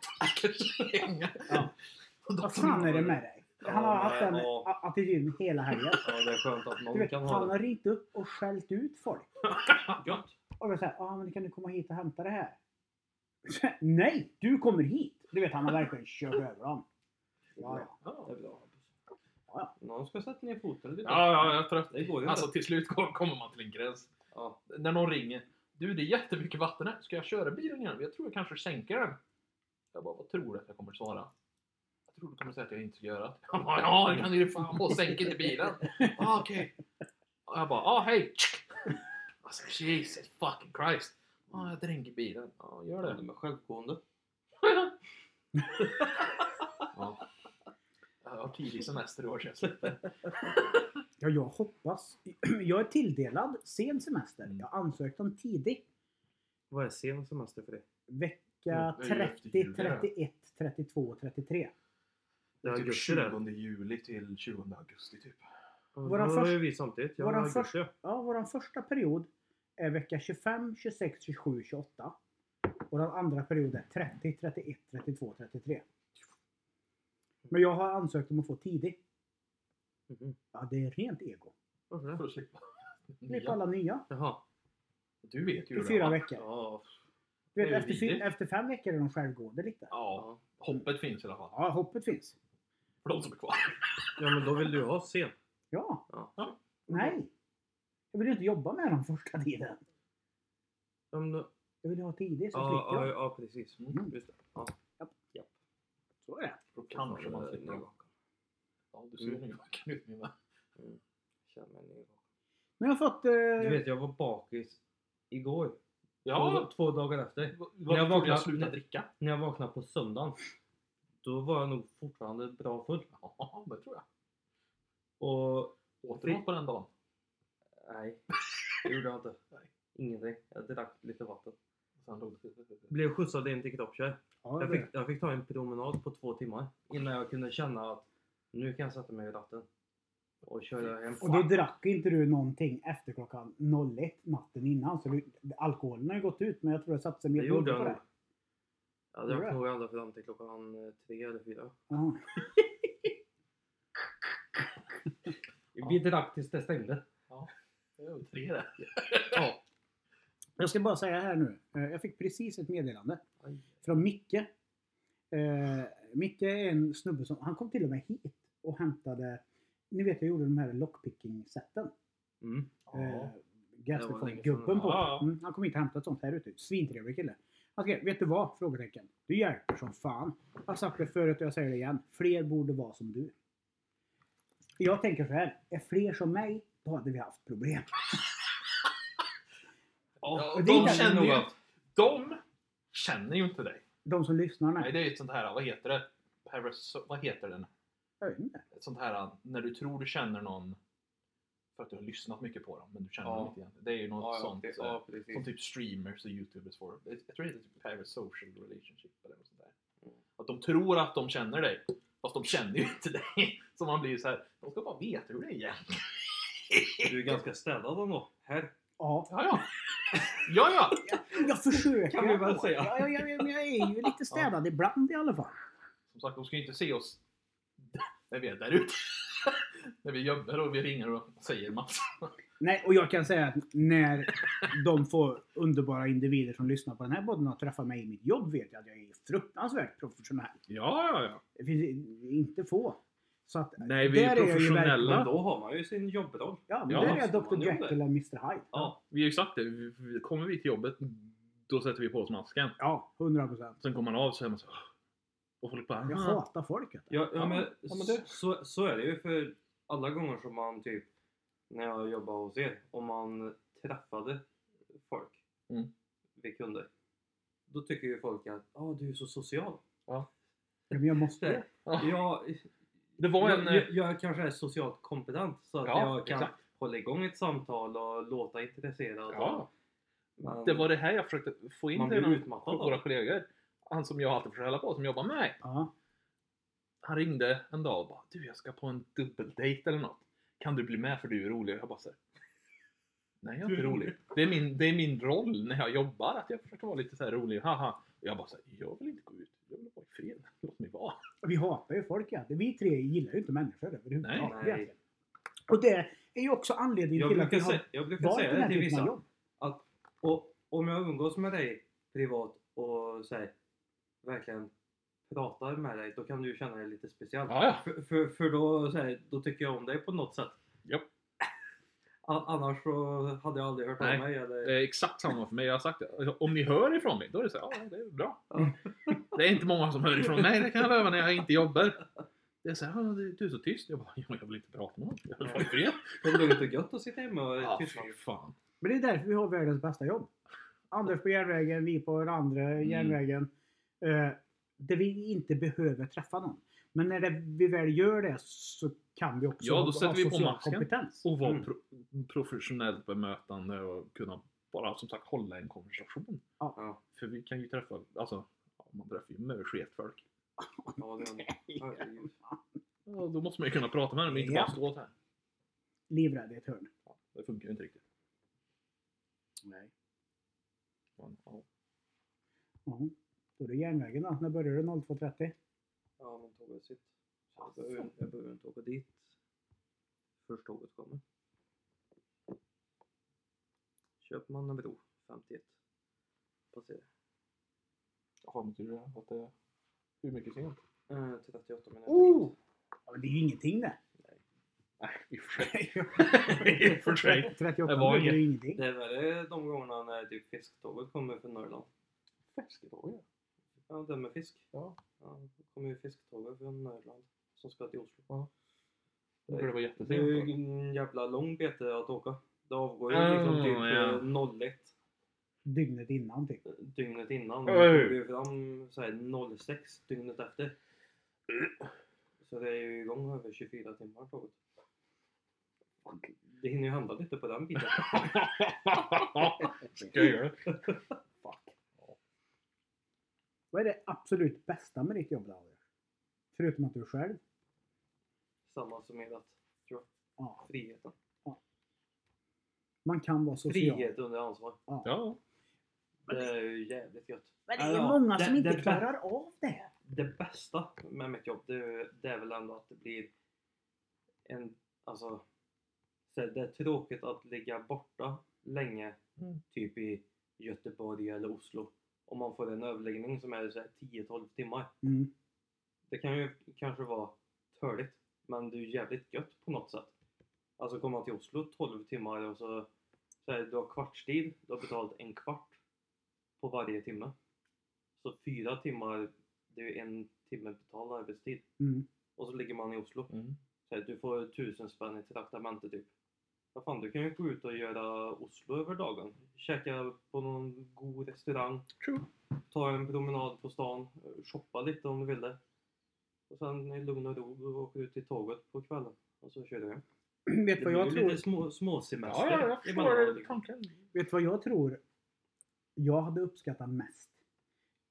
[SPEAKER 1] Ja.
[SPEAKER 2] Och då-
[SPEAKER 1] vad fan är det med dig? Han har
[SPEAKER 3] Ja,
[SPEAKER 1] haft den
[SPEAKER 3] ja.
[SPEAKER 1] a- attityden hela helgen.
[SPEAKER 3] Ja, det är skönt att
[SPEAKER 1] Du
[SPEAKER 3] någon
[SPEAKER 1] vet,
[SPEAKER 3] kan
[SPEAKER 1] han
[SPEAKER 3] ha
[SPEAKER 1] har ringt upp och skällt ut folk.
[SPEAKER 3] det gött.
[SPEAKER 1] Och då säger ah, men kan du komma hit och hämta det här? Nej, du kommer hit! Du vet, han har verkligen kört över dem. Ja, ja.
[SPEAKER 3] Det är bra.
[SPEAKER 1] Ja.
[SPEAKER 3] Någon ska sätta ner foten lite.
[SPEAKER 2] Ja, ja, jag är trött.
[SPEAKER 3] Det går ju
[SPEAKER 2] Alltså
[SPEAKER 3] inte.
[SPEAKER 2] till slut kom- kommer man till en gräns.
[SPEAKER 3] Ja.
[SPEAKER 2] När någon ringer. Du, det är jättemycket vatten här. Ska jag köra bilen igen? Jag tror jag kanske sänker den. Jag bara, vad tror du att jag kommer svara? Jag tror du kommer säga att jag inte ska göra det. Jag bara, ja, det kan du fan på. Sänk inte bilen. Ah, Okej. Och Jag bara, ah, hej. Alltså, Jesus fucking Christ. Ah, jag dränker bilen. Ja, ah, gör
[SPEAKER 3] Gör det.
[SPEAKER 2] det.
[SPEAKER 3] De är självgående.
[SPEAKER 2] Ja. Jag har tidig semester i år, känns det.
[SPEAKER 1] Ja, jag hoppas. Jag är tilldelad sen semester.
[SPEAKER 2] Mm.
[SPEAKER 1] Jag ansökte om tidig.
[SPEAKER 3] Vad är sen semester för dig?
[SPEAKER 1] Vecka
[SPEAKER 2] det är ju efter
[SPEAKER 1] 30,
[SPEAKER 2] jul, det.
[SPEAKER 1] 31, 32 och 33.
[SPEAKER 3] Det är augusti det.
[SPEAKER 2] Typ juli till 20 augusti, typ.
[SPEAKER 1] Våran
[SPEAKER 3] Våran första...
[SPEAKER 1] först-
[SPEAKER 3] är vi samtidigt. Jag
[SPEAKER 1] våran
[SPEAKER 3] har augusti.
[SPEAKER 1] Ja, vår första period är vecka 25, 26, 27, 28. Och den andra perioden är 30, 31, 32, 33. Men jag har ansökt om att få tidig.
[SPEAKER 2] Mm-hmm.
[SPEAKER 3] Mhm.
[SPEAKER 1] Ja, det är rent ego.
[SPEAKER 3] Varför det?
[SPEAKER 2] För att slippa.
[SPEAKER 1] Klipp alla nya.
[SPEAKER 3] Jaha.
[SPEAKER 2] Du vet ju
[SPEAKER 1] I
[SPEAKER 2] hur
[SPEAKER 1] fyra
[SPEAKER 2] det var.
[SPEAKER 1] veckor.
[SPEAKER 3] Ja.
[SPEAKER 1] Du
[SPEAKER 2] det
[SPEAKER 1] vet,
[SPEAKER 2] är
[SPEAKER 1] efter, fy-
[SPEAKER 2] vidrigt.
[SPEAKER 1] efter fem veckor är de självgående lite.
[SPEAKER 2] Ja,
[SPEAKER 3] ja.
[SPEAKER 2] hoppet finns i alla fall.
[SPEAKER 1] Ja, hoppet finns.
[SPEAKER 2] För de som är kvar.
[SPEAKER 3] Ja men då vill du ha sen.
[SPEAKER 1] Ja.
[SPEAKER 3] Ja. Mm.
[SPEAKER 1] Nej. Jag vill ju inte jobba med dem första tiden.
[SPEAKER 3] Ja, men då...
[SPEAKER 1] Jag vill ju ha tidig så
[SPEAKER 3] ja, Mm,
[SPEAKER 1] slipper
[SPEAKER 3] ja,
[SPEAKER 1] jag.
[SPEAKER 3] ja precis.
[SPEAKER 1] Mm.
[SPEAKER 3] Just det.
[SPEAKER 1] Japp.
[SPEAKER 3] Ja.
[SPEAKER 1] Så är det.
[SPEAKER 2] Då kanske man slipper det. Ja, du ser
[SPEAKER 3] Mm.
[SPEAKER 2] hur vacker ut min vän.
[SPEAKER 3] Känner mig nyvaken.
[SPEAKER 1] Nu har jag fått... Eh,
[SPEAKER 3] Du vet, jag var bakis igår. Två,
[SPEAKER 2] Ja!
[SPEAKER 3] två dagar efter.
[SPEAKER 2] Vad
[SPEAKER 3] Men jag
[SPEAKER 2] jag trodde
[SPEAKER 3] vaknar-
[SPEAKER 2] jag slutade
[SPEAKER 3] nej.
[SPEAKER 2] dricka?
[SPEAKER 3] När jag vaknade på söndagen. Då var jag nog fortfarande bra full.
[SPEAKER 2] Ja, det tror jag.
[SPEAKER 3] Och
[SPEAKER 2] Återvak på den dagen.
[SPEAKER 3] nej, det gjorde jag inte.
[SPEAKER 2] Nej.
[SPEAKER 3] Ingenting. Jag drack lite vatten.
[SPEAKER 2] Sen dog det.
[SPEAKER 3] Blev skjutsad in till kroppskär.
[SPEAKER 1] ja,
[SPEAKER 3] Jag
[SPEAKER 1] det-
[SPEAKER 3] fick, jag fick ta en promenad på två timmar innan jag kunde känna att nu kan jag sätta mig i ratten och köra hem.
[SPEAKER 1] Och då drack inte du någonting efter klockan 01 natten innan. Så du, alkoholen har ju gått ut men jag tror det satte sig mer
[SPEAKER 3] Det gjorde
[SPEAKER 1] blod
[SPEAKER 3] jag
[SPEAKER 1] på
[SPEAKER 3] nog.
[SPEAKER 1] dig.
[SPEAKER 3] Jag
[SPEAKER 1] Gjorde
[SPEAKER 3] drack
[SPEAKER 1] det?
[SPEAKER 3] nog ända fram till klockan eh, tre eller fyra.
[SPEAKER 1] Ja.
[SPEAKER 3] Vi drack tills det stängde.
[SPEAKER 2] Det är ju tre där.
[SPEAKER 3] Ja.
[SPEAKER 1] Jag ska bara säga här nu. eh, Jag fick precis ett meddelande
[SPEAKER 3] Aj.
[SPEAKER 1] från Micke. Eh, Micke är en snubbe som, han kom till och med hit och hämtade, ni vet jag gjorde de här lockpicking-seten.
[SPEAKER 3] Mm.
[SPEAKER 1] Eh,
[SPEAKER 3] Det var länge
[SPEAKER 1] Gastrofon-gubben
[SPEAKER 3] sedan.
[SPEAKER 1] på.
[SPEAKER 2] Ja, ja.
[SPEAKER 1] Mm, han kom hit och hämtade ett sånt här ute. Svintrevlig kille. Han skrev, vet du vad? Frågetecken. Du hjälper som fan. Jag har sagt det förut och jag säger det igen. Fler borde vara som du. Jag tänker så här. Är fler som mig, då hade vi haft problem.
[SPEAKER 2] Ja,
[SPEAKER 1] och det
[SPEAKER 2] de,
[SPEAKER 1] kan
[SPEAKER 2] känner
[SPEAKER 3] nog
[SPEAKER 2] ju,
[SPEAKER 3] vara.
[SPEAKER 2] de känner ju inte dig.
[SPEAKER 1] De som lyssnar
[SPEAKER 2] Nej,
[SPEAKER 1] nu.
[SPEAKER 2] det är ju ett sånt här, vad heter det? Paraso- vad heter den?
[SPEAKER 1] Jag vet inte.
[SPEAKER 2] Ett sånt här när du tror du känner någon för att du har lyssnat mycket på dem, men du känner
[SPEAKER 3] Ja.
[SPEAKER 2] dem inte igen. Det är ju något
[SPEAKER 3] Ja, ja,
[SPEAKER 2] sånt.
[SPEAKER 3] det,
[SPEAKER 2] eh,
[SPEAKER 3] ja,
[SPEAKER 2] Som
[SPEAKER 3] precis.
[SPEAKER 2] typ streamers och youtubers får. Det- Jag tror det heter typ parasocial relationship eller något sånt där.
[SPEAKER 3] Mm.
[SPEAKER 2] Att de tror att de känner dig. Fast de känner ju inte dig. Så man blir ju så här. de ska bara veta hur det är egentligen.
[SPEAKER 3] Du är ganska städad ändå. Här.
[SPEAKER 1] Ja,
[SPEAKER 2] Ja, ja. Ja, ja.
[SPEAKER 1] jag försöker.
[SPEAKER 3] Kan vi väl
[SPEAKER 1] ändå.
[SPEAKER 3] säga.
[SPEAKER 1] Ja, ja, ja, men jag är ju lite städad ibland i alla fall.
[SPEAKER 2] Som sagt, de ska ju inte se oss när vi är där ute. När vi jobbar och vi ringer och säger massa.
[SPEAKER 1] Nej, och jag kan säga att när de får underbara individer som lyssnar på den här podden och träffar mig i mitt jobb vet jag att jag är fruktansvärt professionell.
[SPEAKER 2] Ja, ja, ja.
[SPEAKER 1] Det finns inte få. Så att,
[SPEAKER 2] Nej,
[SPEAKER 1] vi är Där är jag ju professionella.
[SPEAKER 3] Men
[SPEAKER 1] verkligen-
[SPEAKER 3] då har man ju sin jobbroll.
[SPEAKER 1] ja, men
[SPEAKER 2] Ja,
[SPEAKER 1] där är jag
[SPEAKER 3] så man
[SPEAKER 1] Dr.
[SPEAKER 3] gör det.
[SPEAKER 1] Jekyll och Mr. Hyde.
[SPEAKER 3] Ja.
[SPEAKER 2] Vi är ju sagt det. Kommer vi till jobbet, då sätter vi på oss masken.
[SPEAKER 1] Ja, 100 procent.
[SPEAKER 2] Sen kommer man av så är man så Och folk bara...
[SPEAKER 1] Jag hatar folk. vet du.
[SPEAKER 3] Ja, ja,
[SPEAKER 2] Ja,
[SPEAKER 3] men,
[SPEAKER 2] ja, men det-
[SPEAKER 3] Så, så är det ju för alla gånger som man typ när jag jobbade hos er, om man träffade folk
[SPEAKER 2] Mm.
[SPEAKER 3] vi kunder, då tycker ju folk att ah, du är så social.
[SPEAKER 1] Men jag måste ju.
[SPEAKER 3] Jag,
[SPEAKER 2] Det var en... eh,
[SPEAKER 3] jag, jag, jag kanske är socialt kompetent så att
[SPEAKER 2] Ja,
[SPEAKER 3] jag kan
[SPEAKER 2] exakt.
[SPEAKER 3] hålla igång ett samtal och låta intresserad.
[SPEAKER 2] Ja.
[SPEAKER 3] Men,
[SPEAKER 2] Det var det här jag försökte få in
[SPEAKER 3] Man
[SPEAKER 2] till
[SPEAKER 3] blir
[SPEAKER 2] någon
[SPEAKER 3] utmattad
[SPEAKER 2] av
[SPEAKER 3] av
[SPEAKER 2] våra
[SPEAKER 3] det.
[SPEAKER 2] kollegor. Han som jag alltid försöker hälla på, som jobbar med mig.
[SPEAKER 1] Ja.
[SPEAKER 2] Han ringde en dag och bara Du, jag ska på en dubbeldejt eller något. Kan du bli med för du är rolig? Jag bara så här, Nej, jag är inte rolig. Det är, min, det är min roll när jag jobbar, att jag försöker vara lite så här rolig. Haha. Jag bara så här, jag vill inte gå ut. Jag vill vara i fred. Låt mig vara.
[SPEAKER 1] Vi hatar ju folk egentligen. Vi tre gillar ju inte människor överhuvudtaget.
[SPEAKER 3] Nej.
[SPEAKER 1] egentligen. Och det är ju också anledningen
[SPEAKER 3] jag,
[SPEAKER 1] till att vi
[SPEAKER 3] brukar
[SPEAKER 1] har
[SPEAKER 3] säga, jag brukar
[SPEAKER 1] valt
[SPEAKER 3] säga
[SPEAKER 1] den
[SPEAKER 3] det
[SPEAKER 1] här
[SPEAKER 3] till
[SPEAKER 1] typen av
[SPEAKER 3] vissa.
[SPEAKER 1] jobb.
[SPEAKER 3] att och, om jag umgås med dig privat och så här, verkligen pratar med dig, då kan du ju känna dig lite speciell.
[SPEAKER 2] Ja, ja.
[SPEAKER 3] För, för, för då, så här, då tycker jag om dig på något sätt.
[SPEAKER 2] Japp.
[SPEAKER 3] A- Annars så hade jag aldrig hört
[SPEAKER 2] Nej.
[SPEAKER 3] av mig. Eller...
[SPEAKER 2] Det är Eh, exakt samma för mig. Jag har sagt det. Om ni hör ifrån mig, då är det så här, ja, det är bra.
[SPEAKER 3] Ja.
[SPEAKER 2] Det är inte många som hör ifrån mig, det kan jag lova när jag inte jobbar. Det är så här, "Ja, du du är så tyst. Jag bara, "Ja, jag vill inte prata med någon. Jag vill vara i fred.
[SPEAKER 3] Det är lugnt och gött att sitta hemma och
[SPEAKER 2] Ja,
[SPEAKER 3] tystna.
[SPEAKER 2] fy fan.
[SPEAKER 1] Men det är därför vi har världens bästa jobb. Anders på järnvägen, vi på den
[SPEAKER 2] Mm.
[SPEAKER 1] andra järnvägen. Eh, där vi inte behöver träffa någon. Men när det, vi väl gör det så kan vi också
[SPEAKER 2] Ja, då
[SPEAKER 1] ha
[SPEAKER 2] sätter vi på
[SPEAKER 1] social
[SPEAKER 2] masken.
[SPEAKER 1] kompetens.
[SPEAKER 2] Och vara
[SPEAKER 3] Mm.
[SPEAKER 2] pro professionellt bemötande och kunna bara som sagt hålla en konversation.
[SPEAKER 1] Ja.
[SPEAKER 3] Ja.
[SPEAKER 2] För vi kan ju träffa, alltså, ja, man träffar ju mörsket folk.
[SPEAKER 3] Ja, det är- herregud.
[SPEAKER 2] Ja, då måste man ju kunna prata med dem, inte
[SPEAKER 1] Ja.
[SPEAKER 2] bara stå så här.
[SPEAKER 1] Livrädd i ett hörn.
[SPEAKER 2] Ja, det funkar ju inte riktigt.
[SPEAKER 1] Nej.
[SPEAKER 2] Men, ja.
[SPEAKER 1] Mm. Då är det järnvägen då. När börjar det? 02.30?
[SPEAKER 3] Ja, men tåget sitt. Så jag behöver- Jag behöver inte åka dit först tåget kommer. Köpmannabro 51. Passerar.
[SPEAKER 2] Jaha, men du att det är hur mycket sent?
[SPEAKER 3] Eh, 38 minuter.
[SPEAKER 1] Oh! Ja, men det är ju ingenting det.
[SPEAKER 2] Nej, i och för sig. I och för sig.
[SPEAKER 1] 38
[SPEAKER 2] Det var
[SPEAKER 1] minuter är
[SPEAKER 2] inget.
[SPEAKER 1] ju ingenting.
[SPEAKER 3] Det är värre de gångerna när typ fisktåget kommer från Norrland.
[SPEAKER 2] Fläsketåg.
[SPEAKER 3] Ja, den med fisk.
[SPEAKER 2] Ja.
[SPEAKER 3] ja det kommer ju fisktåget från Norrland som ska till Oslo.
[SPEAKER 2] Ja. Det borde vara
[SPEAKER 3] Det är ju
[SPEAKER 2] jättesent.
[SPEAKER 3] en jävla lång bete att åka. Det avgår ju
[SPEAKER 4] Ah,
[SPEAKER 3] liksom typ
[SPEAKER 4] ja.
[SPEAKER 3] eh, 01
[SPEAKER 1] Dygnet innan typ.
[SPEAKER 3] dygnet innan.
[SPEAKER 2] Oj.
[SPEAKER 3] Men det kommer ju fram så här, 06 dygnet efter. Så det är ju igång över 24 timmar tåget. Det hinner ju handla lite på den biten.
[SPEAKER 2] Ska jag göra det?
[SPEAKER 1] Vad är det absolut bästa med ditt jobb då? Anders? Förutom att du är själv?
[SPEAKER 3] Samma som med att
[SPEAKER 1] Ja.
[SPEAKER 3] friheten.
[SPEAKER 1] Man kan vara social.
[SPEAKER 3] Frihet under ansvar.
[SPEAKER 2] Ja.
[SPEAKER 3] Det är ju jävligt gött.
[SPEAKER 1] Men det är ju
[SPEAKER 3] Ja,
[SPEAKER 1] många
[SPEAKER 3] det-
[SPEAKER 1] som inte
[SPEAKER 3] det bä-
[SPEAKER 1] klarar av det.
[SPEAKER 3] det bästa med mitt jobb det, är- det är väl ändå att det blir en, alltså så här, det är tråkigt att ligga borta länge
[SPEAKER 2] Mm.
[SPEAKER 3] typ i Göteborg eller Oslo om man får en överläggning som är så här 10-12 timmar
[SPEAKER 1] Mm.
[SPEAKER 3] det kan ju kanske vara törligt men det är ju jävligt gött på något sätt alltså komma till Oslo 12 timmar och så, så här, du har kvartstid du har betalt en kvart på varje timme så fyra timmar det är ju en timme betald arbetstid
[SPEAKER 1] Mm.
[SPEAKER 3] och så ligger man i Oslo.
[SPEAKER 2] Mm.
[SPEAKER 3] Så här, du får tusen spänn i traktamente typ. Vad fan, du kan ju gå ut och göra Oslo över dagen. Käka på någon god restaurang.
[SPEAKER 2] True.
[SPEAKER 3] Ta en promenad på stan. Shoppa lite om du vill det. Och sen i lugn och ro du åker ut till tåget på kvällen. Och så kör du hem.
[SPEAKER 1] Vet du
[SPEAKER 3] Det
[SPEAKER 1] vad jag
[SPEAKER 3] blir ju
[SPEAKER 1] tror?
[SPEAKER 3] lite små, småsemester.
[SPEAKER 2] Ja,
[SPEAKER 3] liksom.
[SPEAKER 2] ja, jag förstår
[SPEAKER 3] emellan.
[SPEAKER 2] tanken.
[SPEAKER 1] Vet du vad jag tror jag hade uppskattat mest?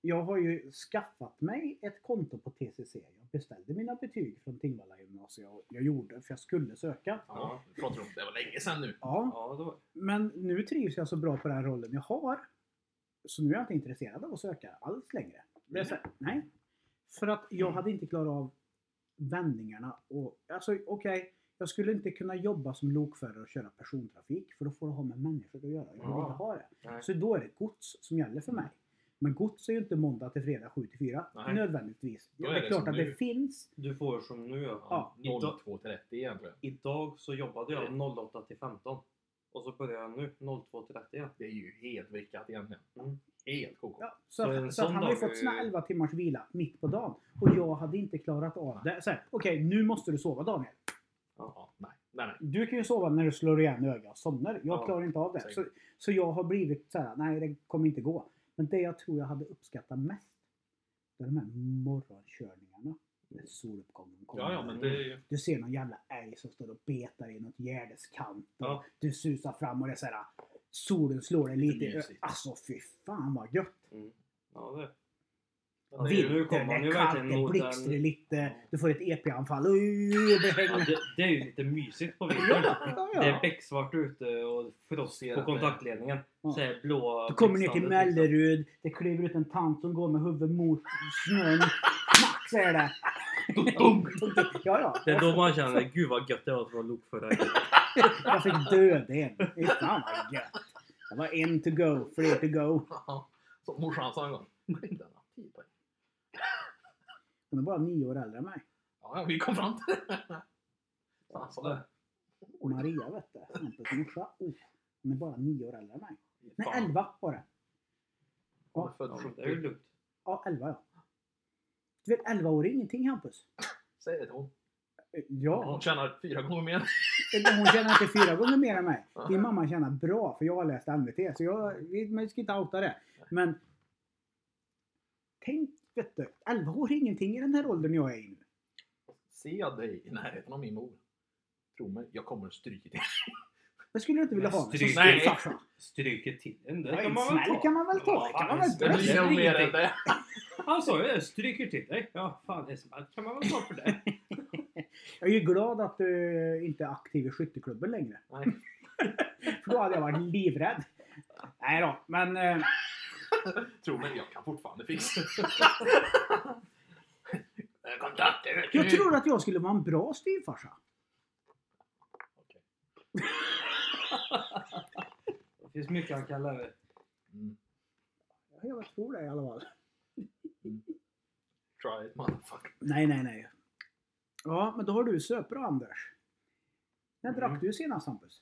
[SPEAKER 1] Jag har ju skaffat mig ett konto på TCC. Jag beställde mina betyg från Tingvalla gymnasium. och Jag gjorde för jag skulle söka.
[SPEAKER 2] Ja, vi pratar om det var länge sedan nu.
[SPEAKER 1] Ja,
[SPEAKER 3] Ja, det var
[SPEAKER 1] men nu trivs jag så bra på den här rollen jag har. Så nu är jag inte intresserad av att söka alls längre. Det är så, här, nej. För att
[SPEAKER 2] Mm.
[SPEAKER 1] jag hade inte klarat av vändningarna. Och, alltså okej, jag skulle inte kunna jobba som lokförare och köra persontrafik. För då får du ha med människor att göra. Jag vill
[SPEAKER 3] Ja.
[SPEAKER 1] inte ha det.
[SPEAKER 3] Nej.
[SPEAKER 1] Så då är det gods som gäller för mig. Men gods är ju inte måndag till fredag 7 till 4.
[SPEAKER 2] Nej.
[SPEAKER 1] Nödvändigtvis.
[SPEAKER 2] Då
[SPEAKER 1] Ja,
[SPEAKER 2] är
[SPEAKER 1] det är
[SPEAKER 2] det
[SPEAKER 1] klart
[SPEAKER 2] som
[SPEAKER 1] att
[SPEAKER 2] nu.
[SPEAKER 1] det finns.
[SPEAKER 3] Du får som nu ja.
[SPEAKER 1] Ja,
[SPEAKER 2] 02.30 igen tror jag.
[SPEAKER 3] Idag så jobbade jag 08 till 15. Och så börjar jag nu 02.30 igen.
[SPEAKER 2] Det är ju helt vrickat egentligen.
[SPEAKER 3] Mm.
[SPEAKER 2] Helt koko.
[SPEAKER 1] Ja, så
[SPEAKER 3] Så
[SPEAKER 1] att,
[SPEAKER 3] en
[SPEAKER 1] så att
[SPEAKER 3] sån
[SPEAKER 1] han har ju
[SPEAKER 3] dag är
[SPEAKER 1] fått sina
[SPEAKER 3] ju-
[SPEAKER 1] 11 timmars vila mitt på dagen. Och jag hade inte klarat av det. Så här, Okej, nu måste du sova Daniel.
[SPEAKER 2] Ja, nej, nej, nej.
[SPEAKER 1] Du kan ju sova när du slår igen ögonen och somnar. Jag
[SPEAKER 3] Ja,
[SPEAKER 1] klarar inte av det. Så,
[SPEAKER 2] säkert.
[SPEAKER 1] så jag har blivit så här, nej det kommer inte gå. Men det jag tror jag hade uppskattat mest, det är de här morgonkörningarna. När soluppgången kommer.
[SPEAKER 2] Ja, ja, men det är ju...
[SPEAKER 1] Du ser någon jävla älg som står och betar i något gärdeskant.
[SPEAKER 3] Ja.
[SPEAKER 1] Du susar fram och det är såhär, solen slår dig lite i
[SPEAKER 2] mysigt.
[SPEAKER 1] ögat. Alltså fy fan vad gött!
[SPEAKER 3] Ja, det. Alltså,
[SPEAKER 2] Ja, det är ju-
[SPEAKER 3] nu
[SPEAKER 1] Vintern,
[SPEAKER 3] kommer man
[SPEAKER 1] det
[SPEAKER 3] ju
[SPEAKER 1] är kallt,
[SPEAKER 3] verkligen
[SPEAKER 1] det
[SPEAKER 3] mot
[SPEAKER 1] blixtrar
[SPEAKER 3] den-
[SPEAKER 1] lite, du får ett EP-anfall. Oj, det
[SPEAKER 3] Ja,
[SPEAKER 1] hänger-
[SPEAKER 3] det, det är ju lite mysigt på vintern.
[SPEAKER 1] Ja,
[SPEAKER 3] Det är
[SPEAKER 1] ja.
[SPEAKER 3] becksvart ute och frost
[SPEAKER 2] Ser
[SPEAKER 3] på
[SPEAKER 2] att
[SPEAKER 3] kontaktledningen.
[SPEAKER 1] Ja.
[SPEAKER 3] Så här blåa
[SPEAKER 1] Du kommer ner till
[SPEAKER 3] blixtrande liksom.
[SPEAKER 1] Mellerud, det kliver ut en tant som går med huvudet mot snön. Max är det! Ja, ja.
[SPEAKER 3] Det är då man känner, gud vad gött det var att vara lokförare.
[SPEAKER 1] Jag fick döda en. Fy fan vad gött! Det var en to go, fler to go.
[SPEAKER 2] Ja, Som morsan sa en gång. Skynda dig, tio poäng.
[SPEAKER 1] Hon är bara nio år äldre än mig.
[SPEAKER 2] Ja, ja, vi kom fram till det. Fan, så där.
[SPEAKER 1] Maria vet du, Hampus morsa. Oh, hon är bara nio år äldre än mig. Nej,
[SPEAKER 2] Fan.
[SPEAKER 1] elva var det.
[SPEAKER 2] Hon är född
[SPEAKER 3] Ja, det är ju
[SPEAKER 2] 70.
[SPEAKER 3] lugnt.
[SPEAKER 1] Ja, elva ja. Du vet, elva år är ingenting Hampus.
[SPEAKER 2] Säg det till hon.
[SPEAKER 1] Eh, Ja,
[SPEAKER 2] Hon tjänar fyra gånger mer.
[SPEAKER 1] eller hon tjänar inte fyra gånger mer än mig. Din mamma tjänar bra, för jag har läst NVT, så jag, vi, man ska inte outa det. Men tänk, vet du, elva år är ingenting i den här åldern jag är i nu.
[SPEAKER 2] Ser jag dig i närheten av min mor? Tro mig, jag kommer stryka dig.
[SPEAKER 1] Jag skulle inte vilja
[SPEAKER 3] Men
[SPEAKER 1] ha mig som
[SPEAKER 3] stryk-
[SPEAKER 2] Nej.
[SPEAKER 1] farsa.
[SPEAKER 3] Stryker till en, det
[SPEAKER 1] Ja,
[SPEAKER 3] kan
[SPEAKER 1] en
[SPEAKER 3] man väl
[SPEAKER 1] smäll
[SPEAKER 3] ta?
[SPEAKER 1] kan man väl ta? Det kan man väl
[SPEAKER 3] Det
[SPEAKER 2] Det blir
[SPEAKER 3] blir
[SPEAKER 2] nog mer än
[SPEAKER 3] ingenting.
[SPEAKER 2] det.
[SPEAKER 3] Han sa ju det, stryker till dig. Ja, fan en smäll kan man väl ta för det.
[SPEAKER 1] Jag är ju glad att du inte är aktiv i skytteklubben längre.
[SPEAKER 2] Nej.
[SPEAKER 1] För då hade jag varit livrädd. Nej då, men eh,
[SPEAKER 2] Tro mig, jag kan fortfarande fixa det. Kontakter, vet
[SPEAKER 1] jag
[SPEAKER 2] du.
[SPEAKER 1] tror att jag skulle vara en bra styvfarsa.
[SPEAKER 3] Det finns mycket han kan lära.
[SPEAKER 2] Mm.
[SPEAKER 1] Ja, Jag tror det i alla fall.
[SPEAKER 2] Try it, motherfucker.
[SPEAKER 1] Nej, nej, nej. Ja, men då har du söpra Anders. När
[SPEAKER 3] Mm.
[SPEAKER 1] drack du senast Hampus?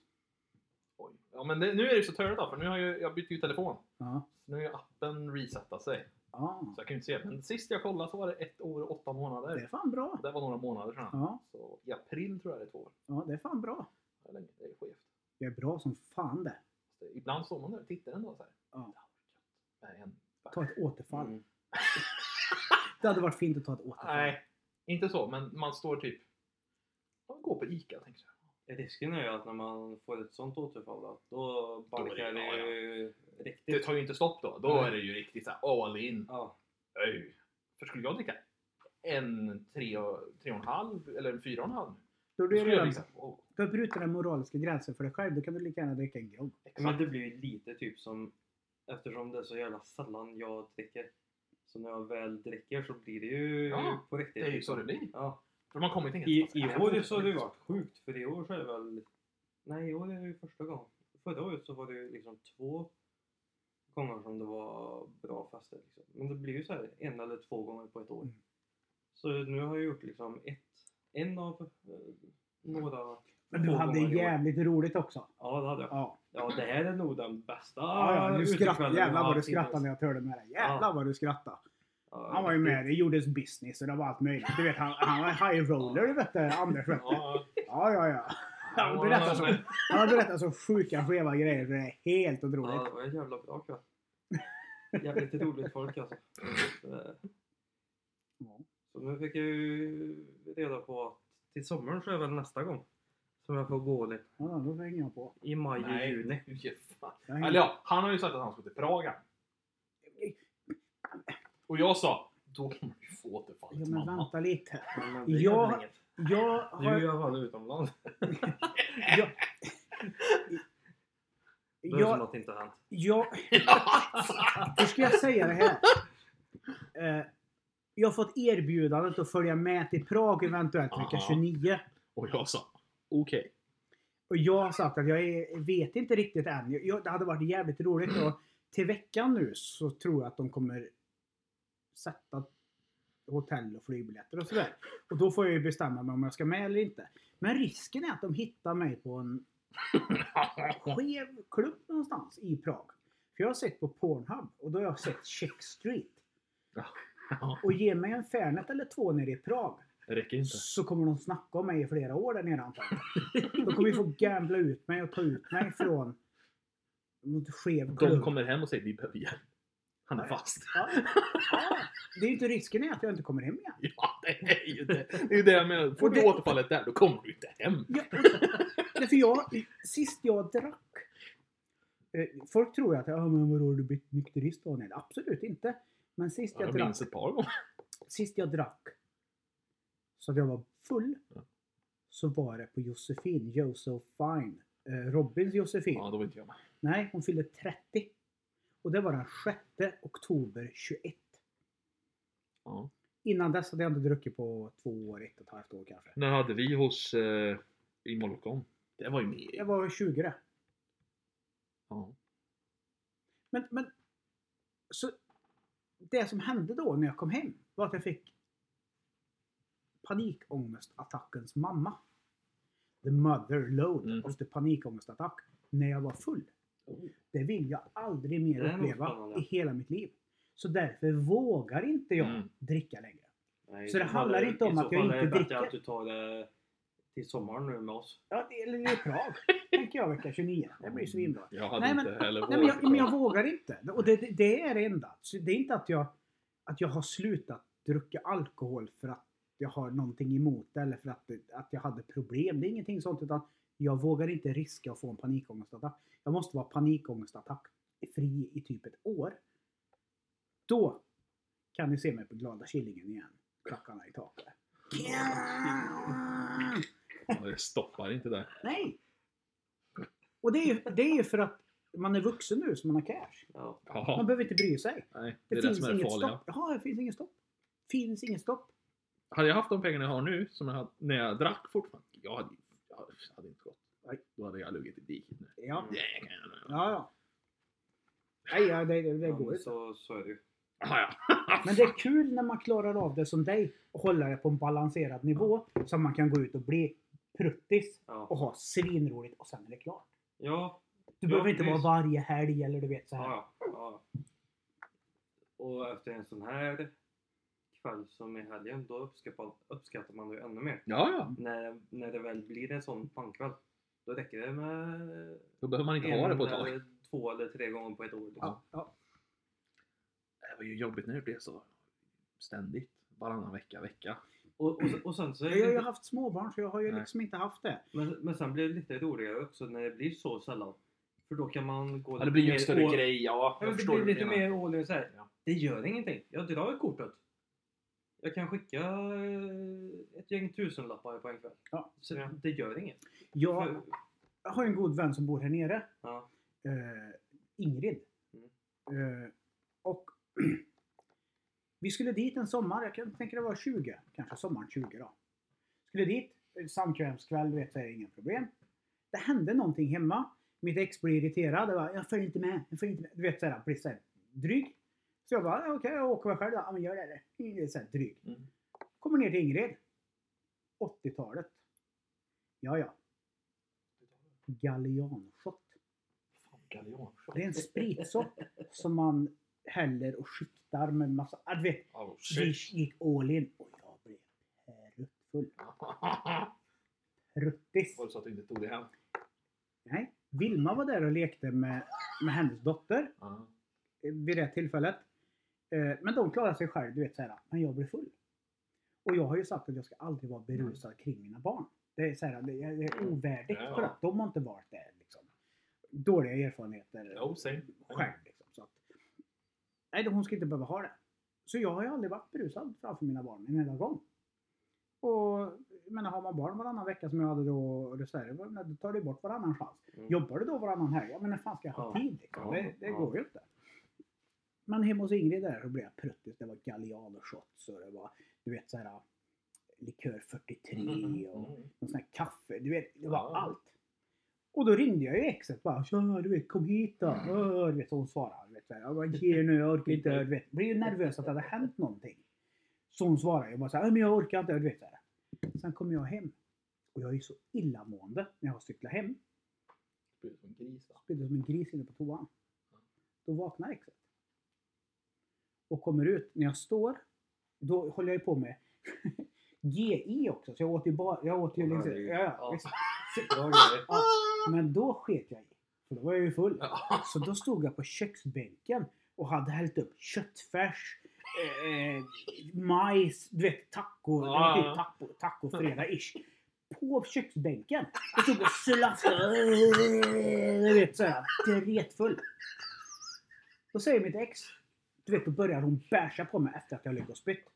[SPEAKER 2] Oj. Ja, men det, nu är det ju så törligt då, för nu har jag, jag bytt ju telefon.
[SPEAKER 1] Ja.
[SPEAKER 2] Så nu är ju appen resetta sig.
[SPEAKER 1] Ja,
[SPEAKER 2] Så jag kan ju inte se. Men sist jag kollade så var det ett år och åtta månader.
[SPEAKER 1] det är fan bra.
[SPEAKER 2] Det var några månader sedan.
[SPEAKER 1] Ja,
[SPEAKER 2] Så i april tror jag det är två år.
[SPEAKER 1] ja det är fan bra.
[SPEAKER 2] Det är länge. Det är skevt.
[SPEAKER 1] Det är bra som fan det.
[SPEAKER 2] Så det- Ibland står man där och tittar ändå så här.
[SPEAKER 1] Ja.
[SPEAKER 2] Nej, en.
[SPEAKER 1] Ta ett återfall.
[SPEAKER 3] Mm.
[SPEAKER 1] Det hade varit fint att ta ett återfall.
[SPEAKER 3] Alltså.
[SPEAKER 2] Nej, inte så. Men man står typ... Man går på ICA tänker jag.
[SPEAKER 3] Risken är ju att när man får ett sånt återfall att då barkar
[SPEAKER 2] det- ja,
[SPEAKER 3] det ju riktigt.
[SPEAKER 2] Det tar ju inte stopp då. Då
[SPEAKER 3] Nej.
[SPEAKER 2] är det ju riktigt så här all in.
[SPEAKER 3] Ja,
[SPEAKER 2] Öj. För skulle jag dricka en tre och, tre och en halv eller en fyra och en halv nu.
[SPEAKER 1] Då är
[SPEAKER 2] Då
[SPEAKER 1] du
[SPEAKER 2] skulle jag
[SPEAKER 1] redan,
[SPEAKER 2] liksom... Oh,
[SPEAKER 1] då har du brutit den moraliska gränsen för dig själv. Då kan du lika gärna dricka en grogg.
[SPEAKER 3] men
[SPEAKER 2] exakt.
[SPEAKER 3] det blir ju lite typ som eftersom det är så jävla sällan jag dricker. Så när jag väl dricker så blir det ju
[SPEAKER 2] Ja,
[SPEAKER 3] på riktigt.
[SPEAKER 2] Det är ju så
[SPEAKER 3] liksom.
[SPEAKER 2] det blir.
[SPEAKER 3] Ja.
[SPEAKER 2] För man kommer ju tänka...
[SPEAKER 3] I,
[SPEAKER 2] "Fan, ska
[SPEAKER 3] I
[SPEAKER 2] jag
[SPEAKER 3] år
[SPEAKER 2] fortsätta
[SPEAKER 3] så har det ju
[SPEAKER 2] dricka?"
[SPEAKER 3] varit sjukt för i år så är det väl... Nej, i år är det ju första gången. Förra året så var det ju liksom två gånger som det var bra fester. Liksom. Men det blir ju så här en eller två gånger på ett år.
[SPEAKER 1] Mm.
[SPEAKER 3] Så nu har jag gjort liksom ett, en av eh, några...
[SPEAKER 1] Men du
[SPEAKER 3] två
[SPEAKER 1] hade
[SPEAKER 3] gånger i år.
[SPEAKER 1] jävligt roligt också.
[SPEAKER 3] Ja, det hade jag.
[SPEAKER 1] Ja.
[SPEAKER 3] Ja, det här är nog den bästa
[SPEAKER 1] Ja, ja, nu
[SPEAKER 3] utekvällen
[SPEAKER 1] skrattar,
[SPEAKER 3] jag
[SPEAKER 1] jävlar vad du
[SPEAKER 3] haft
[SPEAKER 1] skrattade
[SPEAKER 3] hittills.
[SPEAKER 1] när jag hörde med dig. Jävlar vad du skrattade.
[SPEAKER 3] Ja,
[SPEAKER 1] Han var ju med, det gjordes business och det var allt möjligt. Du vet, han, han var high roller, du vet det, Anders. Vet du.
[SPEAKER 2] Ja,
[SPEAKER 1] Ja, ja, ja. Han berättar så, han har berättat så sjuka skeva grejer för det är helt
[SPEAKER 3] Ja, det
[SPEAKER 1] otroligt.
[SPEAKER 3] var en jävla bra kväll. Jävligt roligt folk alltså. Eh,
[SPEAKER 1] Ja.
[SPEAKER 3] Så nu fick jag ju reda på att till sommaren så är väl nästa gång som jag får gå lite.
[SPEAKER 1] Ja, då hänger jag på.
[SPEAKER 3] I maj,
[SPEAKER 2] Nej,
[SPEAKER 3] i juni.
[SPEAKER 2] du ger fan.
[SPEAKER 1] Jag
[SPEAKER 2] Eller
[SPEAKER 1] hänger.
[SPEAKER 2] ja, han har ju sagt att han ska till Praga. Och jag sa, då kommer du få
[SPEAKER 1] Ja,
[SPEAKER 2] återfallet
[SPEAKER 1] men
[SPEAKER 2] mamma.
[SPEAKER 1] vänta lite.
[SPEAKER 3] Men man
[SPEAKER 1] Ja,
[SPEAKER 3] dricker väl inget.
[SPEAKER 1] Jag
[SPEAKER 3] Du är
[SPEAKER 1] har...
[SPEAKER 3] ju fan utomlands.
[SPEAKER 1] Jag,
[SPEAKER 3] Det är som
[SPEAKER 1] jag,
[SPEAKER 3] att det inte har hänt.
[SPEAKER 1] jag, hur ska jag säga det här? Eh, jag har fått erbjudandet att följa med till Prag eventuellt vecka
[SPEAKER 2] Aha.
[SPEAKER 1] 29.
[SPEAKER 2] Och jag sa, okej.
[SPEAKER 1] Och jag har sagt att jag är, vet inte riktigt än. Jag- Jag, det hade varit jävligt roligt. Och till veckan nu så tror jag att de kommer sätta hotell och flygbiljetter och sådär. Och då får jag ju bestämma mig om jag ska med eller inte. Men risken är att de hittar mig på en skev klubb någonstans i Prag. För jag har sett på Pornhub och då har jag sett Check Street. Och ge mig en Fernet eller två nere i Prag
[SPEAKER 2] Det räcker inte.
[SPEAKER 1] så kommer de snacka om mig i flera år där nere antagligen. Då kommer vi få gambla ut mig och ta ut mig från något skev
[SPEAKER 2] De
[SPEAKER 1] klubb.
[SPEAKER 2] kommer hem och säger, vi behöver hjälp. Han är
[SPEAKER 1] Nej.
[SPEAKER 2] fast.
[SPEAKER 1] Ja. Ja. Det är ju inte risken är att jag inte kommer hem igen.
[SPEAKER 2] Ja, det är ju det. Det är ju det jag menar. Får
[SPEAKER 1] Och
[SPEAKER 2] du
[SPEAKER 1] det-
[SPEAKER 2] återfallet där, då kommer du inte hem.
[SPEAKER 1] Ja, därför jag, sist jag drack. eh, Folk tror ju att ja, men vadå, har du blivit nykterist Daniel? Absolut inte. Men sist jag,
[SPEAKER 2] Jag
[SPEAKER 1] drack,
[SPEAKER 2] minns ett par gånger.
[SPEAKER 1] sist jag drack så att jag var full
[SPEAKER 2] Ja.
[SPEAKER 1] så var det på Josefin, Josephine, eh, Robins Josefin.
[SPEAKER 2] Ja, då var inte jag med.
[SPEAKER 1] Nej, hon fyllde 30. Och det var den 6 oktober 21.
[SPEAKER 2] Ja.
[SPEAKER 1] Innan dess hade jag inte druckit på två år, ett och ett halvt år kanske.
[SPEAKER 2] När hade vi hos... Eh, I Molkom. Det var ju
[SPEAKER 1] Jag
[SPEAKER 2] med.
[SPEAKER 1] var 20 det.
[SPEAKER 2] Ja.
[SPEAKER 1] Men, men... Så... Det som hände då när jag kom hem var att jag fick panikångestattackens mamma. The mother load
[SPEAKER 2] Mhm.
[SPEAKER 1] of the panikångestattack. När jag var full. Det vill jag aldrig mer
[SPEAKER 3] Det är nog
[SPEAKER 1] uppleva
[SPEAKER 3] spännande.
[SPEAKER 1] i hela mitt liv. Så därför vågar inte jag
[SPEAKER 2] Mm.
[SPEAKER 1] dricka längre.
[SPEAKER 3] Nej,
[SPEAKER 1] Så det
[SPEAKER 3] i
[SPEAKER 1] handlar
[SPEAKER 3] fall-
[SPEAKER 1] inte om
[SPEAKER 3] i så
[SPEAKER 1] att jag
[SPEAKER 3] fall är
[SPEAKER 1] inte
[SPEAKER 3] det bättre
[SPEAKER 1] dricker?
[SPEAKER 3] att du tar det till sommaren nu med oss.
[SPEAKER 1] Ja, det- eller i Prag. tänker jag vecka 29. Det blir svinbra.
[SPEAKER 2] Jag hade
[SPEAKER 1] Nej, men-
[SPEAKER 2] inte heller
[SPEAKER 1] Nej, men, jag, men jag vågar inte. Och det, det, det är det enda. Så det är inte att jag, att jag har slutat dricka alkohol för att jag har någonting emot det eller för att, det- att jag hade problem. Det är ingenting sånt. Utan jag vågar inte riska att få en panikångestattack. Jag måste vara panikångestattack fri i typ ett år. Då kan ni se mig på Glada Killingen igen. Klackarna i taket.
[SPEAKER 2] Ja, det stoppar inte där.
[SPEAKER 1] Nej! Och det är ju det är ju för att man är vuxen nu så man har cash.
[SPEAKER 3] Ja.
[SPEAKER 1] Man
[SPEAKER 2] Ja,
[SPEAKER 1] behöver inte bry sig.
[SPEAKER 2] nej, det
[SPEAKER 1] Det,
[SPEAKER 2] är det
[SPEAKER 1] finns
[SPEAKER 2] som är det
[SPEAKER 1] inget
[SPEAKER 2] farliga.
[SPEAKER 1] stopp. Ja, det finns inget stopp. Finns inget stopp.
[SPEAKER 2] Hade jag haft de pengarna jag har nu, som jag hade, när jag drack fortfarande. Jag hade, jag hade inte gått.
[SPEAKER 1] Nej.
[SPEAKER 2] Då hade jag legat i diket nu.
[SPEAKER 1] Ja,
[SPEAKER 3] Mm.
[SPEAKER 2] Jäklar.
[SPEAKER 1] ja. ja. Nej, ja, det, det, det
[SPEAKER 3] Ja,
[SPEAKER 1] går
[SPEAKER 3] men
[SPEAKER 1] inte.
[SPEAKER 3] så, så är det ju.
[SPEAKER 2] Ja,
[SPEAKER 1] Men det är kul när man klarar av det som dig och håller det på en balanserad nivå så man kan gå ut och bli pruttis
[SPEAKER 3] Ja.
[SPEAKER 1] och ha svinroligt och sen är det klart.
[SPEAKER 3] Ja,
[SPEAKER 1] Du
[SPEAKER 3] Ja,
[SPEAKER 1] behöver inte vara
[SPEAKER 3] precis.
[SPEAKER 1] varje helg eller du vet så här.
[SPEAKER 3] ja, ja. ja. Och efter en sån här kväll som i helgen, då uppskattar, uppskattar man det ännu mer.
[SPEAKER 2] Ja, ja.
[SPEAKER 3] När, när det väl blir en sån pankväll, då räcker det med
[SPEAKER 2] Då behöver man inte ha det på ett tag.
[SPEAKER 3] eller två eller tre gånger på ett år. Liksom.
[SPEAKER 2] Ja.
[SPEAKER 1] Ja.
[SPEAKER 2] Det var ju jobbigt när det blev så ständigt. Varannan vecka, vecka.
[SPEAKER 3] Och, och, sen- och sen så är
[SPEAKER 1] Jag har ju
[SPEAKER 3] det,
[SPEAKER 1] haft småbarn så jag har ju
[SPEAKER 2] Nej.
[SPEAKER 1] liksom inte haft det.
[SPEAKER 3] men, men sen blir det lite roligare också när det blir så sällan. För då kan man gå
[SPEAKER 2] Ja, det blir ju en
[SPEAKER 3] mer
[SPEAKER 2] större
[SPEAKER 3] all-
[SPEAKER 2] grej, ja.
[SPEAKER 3] Ja,
[SPEAKER 2] Jag
[SPEAKER 3] men
[SPEAKER 2] förstår
[SPEAKER 3] det
[SPEAKER 2] hur
[SPEAKER 3] blir
[SPEAKER 2] du
[SPEAKER 3] lite
[SPEAKER 2] menar.
[SPEAKER 3] mer all in så här.
[SPEAKER 2] Ja.
[SPEAKER 3] Det gör ingenting. Jag drar kortet. Jag kan skicka eh, ett gäng tusenlappar på en kväll.
[SPEAKER 1] Ja.
[SPEAKER 3] Så det gör inget.
[SPEAKER 1] Jag
[SPEAKER 3] För-
[SPEAKER 1] har ju en god vän som bor här nere.
[SPEAKER 3] Ja.
[SPEAKER 1] eh, Ingrid.
[SPEAKER 3] Mm.
[SPEAKER 1] Eh, och vi skulle dit en sommar, jag kan tänka det var 20, kanske sommaren 20 då. Skulle dit, eh, samkvämskväll, du vet, så är det inga problem. Det hände någonting hemma. Mitt ex blir irriterad. Jag, bara, jag följer inte med, jag följer inte med. Du vet, så här, han blir så här dryg. Så jag bara, "Ja, okej, jag åker väl själv då. Ja, men gör det. då." Det är så här dryg.
[SPEAKER 2] Mm.
[SPEAKER 1] Kommer ner till Ingrid. 80-talet. Ja, ja. Gallianshot. Det är en spritsort som man häller och skiktar med massa... ah, Du vet,
[SPEAKER 2] Oh,
[SPEAKER 1] vi
[SPEAKER 2] shit.
[SPEAKER 1] gick all in och jag blev pruttfull. Pruttis.
[SPEAKER 2] Var det så att du inte tog det hem?
[SPEAKER 1] Nej. Vilma var där och lekte med, med hennes dotter
[SPEAKER 2] Ja.
[SPEAKER 1] eh, vid det tillfället. Eh, Men de klarade sig själv, du vet så här. Men jag blev full. Och jag har ju sagt att jag ska aldrig vara berusad kring mina barn. Det är, så här, det är det är ovärdigt
[SPEAKER 2] Mm. Ja.
[SPEAKER 1] för att de har inte varit där. Liksom. Dåliga erfarenheter.
[SPEAKER 2] Jo, oh, same.
[SPEAKER 1] själv.
[SPEAKER 3] Mm.
[SPEAKER 1] Liksom, så att, nej, då hon ska inte behöva ha det. Så jag har ju aldrig varit berusad framför mina barn en enda gång. Och jag menar, har man barn varannan vecka som jag hade då, och det så här, jag menar, då tar det bort varannan chans.
[SPEAKER 3] Mm.
[SPEAKER 1] Jobbar du då varannan helg, ja men när fan ska jag ha
[SPEAKER 3] Ja.
[SPEAKER 1] tid? Liksom?
[SPEAKER 3] Ja,
[SPEAKER 1] Det, det
[SPEAKER 3] ja.
[SPEAKER 1] går ju inte. Men hemma hos Ingrid där så blev jag pruttig. Det var Galliano shots och det var, du vet så här, likör 43 och någon sån här kaffe. Du vet, det var
[SPEAKER 2] Ja.
[SPEAKER 1] allt. Och då ringde jag ju exet bara. Tja, du vet, kom hit då. Åh, du vet, så hon svarade. Du vet, så här, jag bara, ge nu, jag orkar inte. Du vet, jag blev ju nervös att det hade hänt någonting. Så hon svarade. Jag bara så här, "Ja, men jag orkar inte. Du vet, så här. Sen kom jag hem. Och jag är ju så illamående när jag cyklar hem.
[SPEAKER 2] Precis som grisar.
[SPEAKER 1] Spydde som en gris inne på toan. Då vaknar exet. Och kommer ut. När jag står, då håller jag ju på med GI också. Så jag åt ju bara... Jag åt ju
[SPEAKER 3] Åh,
[SPEAKER 1] liksom,
[SPEAKER 3] herregud.
[SPEAKER 1] ja, ja,
[SPEAKER 3] Ja.
[SPEAKER 1] visst.
[SPEAKER 3] Bra grejer.
[SPEAKER 1] Men då sket jag i. För då var jag ju full.
[SPEAKER 2] Ja.
[SPEAKER 1] Så då stod jag på köksbänken och hade hällt upp köttfärs, eh, eh, majs, du vet taco,
[SPEAKER 2] Ja,
[SPEAKER 1] det var
[SPEAKER 2] ja.
[SPEAKER 1] typ taco, tacofredag-ish. På köksbänken. Jag stod och slafsade. Du vet såhär, dretfull. Då säger mitt ex, du vet då börjar hon bärsa på mig efter att jag legat och spytt.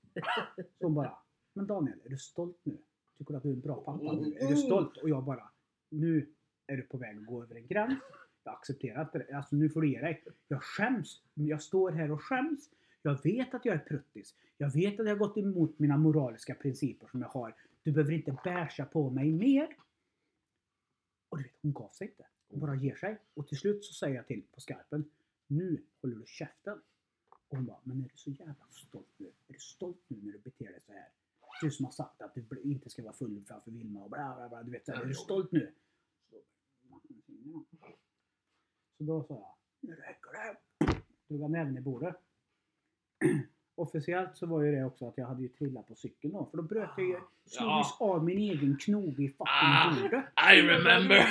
[SPEAKER 1] Så hon bara, men Daniel är du stolt nu? Tycker du att du är en bra pappa
[SPEAKER 2] Mm.
[SPEAKER 1] nu? Är du stolt? Och jag bara, nu är du på väg att gå över en gräns. Jag accepterar inte det. Alltså nu får du ge dig. Jag skäms. Jag står här och skäms. Jag vet att jag är pruttis. Jag vet att jag har gått emot mina moraliska principer som jag har. Du behöver inte bärsa på mig mer. Och du vet, hon gav sig inte. Hon bara ger sig. Och till slut så säger jag till på skarpen. Nu håller du käften. Och hon bara, men är du så jävla stolt nu? Är du stolt nu när du beter dig så här? Du som har sagt att du bl- inte ska vara full framför Vilma och bla bla bla. Du vet, så här, är du stolt nu? Så då sa jag, nu räcker det. Drog han näven i bordet. Officiellt så var ju det också att jag hade ju trillat på cykeln då. För då bröt jag ju, slogs av min egen knog i
[SPEAKER 2] Ah.
[SPEAKER 1] fucking bordet.
[SPEAKER 2] I remember!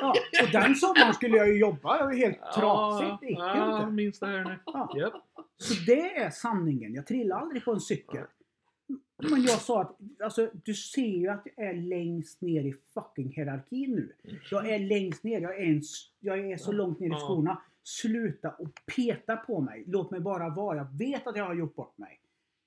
[SPEAKER 1] Ja, och den sommaren skulle jag ju jobba. Jag var helt trasig. Det gick ju
[SPEAKER 2] Ja,
[SPEAKER 1] inte. Ah,
[SPEAKER 2] minns det här nu.
[SPEAKER 1] Ja.
[SPEAKER 2] Japp.
[SPEAKER 1] Så det är sanningen. Jag trillade aldrig på en cykel. Men jag sa att alltså, du ser ju att jag är längst ner i fucking hierarkin nu. Jag är längst ner. Jag är, en, s- jag är så långt ner i
[SPEAKER 2] Ja.
[SPEAKER 1] skorna. Sluta och peta på mig. Låt mig bara vara. Jag vet att jag har gjort bort mig.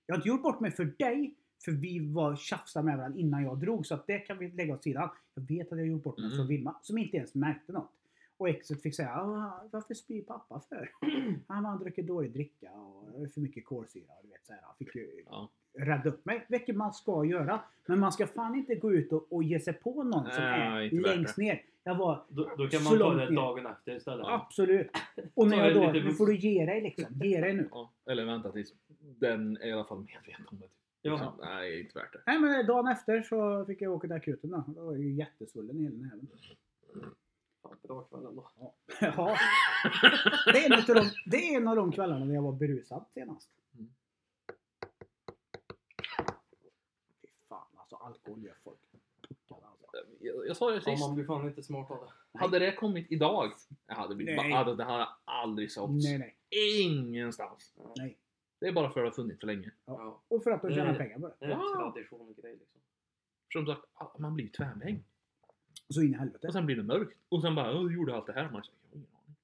[SPEAKER 1] Jag har inte gjort bort mig för dig. För vi var tjafsade med varandra innan jag drog. Så att det kan vi lägga åt sidan. Jag vet att jag har gjort bort mig
[SPEAKER 2] Mm.
[SPEAKER 1] för Vilma. Som inte ens märkte något. Och exet fick säga "Ah, Varför spyr pappa för? Han har druckit dålig dricka och för mycket kolsyra. och Du vet, så här. Han fick ju
[SPEAKER 2] Ja.
[SPEAKER 1] rädda upp mig. Vilket man ska göra. Men man ska fan inte gå ut och, och ge sig på någon som
[SPEAKER 2] Nej,
[SPEAKER 1] är
[SPEAKER 2] inte värt
[SPEAKER 1] längst ner. Jag var
[SPEAKER 3] Då, då kan
[SPEAKER 1] Så
[SPEAKER 3] man ta
[SPEAKER 1] långt
[SPEAKER 3] det
[SPEAKER 1] ner.
[SPEAKER 3] dagen efter istället.
[SPEAKER 1] absolut... Och när
[SPEAKER 3] Ta
[SPEAKER 1] jag
[SPEAKER 3] det
[SPEAKER 1] då...
[SPEAKER 3] lite
[SPEAKER 1] Nu får du ge dig liksom. Ge dig nu.
[SPEAKER 2] Ja, Eller vänta tills den är i alla fall medveten om det.
[SPEAKER 3] Ja.
[SPEAKER 2] Nej, det är inte värt det.
[SPEAKER 1] Nej men dagen efter så fick jag åka till akuten då. Då var jag ju jättesvullen i hela näven.
[SPEAKER 3] Fan, bra kväll ändå.
[SPEAKER 1] Ja. Det är, en utav de, det är en av de kvällarna när jag var berusad senast.
[SPEAKER 2] Mm.
[SPEAKER 1] Fy fan alltså, alkohol gör folk puckade alltså.
[SPEAKER 2] Jag, jag sa det
[SPEAKER 3] Ja,
[SPEAKER 2] sist.
[SPEAKER 3] man blir fan inte smart av det.
[SPEAKER 2] Hade det kommit idag? Jag hade blivit,
[SPEAKER 1] Nej.
[SPEAKER 2] hade, det hade aldrig sålts.
[SPEAKER 1] Nej, nej,
[SPEAKER 2] Ingenstans.
[SPEAKER 1] nej.
[SPEAKER 2] Det är bara för att det har funnits för länge.
[SPEAKER 3] Ja.
[SPEAKER 1] Och för att de
[SPEAKER 3] Nej.
[SPEAKER 1] tjänar pengar på det.
[SPEAKER 3] Det är en
[SPEAKER 2] Ja.
[SPEAKER 3] tradition och grej liksom.
[SPEAKER 2] Som sagt, ah, man blir ju tvärvägd.
[SPEAKER 1] Så in i
[SPEAKER 2] Och
[SPEAKER 1] helvete.
[SPEAKER 2] sen blir det mörkt. Och sen bara, "Åh, du gjorde allt det här. Man säger, "Jag har ingen aning."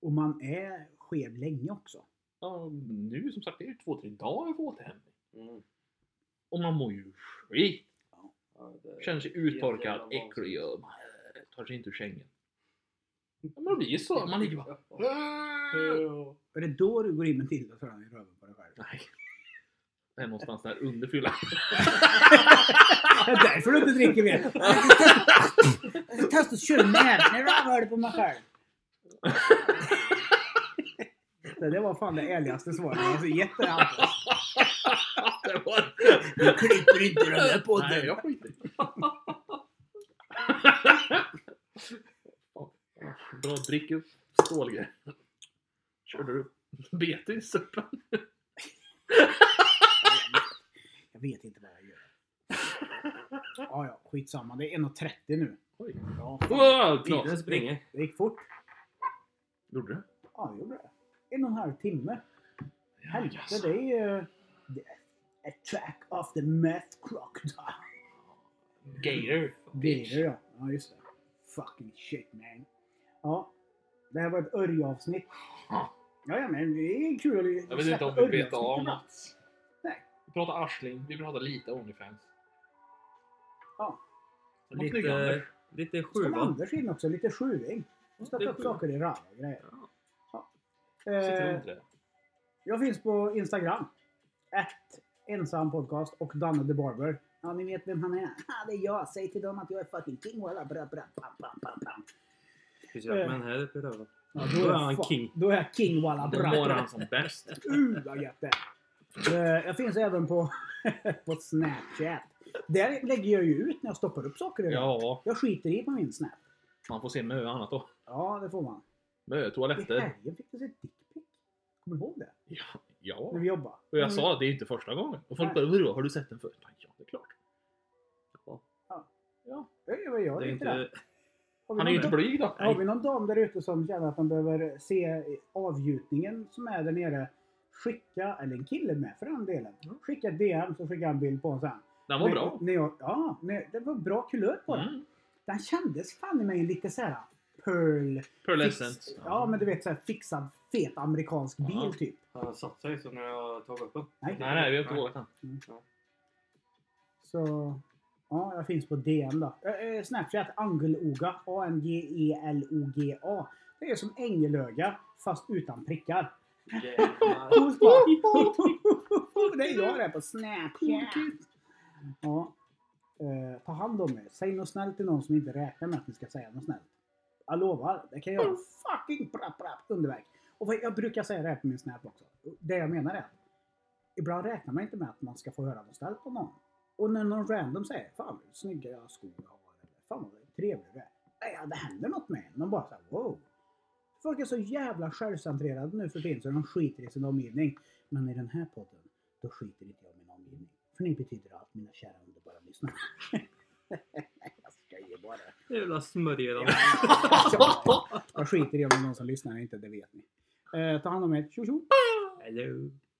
[SPEAKER 1] Och man är skev länge också.
[SPEAKER 2] ja, nu som sagt, det är ju två, tre dagar för återhämtning.
[SPEAKER 3] Mm.
[SPEAKER 2] Och man mår ju skit.
[SPEAKER 3] Ja, det...
[SPEAKER 2] Känner sig uttorkad, äcklig och man, eh, tar sig inte ur sängen. Ja, Man blir ju så. Man ligger bara...
[SPEAKER 3] Ja. Ja.
[SPEAKER 1] Är det då du går in med Tilda så är den i röven på dig själv?
[SPEAKER 2] Nej. Det är någonstans där under fyllan.
[SPEAKER 1] Det är därför du inte dricker mer. Jag ska testa att köra näven i rövhålet på mig själv. Det där var fan det ärligaste svaret jag har gett dig Hampus.
[SPEAKER 2] Det var-
[SPEAKER 1] Du klipper inte den här
[SPEAKER 2] Nej, jag skiter i det. Bra drick upp stålgrej. Körde du bete i suppen?
[SPEAKER 1] Jag vet inte vad jag gör. Ja, ja, skitsamma. Det är 1.30 nu.
[SPEAKER 2] Oj.
[SPEAKER 1] Ja,
[SPEAKER 2] Wow,
[SPEAKER 3] Tiden
[SPEAKER 2] Klas!
[SPEAKER 3] springer.
[SPEAKER 1] det gick fort.
[SPEAKER 2] Gjorde du?
[SPEAKER 1] Ja, det gjorde det. En och en halv timme. Helvete,
[SPEAKER 2] jaså.
[SPEAKER 1] det är ju... det är Attack of the meth crocodile.
[SPEAKER 2] Gator.
[SPEAKER 1] Det är det ja. Ja just det. Fucking shit man. Ja. Det här var ett Örje-avsnitt.
[SPEAKER 2] Ja.
[SPEAKER 1] Ja, ja men det är kul att
[SPEAKER 2] Jag vet inte om
[SPEAKER 1] släppa
[SPEAKER 2] vi vet
[SPEAKER 1] Örje-avsnitt
[SPEAKER 2] om
[SPEAKER 1] ibland.
[SPEAKER 2] att...
[SPEAKER 1] Nej.
[SPEAKER 2] Vi pratar Arsling, vi pratar lite Onlyfans.
[SPEAKER 1] Ja. eh,
[SPEAKER 2] Vad snygg han
[SPEAKER 3] Lite,
[SPEAKER 2] är.
[SPEAKER 3] lite
[SPEAKER 1] Som
[SPEAKER 3] sjuan.
[SPEAKER 1] Anders in också, lite sjuing. Stoppa
[SPEAKER 3] lite
[SPEAKER 1] upp
[SPEAKER 3] sjuing.
[SPEAKER 1] saker i röv och grejer. Ja. Eh,
[SPEAKER 2] Citronträ.
[SPEAKER 1] jag finns på Instagram. Ett ensam podcast och Danne the Barber. Ja, ni vet vem han är. Ja, det är jag. Säg till dem att jag är fucking king. Walla, bra, bra, pam, pam, pam, pam.
[SPEAKER 3] Men här uppe i röven.
[SPEAKER 1] Ja,
[SPEAKER 3] Då är
[SPEAKER 1] jag
[SPEAKER 3] han
[SPEAKER 1] fuck-
[SPEAKER 3] king.
[SPEAKER 1] Då är jag king. Walla,
[SPEAKER 2] Då
[SPEAKER 1] bra,
[SPEAKER 2] mår
[SPEAKER 1] bra,
[SPEAKER 2] han som bäst.
[SPEAKER 1] Uh, vad gött det är. Eh, Jag finns även på, på Snapchat. Där lägger jag ju ut när jag stoppar upp saker i den.
[SPEAKER 2] Ja,
[SPEAKER 1] Jag skiter i på min Snap.
[SPEAKER 2] man får se mö och annat då.
[SPEAKER 1] Ja, det får man.
[SPEAKER 2] Mö,
[SPEAKER 1] I
[SPEAKER 2] toaletter.
[SPEAKER 1] helgen fick jag se dickpic. Kommer du ihåg det?
[SPEAKER 2] Ja. ja.
[SPEAKER 1] När vi jobbade.
[SPEAKER 2] Och jag sa att det är inte första gången. Och folk bara, "Vadå, har du sett den förut? Fan, Ja, det är klart.
[SPEAKER 1] Nej, vad gör
[SPEAKER 3] Det är
[SPEAKER 1] inte det?
[SPEAKER 3] inte...
[SPEAKER 1] Har vi
[SPEAKER 2] Han är ju
[SPEAKER 1] någon
[SPEAKER 2] inte
[SPEAKER 1] dam-
[SPEAKER 2] blyg då.
[SPEAKER 1] Har vi någon dam där ute som känner att de behöver se avgjutningen som är där nere? Skicka, eller en kille med för den delen. Skicka ett DM så skickar jag en bild på honom sen.
[SPEAKER 2] Den var
[SPEAKER 1] Men-
[SPEAKER 2] bra.
[SPEAKER 1] När jag, ja, när, det var bra kulör på den.
[SPEAKER 2] Mm.
[SPEAKER 1] Den kändes fan i mig lite såhär Pearl...
[SPEAKER 2] Pearlescent.
[SPEAKER 1] Ja. men du vet såhär fixad fet amerikansk bil
[SPEAKER 2] Ja.
[SPEAKER 1] typ.
[SPEAKER 3] Han har satt sig så när jag tagit upp den.
[SPEAKER 1] Nej.
[SPEAKER 2] Nej, nej, vi har inte vågat än.
[SPEAKER 1] Så... Ja, jag finns på DM då. Eh, eh, Snapchat, Angeloga. E A-N-G-E-L-O-G-A. Det är som ängelöga, fast utan prickar.
[SPEAKER 3] Jävlar.
[SPEAKER 1] Coolt va? Det är jag det på Snapchat. Ja. Eh, ta hand om er. Säg något snällt till någon som inte räknar med att ni ska säga något snällt. Jag lovar, det kan göra Oh, fucking brapp brapp underverk. Och vad- jag brukar säga det här på min Snap också. Det jag menar är att ibland räknar man inte med att man ska få höra något snällt på någon. Och när någon random säger Fan vad snygga skor jag har. Eller Fan vad trevlig du är. Nej, ja, det händer något med en. Man bara såhär wow. Folk är så jävla självcentrerade nu för tiden så de skiter i sin omgivning. Men i den här podden, då skiter inte jag i min omgivning. För ni betyder allt mina kära underbara lyssnare. jag skojar bara.
[SPEAKER 3] Jävla smörjare.
[SPEAKER 1] Jag skiter i om det är någon som lyssnar eller inte, det vet ni. Eh, ta hand om er. Tjo tjo!
[SPEAKER 3] Hello.